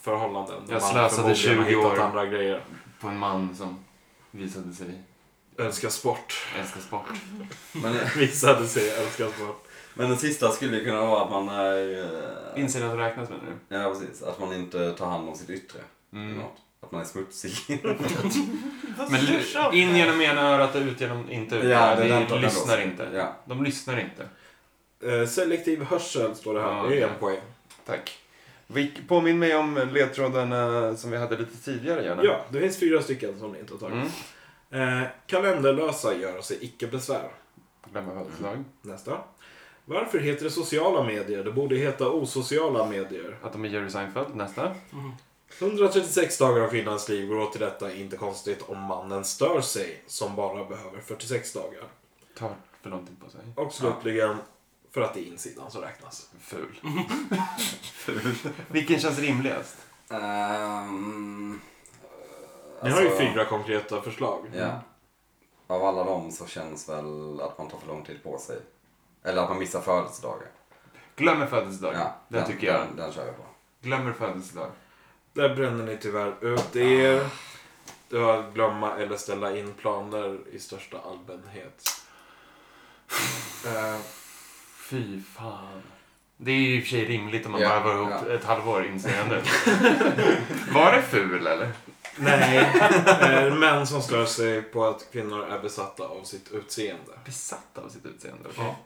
[SPEAKER 1] förhållanden. där
[SPEAKER 3] Jag
[SPEAKER 1] man
[SPEAKER 3] slösade
[SPEAKER 1] förmodligen har
[SPEAKER 3] 20 år.
[SPEAKER 1] hittat andra grejer.
[SPEAKER 3] På en man som visade sig
[SPEAKER 1] Önska sport. <laughs>
[SPEAKER 3] älska sport. <laughs>
[SPEAKER 2] Men, eh,
[SPEAKER 1] Visade sig älska sport.
[SPEAKER 2] men den sista skulle ju kunna vara att man är... eh,
[SPEAKER 3] Insidan räknas menar du?
[SPEAKER 2] Ja precis, att man inte tar hand om sitt yttre.
[SPEAKER 3] Mm.
[SPEAKER 2] Något. Att man är smutsig.
[SPEAKER 4] Vad
[SPEAKER 3] Men
[SPEAKER 4] styrs av
[SPEAKER 3] in
[SPEAKER 4] det?
[SPEAKER 3] genom ena örat och ut genom inte ut.
[SPEAKER 2] Ja, det är den
[SPEAKER 3] de
[SPEAKER 2] på den
[SPEAKER 3] lyssnar
[SPEAKER 2] också.
[SPEAKER 3] inte.
[SPEAKER 2] Ja.
[SPEAKER 3] De lyssnar inte.
[SPEAKER 1] Eh, selektiv hörsel står det här.
[SPEAKER 3] Ja,
[SPEAKER 1] det är
[SPEAKER 3] okej.
[SPEAKER 1] en poäng.
[SPEAKER 3] Tack. Vic, påminn mig om ledtrådarna som vi hade lite tidigare gärna.
[SPEAKER 1] Ja, det finns fyra stycken som ni inte har tagit.
[SPEAKER 3] Mm.
[SPEAKER 1] Eh, kalenderlösa gör sig icke besvär.
[SPEAKER 3] Glömma födelsedag.
[SPEAKER 1] Nästa. Varför heter det sociala medier? Det borde heta osociala medier.
[SPEAKER 3] Att de är Jerry Seinfeld. Nästa.
[SPEAKER 1] 136 dagar av kvinnans liv går åt till detta. Inte konstigt om mannen stör sig, som bara behöver 46 dagar.
[SPEAKER 3] Tar för lång tid på sig.
[SPEAKER 1] Och slutligen, för att det är insidan som räknas.
[SPEAKER 3] <laughs> Ful. Vilken känns rimligast?
[SPEAKER 2] Ehm,
[SPEAKER 1] Ni har ju
[SPEAKER 2] alltså,
[SPEAKER 1] fyra konkreta förslag.
[SPEAKER 2] Ja. Av alla dem så känns väl att man tar för lång tid på sig. Eller att man missar födelsedagar.
[SPEAKER 3] Glömmer födelsedag.
[SPEAKER 2] Ja,
[SPEAKER 3] den, tycker jag.
[SPEAKER 2] Den, den kör jag på.
[SPEAKER 3] Glömmer födelsedag.
[SPEAKER 1] Där bränner ni tyvärr ut er. Det var att glömma eller ställa in planer i största <laughs> allmänhet. Eh,
[SPEAKER 3] Fy fan. Det är ju i och för sig rimligt om man
[SPEAKER 2] Ja,
[SPEAKER 3] bara var ihop
[SPEAKER 2] ja.
[SPEAKER 3] ett halvår inser jag nu. <laughs> Var det ful eller?
[SPEAKER 1] Nej, eh, män som stör sig på att kvinnor är besatta av sitt utseende.
[SPEAKER 3] Besatt av sitt utseende. okej?
[SPEAKER 1] Ja.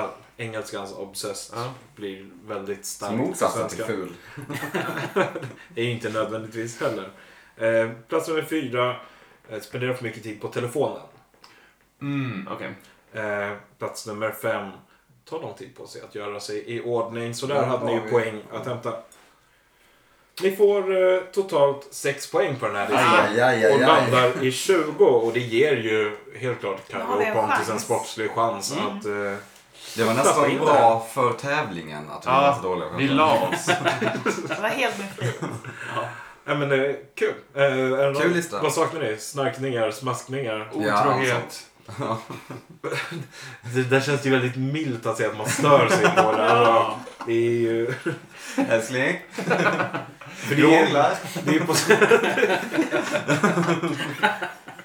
[SPEAKER 1] All, engelskans obsessed
[SPEAKER 3] Ja.
[SPEAKER 1] blir väldigt
[SPEAKER 2] Så
[SPEAKER 1] starkt.
[SPEAKER 2] motsatsen
[SPEAKER 1] på
[SPEAKER 2] till
[SPEAKER 1] svenska.
[SPEAKER 2] ful.
[SPEAKER 1] Det är ju inte nödvändigtvis heller. Eh, plats nummer fyra, eh, spenderar för mycket tid på telefonen.
[SPEAKER 3] Mm, okej.
[SPEAKER 1] Eh, plats nummer fem, tar lång tid på sig att göra sig i ordning. Så där
[SPEAKER 2] Ja,
[SPEAKER 1] hade ni
[SPEAKER 2] har
[SPEAKER 1] ju
[SPEAKER 2] vi.
[SPEAKER 1] poäng att hämta. Ni får eh, totalt sex poäng på den här listan.
[SPEAKER 2] Aj, aj, aj,
[SPEAKER 1] och
[SPEAKER 2] aj, aj.
[SPEAKER 1] landar i 20 och det ger ju helt klart
[SPEAKER 4] Ja, det är
[SPEAKER 1] Carro
[SPEAKER 4] en
[SPEAKER 1] Pontus en
[SPEAKER 4] chans.
[SPEAKER 1] sportslig chans
[SPEAKER 9] Mm.
[SPEAKER 1] att eh,
[SPEAKER 2] Det var
[SPEAKER 1] Stoppa in
[SPEAKER 2] nästan
[SPEAKER 1] det.
[SPEAKER 2] bra för tävlingen att vi
[SPEAKER 3] Ja,
[SPEAKER 2] var så dåliga på
[SPEAKER 3] Vi
[SPEAKER 2] skämt.
[SPEAKER 3] la <laughs> oss.
[SPEAKER 4] Det var helt med flit.
[SPEAKER 1] Ja, men eh, kul. Eh, är det
[SPEAKER 2] Kul
[SPEAKER 1] någon-
[SPEAKER 2] lista.
[SPEAKER 1] Vad saknar ni? Snarkningar, smaskningar?
[SPEAKER 3] Otrohet.
[SPEAKER 1] Det där känns ju väldigt milt att säga att man stör sig på
[SPEAKER 4] <laughs>
[SPEAKER 1] det. Alltså, det är ju...
[SPEAKER 2] Älskling,
[SPEAKER 1] För det, är,
[SPEAKER 2] grånglar.
[SPEAKER 1] det, är på,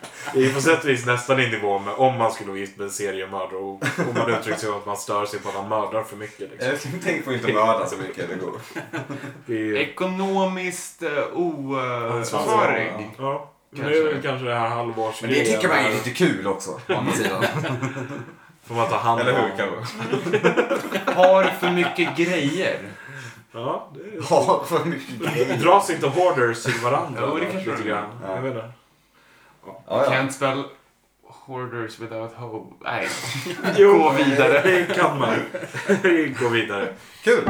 [SPEAKER 1] <laughs> det är på sätt och vis nästan i nivå med om man skulle vara gift med en seriemördare och om man uttrycker sig om att man stör sig på att han mördar för mycket. Liksom.
[SPEAKER 2] Älskling, Eh, tänk på att inte mörda så mycket det går.
[SPEAKER 1] Det är ju...
[SPEAKER 3] Ekonomiskt eh, oansvarig.
[SPEAKER 1] Ja. Men
[SPEAKER 3] Kanske.
[SPEAKER 1] det är väl kanske det här
[SPEAKER 2] Men
[SPEAKER 1] halvårsgrejen.
[SPEAKER 2] det tycker man är lite kul också, å andra sidan.
[SPEAKER 1] Får man ta hand om.
[SPEAKER 2] Eller hur, kanske?
[SPEAKER 3] Har för mycket grejer.
[SPEAKER 1] Ja, det är...
[SPEAKER 2] Ja, för mycket grejer.
[SPEAKER 1] Dras inte hoarders till varandra?
[SPEAKER 3] Jo, det
[SPEAKER 1] då?
[SPEAKER 3] kanske
[SPEAKER 1] lite
[SPEAKER 3] det är.
[SPEAKER 1] grann.
[SPEAKER 2] Ja.
[SPEAKER 1] Jag vet inte.
[SPEAKER 2] Ja, ja.
[SPEAKER 3] Can't spell hoarders without hoe. Nej.
[SPEAKER 1] Jo,
[SPEAKER 3] Gå vidare.
[SPEAKER 1] Det kan man. Gå vidare.
[SPEAKER 2] Kul!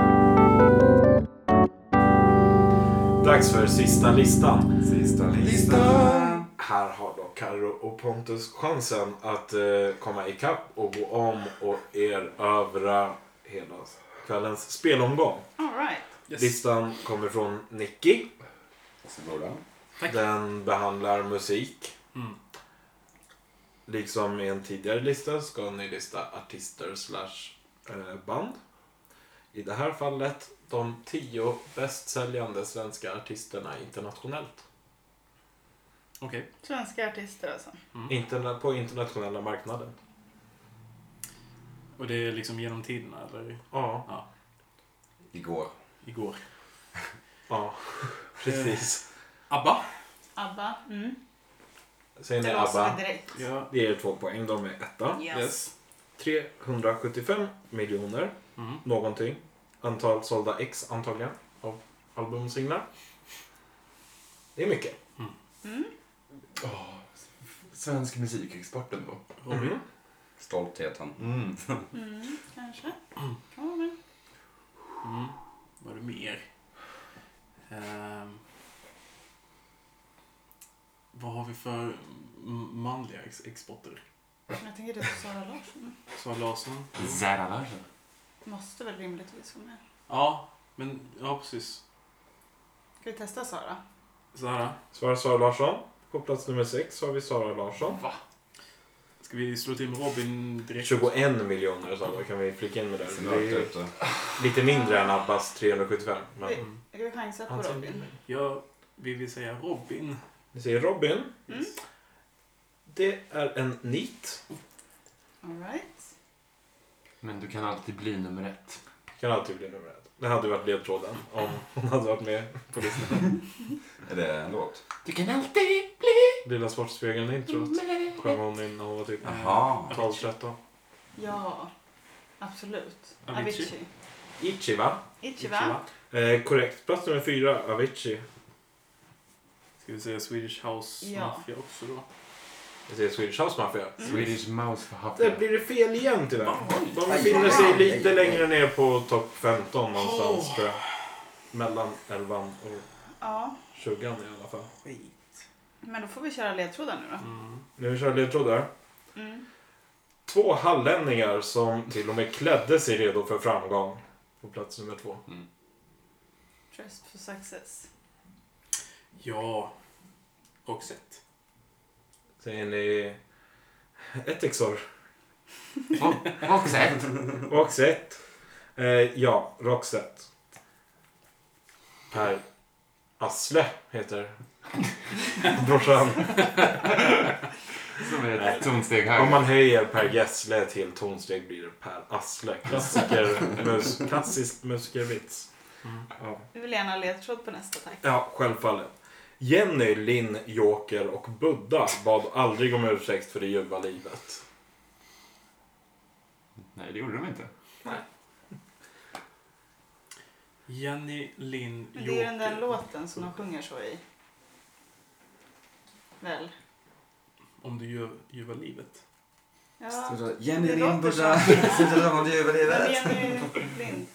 [SPEAKER 1] Dags för sista listan.
[SPEAKER 2] Sista
[SPEAKER 1] Listan. Här har då Karo och Pontus chansen att eh, komma ikapp och gå om och erövra hela kvällens spelomgång.
[SPEAKER 4] All right.
[SPEAKER 9] Yes.
[SPEAKER 1] Listan kommer från Nicky.
[SPEAKER 2] Varsågoda.
[SPEAKER 9] Tack.
[SPEAKER 1] Den behandlar musik.
[SPEAKER 9] Mm.
[SPEAKER 1] Liksom i en tidigare lista ska ni lista artister slash eh, band. I det här fallet de tio bästsäljande svenska artisterna internationellt.
[SPEAKER 9] Okej.
[SPEAKER 4] Svenska artister alltså.
[SPEAKER 9] Mm.
[SPEAKER 1] Interna- på internationella marknaden.
[SPEAKER 9] Och det är liksom genom tiderna, eller
[SPEAKER 1] Ja,
[SPEAKER 2] Igår.
[SPEAKER 9] igår.
[SPEAKER 1] ja <laughs> precis.
[SPEAKER 9] ABBA.
[SPEAKER 4] ABBA. Mm.
[SPEAKER 9] Eh,
[SPEAKER 1] Säger ni
[SPEAKER 4] Det låser
[SPEAKER 1] ABBA?
[SPEAKER 4] vi direkt.
[SPEAKER 9] Ja.
[SPEAKER 1] Det ger två poäng, de är etta.
[SPEAKER 4] Yes.
[SPEAKER 9] Yes.
[SPEAKER 1] 375 miljoner
[SPEAKER 9] Mm.
[SPEAKER 1] någonting. Antal sålda ex antagligen av album och singlar. Det är mycket.
[SPEAKER 3] Svensk musikexport ändå.
[SPEAKER 9] Robin.
[SPEAKER 1] Mm.
[SPEAKER 2] Stoltheten.
[SPEAKER 3] Mm.
[SPEAKER 4] Mm, kanske. Kan vara med.
[SPEAKER 9] Mm. Vad är det mer? Ehm. vad har vi för m- manliga ex- exporter?
[SPEAKER 4] Jag tänker det är Sara Larsson.
[SPEAKER 9] Sara Larsson?
[SPEAKER 3] Zara Larsson.
[SPEAKER 4] Måste väl rimligtvis vara med.
[SPEAKER 9] Ja, men ja precis.
[SPEAKER 4] Ska vi testa Sara?
[SPEAKER 9] Sara,
[SPEAKER 1] Svarar Sara Larsson. På plats nummer 6 har vi Sara Larsson.
[SPEAKER 9] ska vi slå till med Robin direkt?
[SPEAKER 1] 21 miljoner sa du. kan vi flika in med det?
[SPEAKER 2] Ser
[SPEAKER 1] det
[SPEAKER 2] mörkt
[SPEAKER 1] är
[SPEAKER 2] ut. det.
[SPEAKER 1] lite mindre än Abbas 375. Men
[SPEAKER 9] Mm.
[SPEAKER 4] Ska vi chansa på
[SPEAKER 1] han säger,
[SPEAKER 4] Robin?
[SPEAKER 9] Ja, vi vill säga Robin.
[SPEAKER 1] vi säger Robin.
[SPEAKER 4] Mm.
[SPEAKER 1] Det är en nit.
[SPEAKER 4] All right.
[SPEAKER 3] Men du kan alltid bli nummer ett.
[SPEAKER 1] Kan alltid bli nummer ett. Det hade varit ledtråden om hon hade varit med på listan.
[SPEAKER 2] Är det en låt?
[SPEAKER 3] Du kan alltid Mm,
[SPEAKER 1] Lilla Sportspegeln-introt sjöng hon innan hon var typ
[SPEAKER 2] Jaha.
[SPEAKER 1] 12-13.
[SPEAKER 4] Ja, absolut.
[SPEAKER 9] Avicii.
[SPEAKER 4] Avicii.
[SPEAKER 1] Ichi va?
[SPEAKER 4] Ichiva.
[SPEAKER 1] Eh, korrekt. Plats nummer fyra, Avicii.
[SPEAKER 9] Ska vi säga Swedish House
[SPEAKER 4] Ja.
[SPEAKER 9] Mafia också då?
[SPEAKER 1] Vi säger Swedish House Mafia.
[SPEAKER 3] Swedish Mouse för
[SPEAKER 1] Där
[SPEAKER 3] hatten.
[SPEAKER 1] blir det fel igen tyvärr. De
[SPEAKER 2] Aj,
[SPEAKER 1] befinner
[SPEAKER 2] aj,
[SPEAKER 1] sig
[SPEAKER 2] aj,
[SPEAKER 1] lite
[SPEAKER 2] aj, aj.
[SPEAKER 1] längre ner på topp 15 någonstans tror jag. Mellan 11 och
[SPEAKER 4] Ja,
[SPEAKER 1] 20 i alla fall.
[SPEAKER 4] men då får vi köra ledtrådar nu då.
[SPEAKER 9] Mm.
[SPEAKER 1] Nu kör jag ledtrådar.
[SPEAKER 4] Mm.
[SPEAKER 1] Två hallänningar som till och med klädde sig redo för framgång. På plats nummer två.
[SPEAKER 4] Trust for success.
[SPEAKER 9] Ja, Roxette.
[SPEAKER 1] Säger ni Etixor?
[SPEAKER 3] Roxette.
[SPEAKER 1] Roxette. Eh, ja, Roxette. Per Asle heter <laughs> brorsan.
[SPEAKER 3] Som är ett tonsteg
[SPEAKER 1] Om
[SPEAKER 3] högre.
[SPEAKER 1] man höjer Per Gessle till tonsteg blir det Per Asle. Klassiker, mus, klassisk musikervits.
[SPEAKER 3] Mm.
[SPEAKER 1] Ja.
[SPEAKER 4] Vi vill gärna ha ledtråd på nästa tack.
[SPEAKER 1] ja, självfallet. Jenny, Linn, Joker och Buddha bad aldrig om ursäkt för det ljuva livet.
[SPEAKER 3] Nej, det gjorde de inte.
[SPEAKER 9] Jenny Linn
[SPEAKER 4] Men det är ju den där
[SPEAKER 9] Joker.
[SPEAKER 4] låten som de sjunger så i. Väl?
[SPEAKER 9] Om du gör ljuva livet.
[SPEAKER 4] Ja.
[SPEAKER 2] Jenny
[SPEAKER 4] Det
[SPEAKER 2] Lindberg.
[SPEAKER 4] <laughs> låter
[SPEAKER 2] Sitter där man
[SPEAKER 4] Men
[SPEAKER 2] överlever.
[SPEAKER 4] Jenny Lind.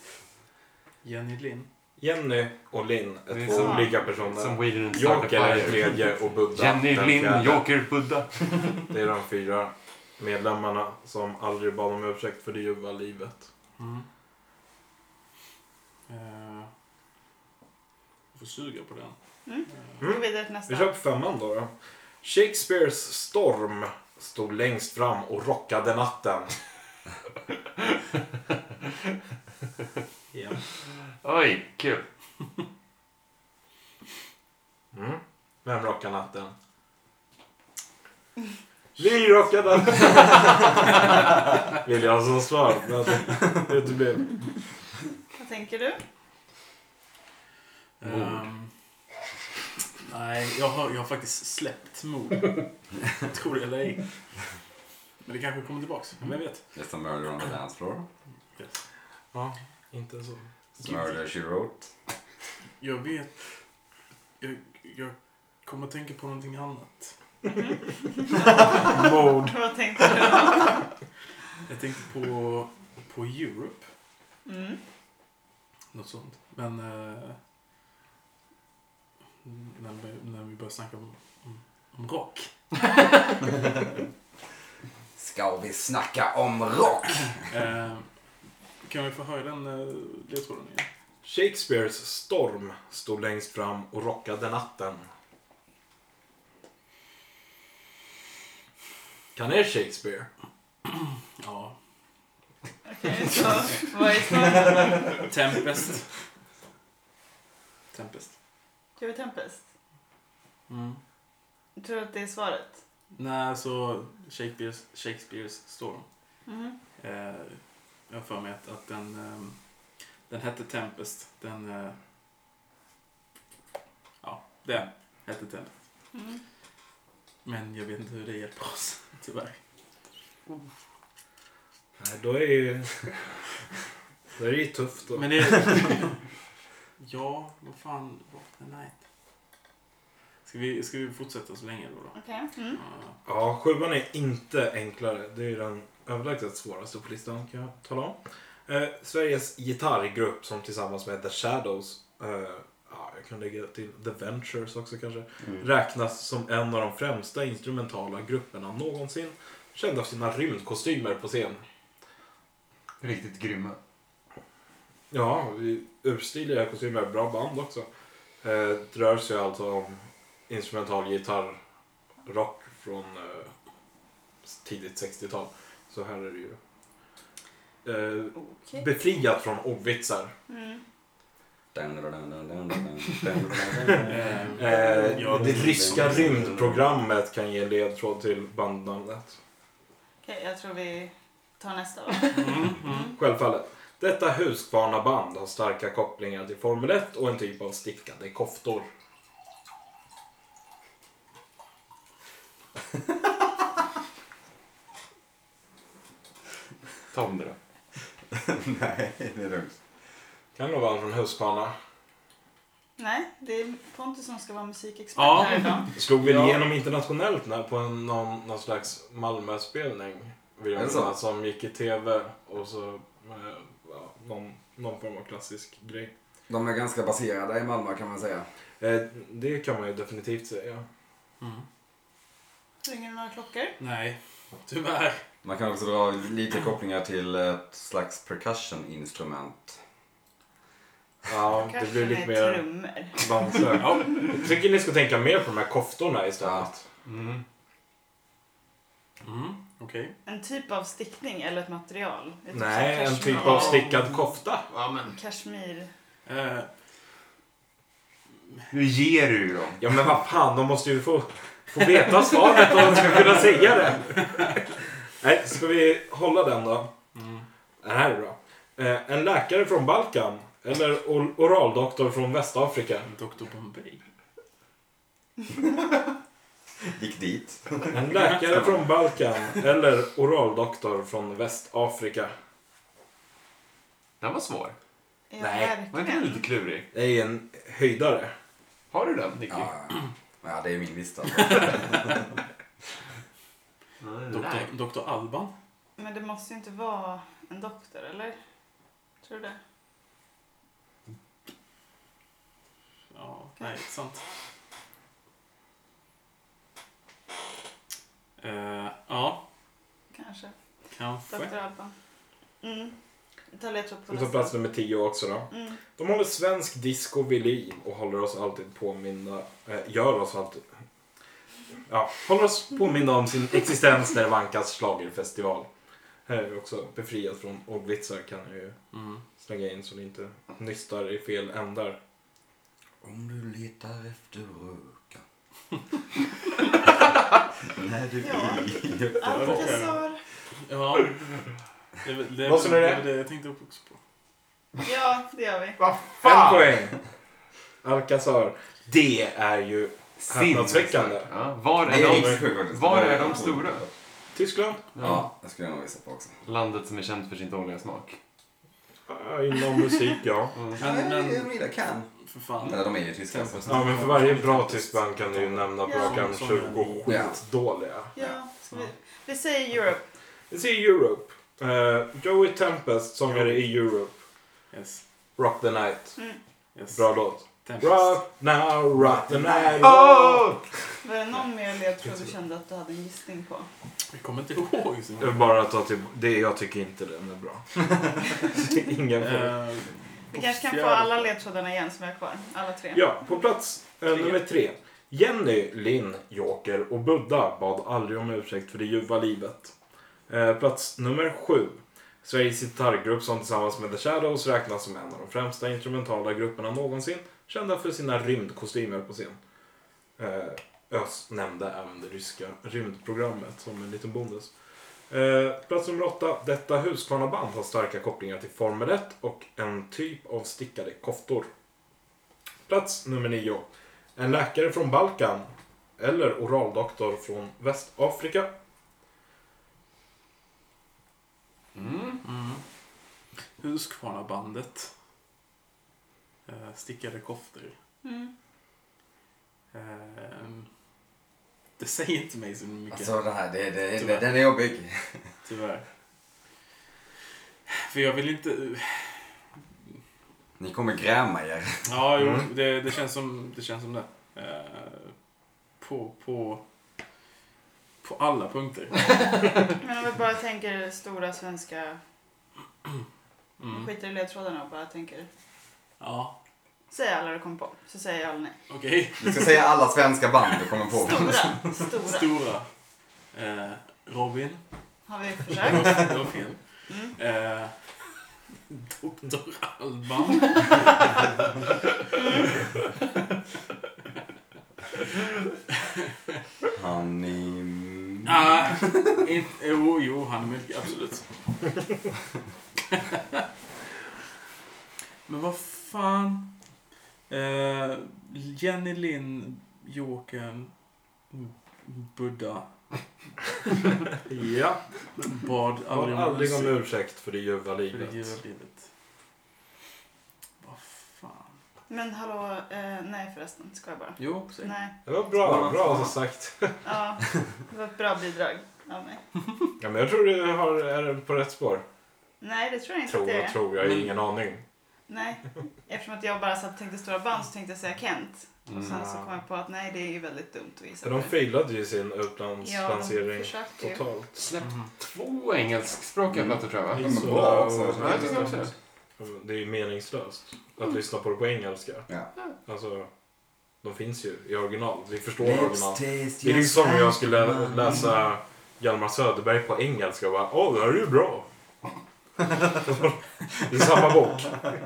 [SPEAKER 9] Jenny Linn.
[SPEAKER 1] Jenny och Linn är,
[SPEAKER 3] Det är
[SPEAKER 1] två
[SPEAKER 3] som-
[SPEAKER 1] olika personer.
[SPEAKER 3] Som We didn't start a
[SPEAKER 1] Joker är
[SPEAKER 3] fire.
[SPEAKER 1] tredje och Buddha
[SPEAKER 3] Jenny
[SPEAKER 1] den
[SPEAKER 3] Lind,
[SPEAKER 1] fjärde.
[SPEAKER 3] Joker, Buddha.
[SPEAKER 1] Det är de fyra medlemmarna som aldrig bad om ursäkt för det ljuva livet.
[SPEAKER 9] Mm. Eh, jag får suga på den.
[SPEAKER 4] Mm.
[SPEAKER 9] Eh,
[SPEAKER 4] Gå
[SPEAKER 1] Mm.
[SPEAKER 4] vidare till nästa.
[SPEAKER 1] Vi kör på femman då, då. Shakespeares storm stod längst fram och rockade natten.
[SPEAKER 9] ja.
[SPEAKER 3] Oj, kul.
[SPEAKER 1] Mm. Vem rockar natten? Vi rockar natten! Vill jag som <laughs> svar. Men det uteblev.
[SPEAKER 4] Vad tänker du?
[SPEAKER 9] Ehm, nej, jag har, jag har faktiskt släppt mod. <laughs> Tror det eller ej. Men det kanske kommer tillbaks. Vem vet?
[SPEAKER 2] It's a murder on the dance floor.
[SPEAKER 9] Yes.
[SPEAKER 1] Ja, inte så.
[SPEAKER 2] It's a murder she wrote.
[SPEAKER 9] Jag vet... Jag, jag kommer att tänka på någonting annat.
[SPEAKER 1] <laughs> Mord.
[SPEAKER 4] Vad tänkte du?
[SPEAKER 9] Jag tänkte på, på Europe.
[SPEAKER 4] Mm.
[SPEAKER 9] Något sånt. Men... eh, när, vi, när vi börjar snacka om, om, om rock.
[SPEAKER 2] Ska vi snacka om rock?
[SPEAKER 9] Eh, kan vi få höra den uh, ledtråden igen?
[SPEAKER 1] Shakespeares storm stod längst fram och rockade natten. Kan er Shakespeare?
[SPEAKER 9] Ja.
[SPEAKER 1] <laughs>
[SPEAKER 4] Okej, så vad är svaret?
[SPEAKER 9] Tempest. Tempest.
[SPEAKER 4] Joey Tempest?
[SPEAKER 9] Mm.
[SPEAKER 4] Tror du att det är svaret?
[SPEAKER 9] Nej, så Shakespeares, Shakespeares storm.
[SPEAKER 4] Mhm.
[SPEAKER 9] Eh, jag har för mig att, att den, ehm, den hette Tempest. Den... Eh, ja, den hette Tempest.
[SPEAKER 4] Mm.
[SPEAKER 9] Men jag vet inte hur det hjälper oss, <laughs> tyvärr.
[SPEAKER 1] Nej, då är ju... Då är det ju tufft då.
[SPEAKER 9] Men det... <laughs> ja, vad fan. Rock the night. Ska vi, ska vi fortsätta så länge då? då?
[SPEAKER 4] Okej. Mm.
[SPEAKER 9] Ja.
[SPEAKER 1] Ja, sjuan är inte enklare. Det är den överlägset svåraste på listan kan jag tala om. Eh, Sveriges gitarrgrupp som tillsammans med The Shadows, eh, ja, jag kan lägga till The Ventures också kanske, räknas som en av de främsta instrumentala grupperna någonsin. Kända av sina rymdkostymer på scen.
[SPEAKER 3] Riktigt grymma.
[SPEAKER 1] Ja, vi- urstiliga kostymer, bra band också. Eh, det rör sig alltså om instrumental gitarrrock från eh, tidigt 60-tal. Så här är det ju. Eh,
[SPEAKER 4] Okej.
[SPEAKER 1] befriat från ordvitsar.
[SPEAKER 4] Mm.
[SPEAKER 9] Ehm,
[SPEAKER 1] Eh,
[SPEAKER 9] ja,
[SPEAKER 1] det ryska rymdprogrammet kan ge ledtråd till bandnamnet.
[SPEAKER 4] Okej, jag tror vi tar nästa va?
[SPEAKER 9] mm, mm.
[SPEAKER 1] Självfallet. Detta Husqvarna-band har starka kopplingar till Formel 1 och en typ av stickade koftor.
[SPEAKER 3] Tom det då.
[SPEAKER 2] <laughs> Nej, det är lugnt.
[SPEAKER 1] Kan det vara från Husqvarna?
[SPEAKER 4] Nej, det är Pontus som ska vara musikexpert
[SPEAKER 9] Ja.
[SPEAKER 4] här idag.
[SPEAKER 1] Slog väl
[SPEAKER 9] Ja.
[SPEAKER 1] igenom internationellt när, på en, någon, någon slags Malmö-spelning. Vill
[SPEAKER 2] Är
[SPEAKER 1] jag
[SPEAKER 2] det så?
[SPEAKER 1] minnas, som gick i TV och så eh, ja, någon, någon form av klassisk grej.
[SPEAKER 2] De är ganska baserade i Malmö kan man säga.
[SPEAKER 1] Eh, det kan man ju definitivt säga.
[SPEAKER 9] Mm.
[SPEAKER 4] Ringer det några klockor?
[SPEAKER 9] Nej, tyvärr.
[SPEAKER 2] Man kan också dra lite kopplingar till ett slags percussion-instrument.
[SPEAKER 1] Ja, det
[SPEAKER 4] Kanske
[SPEAKER 1] blir lite
[SPEAKER 4] med
[SPEAKER 1] mer
[SPEAKER 4] trummor.
[SPEAKER 1] dansögt. Ja, jag tycker ni ska tänka mer på de här koftorna
[SPEAKER 2] Ja.
[SPEAKER 1] istället.
[SPEAKER 9] Mm, Okej.
[SPEAKER 4] En typ av stickning eller ett material? Det är typ
[SPEAKER 1] Nej,
[SPEAKER 4] som
[SPEAKER 1] en typ
[SPEAKER 4] kashmir-
[SPEAKER 1] av stickad kofta.
[SPEAKER 4] Kashmir.
[SPEAKER 9] Eh,
[SPEAKER 3] Nu ger du ju dem.
[SPEAKER 1] Ja men vad fan, de måste ju få, få veta svaret om de ska kunna säga det. Nej, ska vi hålla den då?
[SPEAKER 9] Mm.
[SPEAKER 1] Det här är bra. Eh, en läkare från Balkan, eller or- oraldoktor från Västafrika.
[SPEAKER 9] Dr Bombay.
[SPEAKER 2] Gick dit.
[SPEAKER 1] En läkare från Balkan, eller oraldoktor från Västafrika.
[SPEAKER 3] Den var svår.
[SPEAKER 4] Ja,
[SPEAKER 1] Nej,
[SPEAKER 3] Var inte den lite
[SPEAKER 4] verkligen.
[SPEAKER 3] klurig?
[SPEAKER 1] Det är en höjdare.
[SPEAKER 3] Har du den, Nicky?
[SPEAKER 2] Ja, ja, det är min lista.
[SPEAKER 3] Nej.
[SPEAKER 9] Dr, Dr Alban.
[SPEAKER 4] Men det måste ju inte vara en doktor, eller? Tror du det?
[SPEAKER 9] Ja, nej, sant. Eh, ja,
[SPEAKER 4] kanske.
[SPEAKER 9] Kanske.
[SPEAKER 4] Dr. Alban. Mm. Vi tar ledtråd på
[SPEAKER 1] Vi tar plats nummer 10 också då.
[SPEAKER 4] Mm.
[SPEAKER 1] De håller svensk disco vid liv och håller oss alltid påminna, eh, gör oss alltid, ja, håller oss påminna om sin existens när det vankas schlagerfestival. Här är vi också befriat från ordvitsar kan jag ju
[SPEAKER 9] Mm.
[SPEAKER 1] slänga in så ni inte nystar i fel ändar.
[SPEAKER 2] Om du letar efter röka. När du
[SPEAKER 4] Ja.
[SPEAKER 2] är i Göteborg.
[SPEAKER 4] Alcazar.
[SPEAKER 9] Ja. Det, är väl- det, är
[SPEAKER 1] Vad
[SPEAKER 9] väl-
[SPEAKER 1] sa ni
[SPEAKER 9] det
[SPEAKER 1] det?
[SPEAKER 9] är väl det jag tänkte också på.
[SPEAKER 4] Ja, det gör vi.
[SPEAKER 1] En poäng! Alcazar. Det är ju häpnadsväckande.
[SPEAKER 3] Ja, var
[SPEAKER 2] Nej,
[SPEAKER 3] är
[SPEAKER 2] det
[SPEAKER 3] de,
[SPEAKER 2] gick sjukt faktiskt.
[SPEAKER 3] var är
[SPEAKER 2] Det var-
[SPEAKER 3] de stora?
[SPEAKER 1] Tyskland?
[SPEAKER 2] Ja, det skulle jag nog gissa på också.
[SPEAKER 3] Landet som är känt för sin dåliga smak.
[SPEAKER 1] Ja, Inom musik, ja.
[SPEAKER 9] Men, men
[SPEAKER 2] Frida kan.
[SPEAKER 9] för fan.
[SPEAKER 2] Eller de är ju tyska. så-
[SPEAKER 1] Ja, men för varje bra tysk band kan du ju nämna på
[SPEAKER 4] Ja.
[SPEAKER 1] rak arm 20
[SPEAKER 2] Ja.
[SPEAKER 1] skitdåliga.
[SPEAKER 4] Ja, ska vi. vi säger Europe.
[SPEAKER 1] Vi ser Europe. Eh, Joey Tempest, sångare i Europe.
[SPEAKER 9] Yes.
[SPEAKER 1] Rock the night.
[SPEAKER 9] yes.
[SPEAKER 1] Bra låt.
[SPEAKER 9] Mm. Tempest. Oh!
[SPEAKER 1] Rock now, rock the night.
[SPEAKER 4] Var det någon mer ledtråd du kände att du hade en gissning på?
[SPEAKER 9] Jag kommer inte ihåg.
[SPEAKER 1] Jag vill
[SPEAKER 9] Så.
[SPEAKER 1] bara ta till... Det, jag tycker inte den är bra. <laughs> Det är Inga frågor.
[SPEAKER 9] Eh,
[SPEAKER 4] Vi
[SPEAKER 9] på
[SPEAKER 4] kanske kan få
[SPEAKER 9] fjärde-
[SPEAKER 4] alla ledtrådarna igen som är kvar. Alla tre.
[SPEAKER 1] Ja, på plats eh, nummer tre. Jenny, Linn, Joker och Buddha bad aldrig om ursäkt för det ljuva livet. Eh, plats nummer sju. Sveriges gitarrgrupp som tillsammans med The Shadows räknas som en av de främsta instrumentala grupperna någonsin. Kända för sina rymdkostymer på scen. Eh, Ös nämnde även det ryska rymdprogrammet som en liten bonus. Eh, plats nummer åtta. Detta Huskvarna-band har starka kopplingar till Formel 1 och en typ av stickade koftor. Plats nummer nio. En läkare från Balkan eller oraldoktor från Västafrika.
[SPEAKER 3] Mm.
[SPEAKER 9] Mm. Huskvarna-bandet. Eh, stickade koftor.
[SPEAKER 4] Mm.
[SPEAKER 9] Ehm, det säger inte mig så mycket,
[SPEAKER 2] Alltså det här, det, det, det,
[SPEAKER 9] Tyvärr.
[SPEAKER 2] den är jobbig.
[SPEAKER 9] tyvärr. För jag vill inte...
[SPEAKER 2] Ni kommer gräma er.
[SPEAKER 9] Ja, jo,
[SPEAKER 1] Mm.
[SPEAKER 9] det, det, känns som, det känns som det. Eh, på, på, på alla punkter.
[SPEAKER 4] Men om vi bara tänker stora svenska...
[SPEAKER 9] Mm.
[SPEAKER 4] Skiter i ledtrådarna och bara tänker...
[SPEAKER 9] Ja,
[SPEAKER 4] Säg alla du kom på, så säger jag alla nej.
[SPEAKER 9] okej.
[SPEAKER 2] Du ska säga alla svenska band du kommer på.
[SPEAKER 1] <laughs>
[SPEAKER 4] Stora, stora.
[SPEAKER 9] Stora. Eh, Robin.
[SPEAKER 4] Har vi
[SPEAKER 9] Det
[SPEAKER 4] försökt?
[SPEAKER 9] var, det var fel.
[SPEAKER 4] Mm.
[SPEAKER 9] Eh, Dr. Alban.
[SPEAKER 2] Han är...
[SPEAKER 9] Ah, inte, jo, jo, han är mycket, absolut. <laughs> Men vad fan. Eh, Jenny Lind, Jokern, Buddha,
[SPEAKER 1] Ja,
[SPEAKER 9] bad
[SPEAKER 1] har
[SPEAKER 9] aldrig om
[SPEAKER 1] aldrig om
[SPEAKER 9] ursäkt
[SPEAKER 1] ursäkt för det ljuva
[SPEAKER 9] för det
[SPEAKER 1] livet.
[SPEAKER 9] ljuva livet. Vad fan.
[SPEAKER 4] Men hallå, eh, nej förresten. Ska jag bara.
[SPEAKER 9] Jo, säg.
[SPEAKER 4] Nej.
[SPEAKER 1] Det var bra, bra som sagt.
[SPEAKER 4] Ja, det var ett bra bidrag av mig.
[SPEAKER 1] Ja, men jag tror du har, är på rätt spår.
[SPEAKER 4] Nej, det tror jag inte
[SPEAKER 1] Tror,
[SPEAKER 4] att det är.
[SPEAKER 1] tror, jag har ingen aning.
[SPEAKER 4] Nej, eftersom att jag bara satt och tänkte stora band så tänkte jag säga Kent.
[SPEAKER 3] Mm.
[SPEAKER 4] Och sen så kom jag på att nej, det är ju väldigt dumt att gissa
[SPEAKER 1] Mm. För de
[SPEAKER 4] på.
[SPEAKER 1] failade ju sin
[SPEAKER 4] Ja, de
[SPEAKER 1] utlandslansering
[SPEAKER 4] försökte ju.
[SPEAKER 1] totalt.
[SPEAKER 3] Mm.
[SPEAKER 10] Släppt två engelskspråkiga plattor tror jag va?
[SPEAKER 2] De är bra
[SPEAKER 3] alltså.
[SPEAKER 2] också.
[SPEAKER 10] Ja, jag tycker också det.
[SPEAKER 1] Det är ju meningslöst
[SPEAKER 4] Mm.
[SPEAKER 1] att lyssna på det på engelska.
[SPEAKER 2] Ja.
[SPEAKER 1] Alltså, de finns ju i original. Vi förstår
[SPEAKER 2] Let's
[SPEAKER 1] original.
[SPEAKER 2] taste
[SPEAKER 1] Det är ju
[SPEAKER 2] just
[SPEAKER 1] som om jag skulle
[SPEAKER 2] like
[SPEAKER 1] läsa Hjalmar Söderberg på engelska och bara Åh, det här är ju bra. det är samma bok.
[SPEAKER 4] Men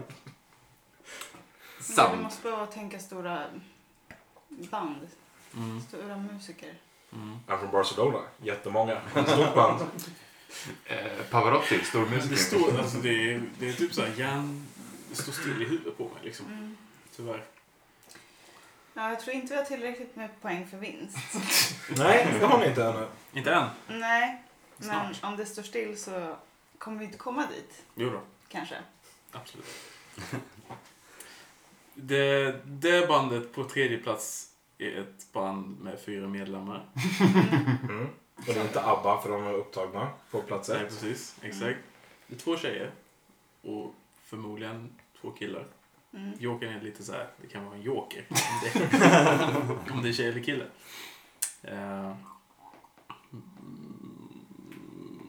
[SPEAKER 4] Du
[SPEAKER 3] Sant.
[SPEAKER 4] måste bara tänka stora band,
[SPEAKER 9] Mm,
[SPEAKER 4] stora musiker.
[SPEAKER 9] mm.
[SPEAKER 1] Jag är från Barcelona. Jättemånga. Stort band.
[SPEAKER 10] Eh, Pavarotti, stor
[SPEAKER 9] Men det
[SPEAKER 10] musiker.
[SPEAKER 9] står, alltså det är, det är typ såhär hjärn... Det står still i huvudet på mig liksom,
[SPEAKER 4] Mm.
[SPEAKER 9] tyvärr.
[SPEAKER 4] Ja, jag tror inte vi har tillräckligt med poäng för vinst. <laughs>
[SPEAKER 1] Nej, det har ni inte ännu.
[SPEAKER 9] Inte än.
[SPEAKER 4] Nej, men
[SPEAKER 9] Snart.
[SPEAKER 4] om det står still så kommer vi inte komma dit,
[SPEAKER 9] Jo då. <laughs>
[SPEAKER 4] kanske.
[SPEAKER 9] Absolut. <laughs> Det, det bandet på tredje plats är ett band med fyra medlemmar.
[SPEAKER 1] Mm. Och det är inte ABBA för de är upptagna på plats
[SPEAKER 9] Nej,
[SPEAKER 1] ett.
[SPEAKER 9] precis. Exakt. Det är två tjejer och förmodligen två killar.
[SPEAKER 4] Mm.
[SPEAKER 9] Jokern är lite så här, det kan vara en joker. Om det, om det är tjej eller kille. Eh, mm,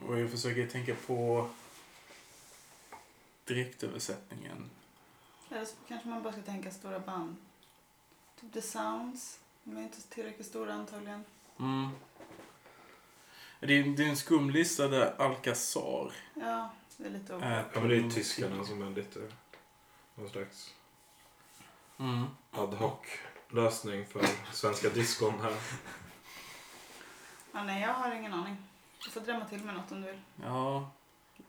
[SPEAKER 9] Okej, Och jag försöker tänka på direktöversättningen.
[SPEAKER 4] Eller så kanske man bara ska tänka stora band. Typ The Sounds. De är inte tillräckligt stora antagligen.
[SPEAKER 9] Mm. Det är, det är en skum lista där Alcazar
[SPEAKER 4] Ja, det är lite oklart.
[SPEAKER 9] är
[SPEAKER 1] Ja, men det är ju tyskarna alltså. som är lite någon slags
[SPEAKER 9] Mm.
[SPEAKER 1] ad hoc lösning för svenska diskon här.
[SPEAKER 4] Ja, nej, jag har ingen aning. Du får drämma till med något om du vill.
[SPEAKER 9] Ja.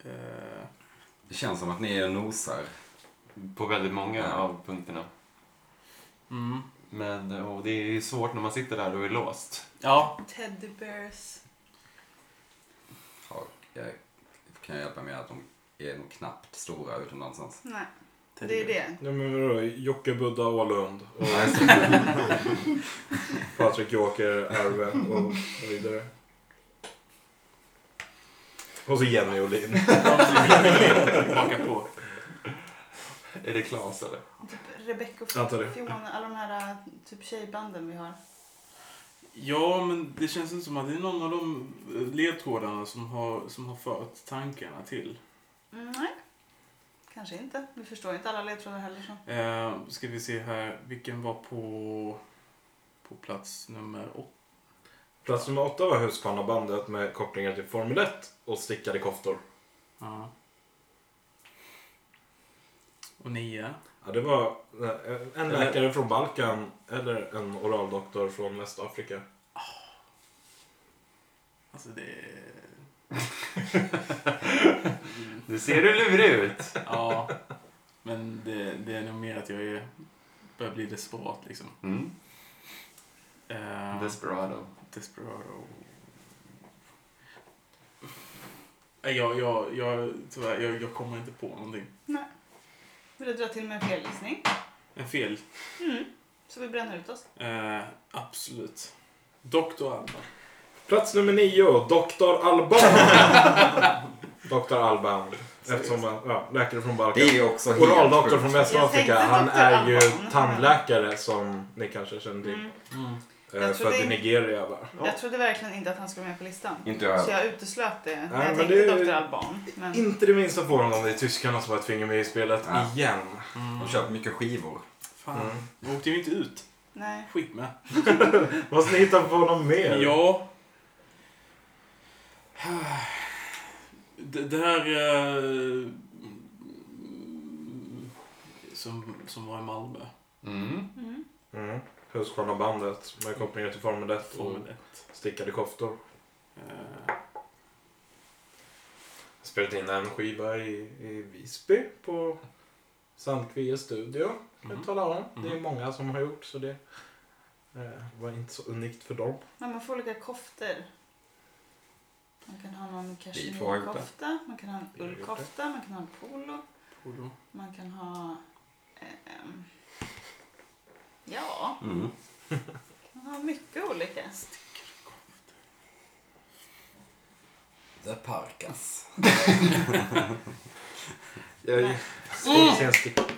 [SPEAKER 9] Eh,
[SPEAKER 2] Det känns som att ni är nosar.
[SPEAKER 3] På väldigt många av punkterna.
[SPEAKER 9] mm.
[SPEAKER 3] Men eh, och det är svårt när man sitter där och är <laughs> låst.
[SPEAKER 9] Ja.
[SPEAKER 4] Teddy Bears.
[SPEAKER 2] Har, jag, kan jag hjälpa med att de är nog knappt stora utomlands ens.
[SPEAKER 4] Nej, det är det.
[SPEAKER 1] Nej men vadå, Jocke Budda Åhlund och <laughs> Patrik Joker Erwe och så vidare. Och så Jenny Olin.
[SPEAKER 9] Baka på.
[SPEAKER 3] Är det Klas eller?
[SPEAKER 4] Typ Rebecca och
[SPEAKER 1] Antar det.
[SPEAKER 4] Fiona. Alla de här äh, typ tjejbanden vi har.
[SPEAKER 9] Ja, men det känns inte som att det är någon av de eh, ledtrådarna som har, som har fört tankarna till.
[SPEAKER 4] Mm, nej, kanske inte. Vi förstår inte alla ledtrådar heller. Så.
[SPEAKER 9] Eh, ska vi se här. Vilken var på, på plats nummer åtta?
[SPEAKER 1] Plats nummer åtta var Husqvarnabandet med kopplingar till Formel 1 och stickade koftor.
[SPEAKER 9] Ja. Och nio.
[SPEAKER 1] Ja, det var eh, en läkare från Balkan eller en oraldoktor från Västafrika.
[SPEAKER 9] Alltså det är...
[SPEAKER 1] <laughs>
[SPEAKER 4] <laughs>
[SPEAKER 1] Mm.
[SPEAKER 3] Nu ser du lurig ut.
[SPEAKER 9] Ja. Men det, det är nog mer att jag är, börjar bli desperat liksom.
[SPEAKER 3] Mm.
[SPEAKER 9] Eh,
[SPEAKER 3] Desperado.
[SPEAKER 9] Desperado. Nej, Jag, jag, jag, tyvärr, jag, jag kommer inte på någonting.
[SPEAKER 4] Vill du dra till med en felgissning?
[SPEAKER 9] En fel.
[SPEAKER 4] Mm. Så vi bränner ut oss.
[SPEAKER 9] Eh, absolut. Doktor Alban.
[SPEAKER 1] Plats nummer nio, Dr. <laughs> Alban. Dr. Alban. Eftersom han, ja, läkare från Balkan.
[SPEAKER 2] Det är också
[SPEAKER 1] Oraldoktor
[SPEAKER 2] sjukt.
[SPEAKER 1] från
[SPEAKER 4] Jag tänkte
[SPEAKER 1] Västafrika. Han
[SPEAKER 4] Dr.
[SPEAKER 1] är ju
[SPEAKER 4] Alban.
[SPEAKER 1] tandläkare som ni kanske känner till.
[SPEAKER 4] Mm.
[SPEAKER 1] Eh,
[SPEAKER 4] Jag tror
[SPEAKER 1] Född
[SPEAKER 4] det
[SPEAKER 1] i
[SPEAKER 4] är-
[SPEAKER 1] Nigeria va?
[SPEAKER 4] Jag trodde verkligen inte att han skulle vara med på listan.
[SPEAKER 2] Inte jag
[SPEAKER 4] Så
[SPEAKER 2] heller.
[SPEAKER 4] jag uteslöt det.
[SPEAKER 1] Nej,
[SPEAKER 4] jag
[SPEAKER 1] men
[SPEAKER 4] tänkte
[SPEAKER 1] det är-
[SPEAKER 4] Dr. Alban. Men...
[SPEAKER 1] Inte det minsta förvånande. Det är tyskarna som har ett finger med i spelet
[SPEAKER 2] Ja.
[SPEAKER 1] igen.
[SPEAKER 2] De köper mycket skivor.
[SPEAKER 1] Ah. Mm.
[SPEAKER 9] Fan. Jag åkte ju inte ut.
[SPEAKER 4] Nej.
[SPEAKER 9] Skit med.
[SPEAKER 1] Måste ni hitta på något mer?
[SPEAKER 9] Ja. Det, det här... eh, Som, som var i Malmö.
[SPEAKER 3] Mm.
[SPEAKER 4] Mm.
[SPEAKER 1] Mm. Husqvarnabandet med kopplingar till Formel 1 och
[SPEAKER 9] Formel 1.
[SPEAKER 1] stickade koftor.
[SPEAKER 9] Eh,
[SPEAKER 1] Spelat in en skiva i, i Visby på Sandkvies studio. Kan
[SPEAKER 9] Mm.
[SPEAKER 1] jag tala om. Det är
[SPEAKER 9] Mm.
[SPEAKER 1] många som har gjort så det eh, var inte så unikt för dem.
[SPEAKER 4] Men man får olika koftor. Man kan ha någon
[SPEAKER 2] Vi får ha gjort det.
[SPEAKER 4] kashmirkofta, man kan ha en
[SPEAKER 1] Vi har gjort
[SPEAKER 4] ullkofta, man kan ha en polo,
[SPEAKER 9] polo.
[SPEAKER 4] man kan ha... ehm, ja,
[SPEAKER 2] Mm.
[SPEAKER 4] man har mycket olika.
[SPEAKER 2] The Parkas.
[SPEAKER 1] Jag
[SPEAKER 4] Nej.
[SPEAKER 1] såg sen stick-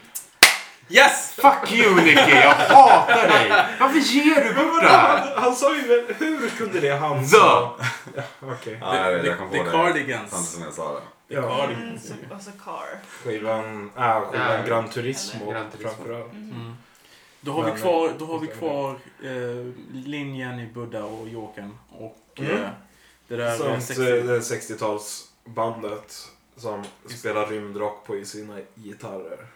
[SPEAKER 2] Yes!
[SPEAKER 3] Fuck you Nicky, jag hatar dig! Varför ger du bort det
[SPEAKER 1] <laughs>
[SPEAKER 3] här?
[SPEAKER 1] han, han sa ju väl, hur kunde det han
[SPEAKER 3] The.
[SPEAKER 1] sa? Ja, Okej.
[SPEAKER 2] Ja, jag, vet, jag kom på
[SPEAKER 9] The- the
[SPEAKER 2] det
[SPEAKER 9] Cardigans.
[SPEAKER 2] samtidigt som jag sa det.
[SPEAKER 1] Ja,
[SPEAKER 4] Mm, så, och så car.
[SPEAKER 1] skivan, äh, skivan
[SPEAKER 3] Ja.
[SPEAKER 1] Gran Turismo
[SPEAKER 3] Gran Turismo.
[SPEAKER 1] framförallt.
[SPEAKER 4] Mm.
[SPEAKER 9] Då har vi
[SPEAKER 1] Men,
[SPEAKER 9] kvar, då har vi
[SPEAKER 1] just det.
[SPEAKER 9] kvar eh, linjen i Buddha och Jokern och
[SPEAKER 1] Mm.
[SPEAKER 9] eh, det där eh,
[SPEAKER 1] Samt
[SPEAKER 9] 60
[SPEAKER 1] eh, det 60-talsbandet som spelar rymdrock på i sina gitarrer.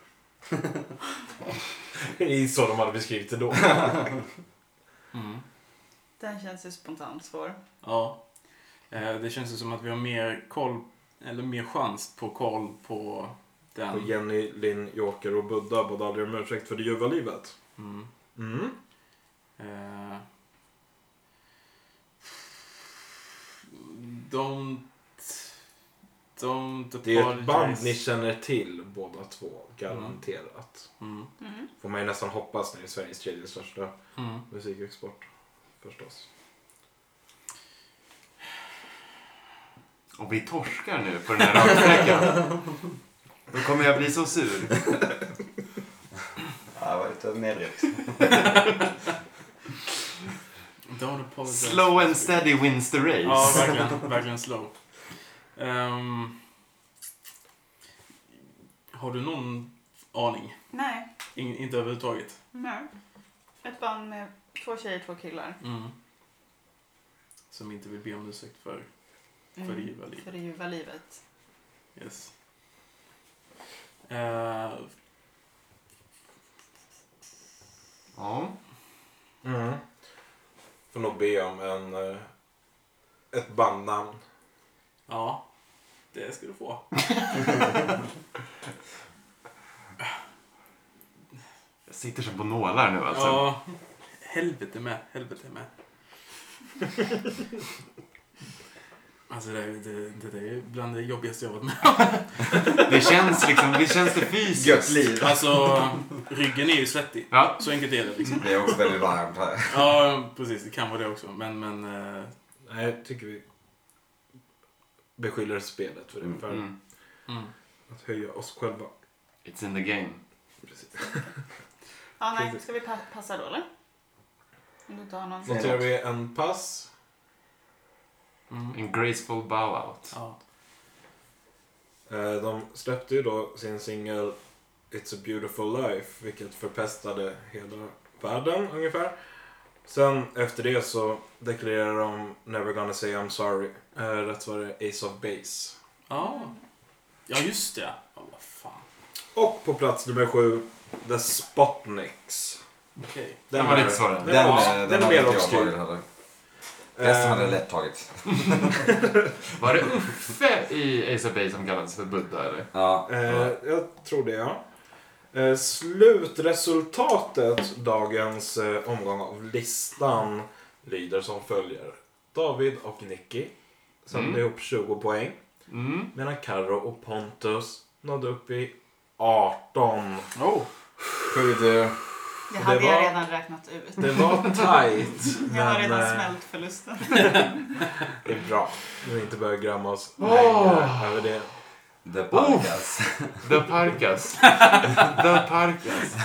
[SPEAKER 1] <laughs> Det är så de hade beskrivit det då.
[SPEAKER 9] Mm.
[SPEAKER 4] Den känns ju spontant svår.
[SPEAKER 9] Ja. Eh, det känns ju som att vi har mer koll, eller mer chans på koll på
[SPEAKER 1] Och
[SPEAKER 9] den.
[SPEAKER 1] Jenny, Linn, Joker och Buddha bad aldrig om ursäkt för det ljuva livet.
[SPEAKER 9] Mm.
[SPEAKER 1] Mm.
[SPEAKER 9] Eh, don't, don't
[SPEAKER 1] Det är ett band
[SPEAKER 9] apologize.
[SPEAKER 1] ni känner till båda två, garanterat.
[SPEAKER 9] Mm.
[SPEAKER 4] Mm.
[SPEAKER 1] Får man ju nästan hoppas när det är Sveriges tredje största
[SPEAKER 9] Mm.
[SPEAKER 1] musikexport. Förstås.
[SPEAKER 3] Och vi torskar nu på den här raksträckan. Då kommer jag bli så sur.
[SPEAKER 2] Ja, det var lite nedryckt.
[SPEAKER 9] Don't apologize.
[SPEAKER 3] Slow and steady wins the race.
[SPEAKER 9] Ja, verkligen. Verkligen slow. Ehm, har du någon aning?
[SPEAKER 4] Nej,
[SPEAKER 9] In, inte överhuvudtaget?
[SPEAKER 4] nej. Ett band med två tjejer, två killar.
[SPEAKER 9] Mm. Som inte vill be om ursäkt för.
[SPEAKER 4] Mm.
[SPEAKER 9] Förljuva livet.
[SPEAKER 4] Förljuva livet.
[SPEAKER 9] Yes. Eh,
[SPEAKER 3] Ja.
[SPEAKER 1] Mm. Får nog be om en, eh, ett bandnamn.
[SPEAKER 9] ja, det ska du få.
[SPEAKER 3] Jag sitter som på nålar nu alltså.
[SPEAKER 9] Ja, helvete med. Helvete med. <laughs> Alltså det, det, det, det är bland det jobbigaste jag varit med
[SPEAKER 3] Det känns liksom, det känns det fysiskt.
[SPEAKER 2] Gött liv.
[SPEAKER 9] Alltså, ryggen är ju svettig.
[SPEAKER 3] Ja.
[SPEAKER 9] Så enkelt är det liksom.
[SPEAKER 2] Det är också väldigt varmt här.
[SPEAKER 9] Ja, precis. Det kan vara det också. Men, men... eh,
[SPEAKER 1] Nej, jag tycker vi beskyller spelet för det. För
[SPEAKER 3] Mm.
[SPEAKER 9] Mm.
[SPEAKER 1] att höja oss själva.
[SPEAKER 3] It's in the game.
[SPEAKER 4] Ja, nej. Ska vi pa- passa då eller? Om du inte har någon.
[SPEAKER 1] Noterar vi en pass.
[SPEAKER 9] Mm.
[SPEAKER 3] En graceful bow out.
[SPEAKER 9] Ja.
[SPEAKER 1] Eh, De släppte ju då sin singel It's a beautiful life, vilket förpestade hela världen ungefär. Sen efter det så deklarerade de Never gonna say I'm sorry. Eh, Rätt var det Ace of Base.
[SPEAKER 9] Ja. Ja, just det. Ja, vad fan.
[SPEAKER 1] Och på plats nummer sju, The Spotniks.
[SPEAKER 9] Okej.
[SPEAKER 3] Den var lite svårare.
[SPEAKER 1] Den,
[SPEAKER 2] Den,
[SPEAKER 1] den,
[SPEAKER 2] eh,
[SPEAKER 1] den,
[SPEAKER 2] den
[SPEAKER 1] är
[SPEAKER 2] hade
[SPEAKER 1] mer
[SPEAKER 2] inte jag tagit
[SPEAKER 1] obskyr.
[SPEAKER 2] heller. Resten hade jag
[SPEAKER 1] Eh,
[SPEAKER 2] lätt tagit.
[SPEAKER 3] Var det Uffe i Ace of Base som kallades för Buddha eller?
[SPEAKER 2] Ja.
[SPEAKER 1] Eh, jag tror det, ja. Eh, slutresultatet dagens eh, omgång av listan lyder som följer. David och Nicky samlade
[SPEAKER 3] Mm.
[SPEAKER 1] ihop 20 poäng.
[SPEAKER 3] Mm.
[SPEAKER 1] Medan Karo och Pontus nådde upp i 18.
[SPEAKER 9] Oh.
[SPEAKER 1] Sjukt, eh,
[SPEAKER 4] Det
[SPEAKER 1] Det
[SPEAKER 4] hade
[SPEAKER 1] var-
[SPEAKER 4] jag redan räknat ut.
[SPEAKER 1] Det
[SPEAKER 2] <laughs>
[SPEAKER 1] var tajt.
[SPEAKER 4] Jag har
[SPEAKER 1] men
[SPEAKER 4] redan
[SPEAKER 1] eh,
[SPEAKER 4] smält förlusten.
[SPEAKER 1] det är bra. Vi inte börjar grämma oss
[SPEAKER 3] Åh.
[SPEAKER 1] längre över det.
[SPEAKER 2] The Parkas.
[SPEAKER 3] The Parkas. The Parkas.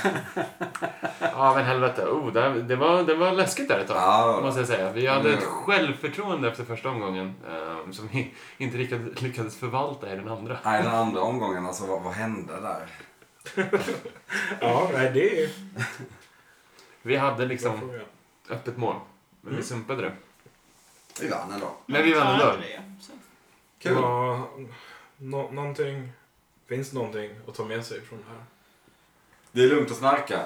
[SPEAKER 3] Ja men helvete. Oh, det, det, var, det var läskigt där ett tag.
[SPEAKER 2] Ja.
[SPEAKER 3] Måste jag säga. Vi hade ett
[SPEAKER 2] Mm.
[SPEAKER 3] självförtroende efter första omgången eh, som vi inte lyckades, lyckades förvalta i den andra.
[SPEAKER 2] Nej, den andra omgången, alltså vad, vad hände där?
[SPEAKER 1] Ja, nej, det är
[SPEAKER 3] Vi hade
[SPEAKER 1] bra
[SPEAKER 3] liksom
[SPEAKER 1] fråga.
[SPEAKER 3] öppet mål, men vi
[SPEAKER 1] Mm.
[SPEAKER 3] sumpade det.
[SPEAKER 2] Vi vann ändå.
[SPEAKER 3] Men vi vann ändå.
[SPEAKER 4] klarade det ju, så.
[SPEAKER 1] Kul.
[SPEAKER 2] Kul.
[SPEAKER 1] Ja, nå- någonting. Finns någonting att ta med sig från det här?
[SPEAKER 2] Det är lugnt att snarka.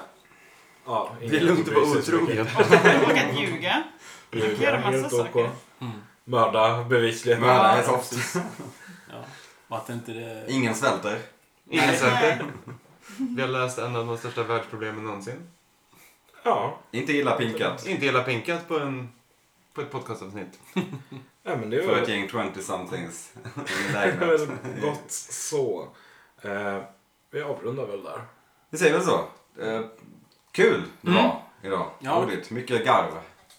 [SPEAKER 1] Ja,
[SPEAKER 3] Det är lugnt att vara otrogen.
[SPEAKER 4] Och att ljuga. Man kan göra massa saker.
[SPEAKER 9] Mm.
[SPEAKER 1] Mörda bevisligen.
[SPEAKER 2] Mörda är soft.
[SPEAKER 9] Ja. Och att inte det...
[SPEAKER 2] Ingen svälter.
[SPEAKER 3] <laughs> Ingen
[SPEAKER 4] Nej.
[SPEAKER 3] söker. Vi har löst en av de största världsproblemen någonsin.
[SPEAKER 1] Ja,
[SPEAKER 2] Inte illa pinkat.
[SPEAKER 3] Inte hela pinkat på, en, på ett podcastavsnitt.
[SPEAKER 1] nej, men det
[SPEAKER 2] För
[SPEAKER 1] var
[SPEAKER 2] ett gäng 20-somethings. i
[SPEAKER 1] <laughs> det var
[SPEAKER 2] lägenhet.
[SPEAKER 1] väl gott så. Eh, vi avrundar väl där.
[SPEAKER 2] Vi säger väl så. Eh, kul det
[SPEAKER 9] Mm.
[SPEAKER 2] var idag.
[SPEAKER 9] Ja.
[SPEAKER 2] Roligt. Mycket garv.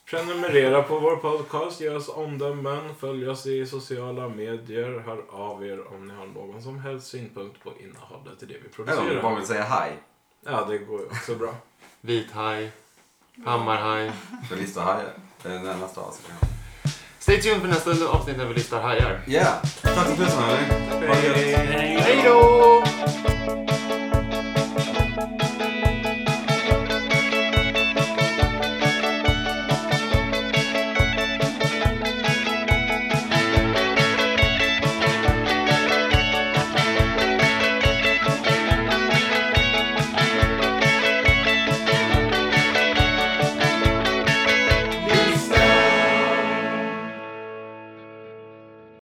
[SPEAKER 1] Prenumerera på vår podcast, ge oss omdömen, följ oss i sociala medier, hör av er om ni har någon som helst synpunkt på innehållet i det vi
[SPEAKER 2] Eller om du bara
[SPEAKER 1] producerar.
[SPEAKER 2] vill säga hej.
[SPEAKER 1] Ja, det går ju också bra.
[SPEAKER 3] Vithaj, hammarhaj.
[SPEAKER 2] För lista hajar. Det är nästa avsnitt.
[SPEAKER 3] Stay tuned för nästa avsnitt när vi listar hajar.
[SPEAKER 2] Yeah. Tack så tusen hörni. Ha det gött.
[SPEAKER 3] Hej då!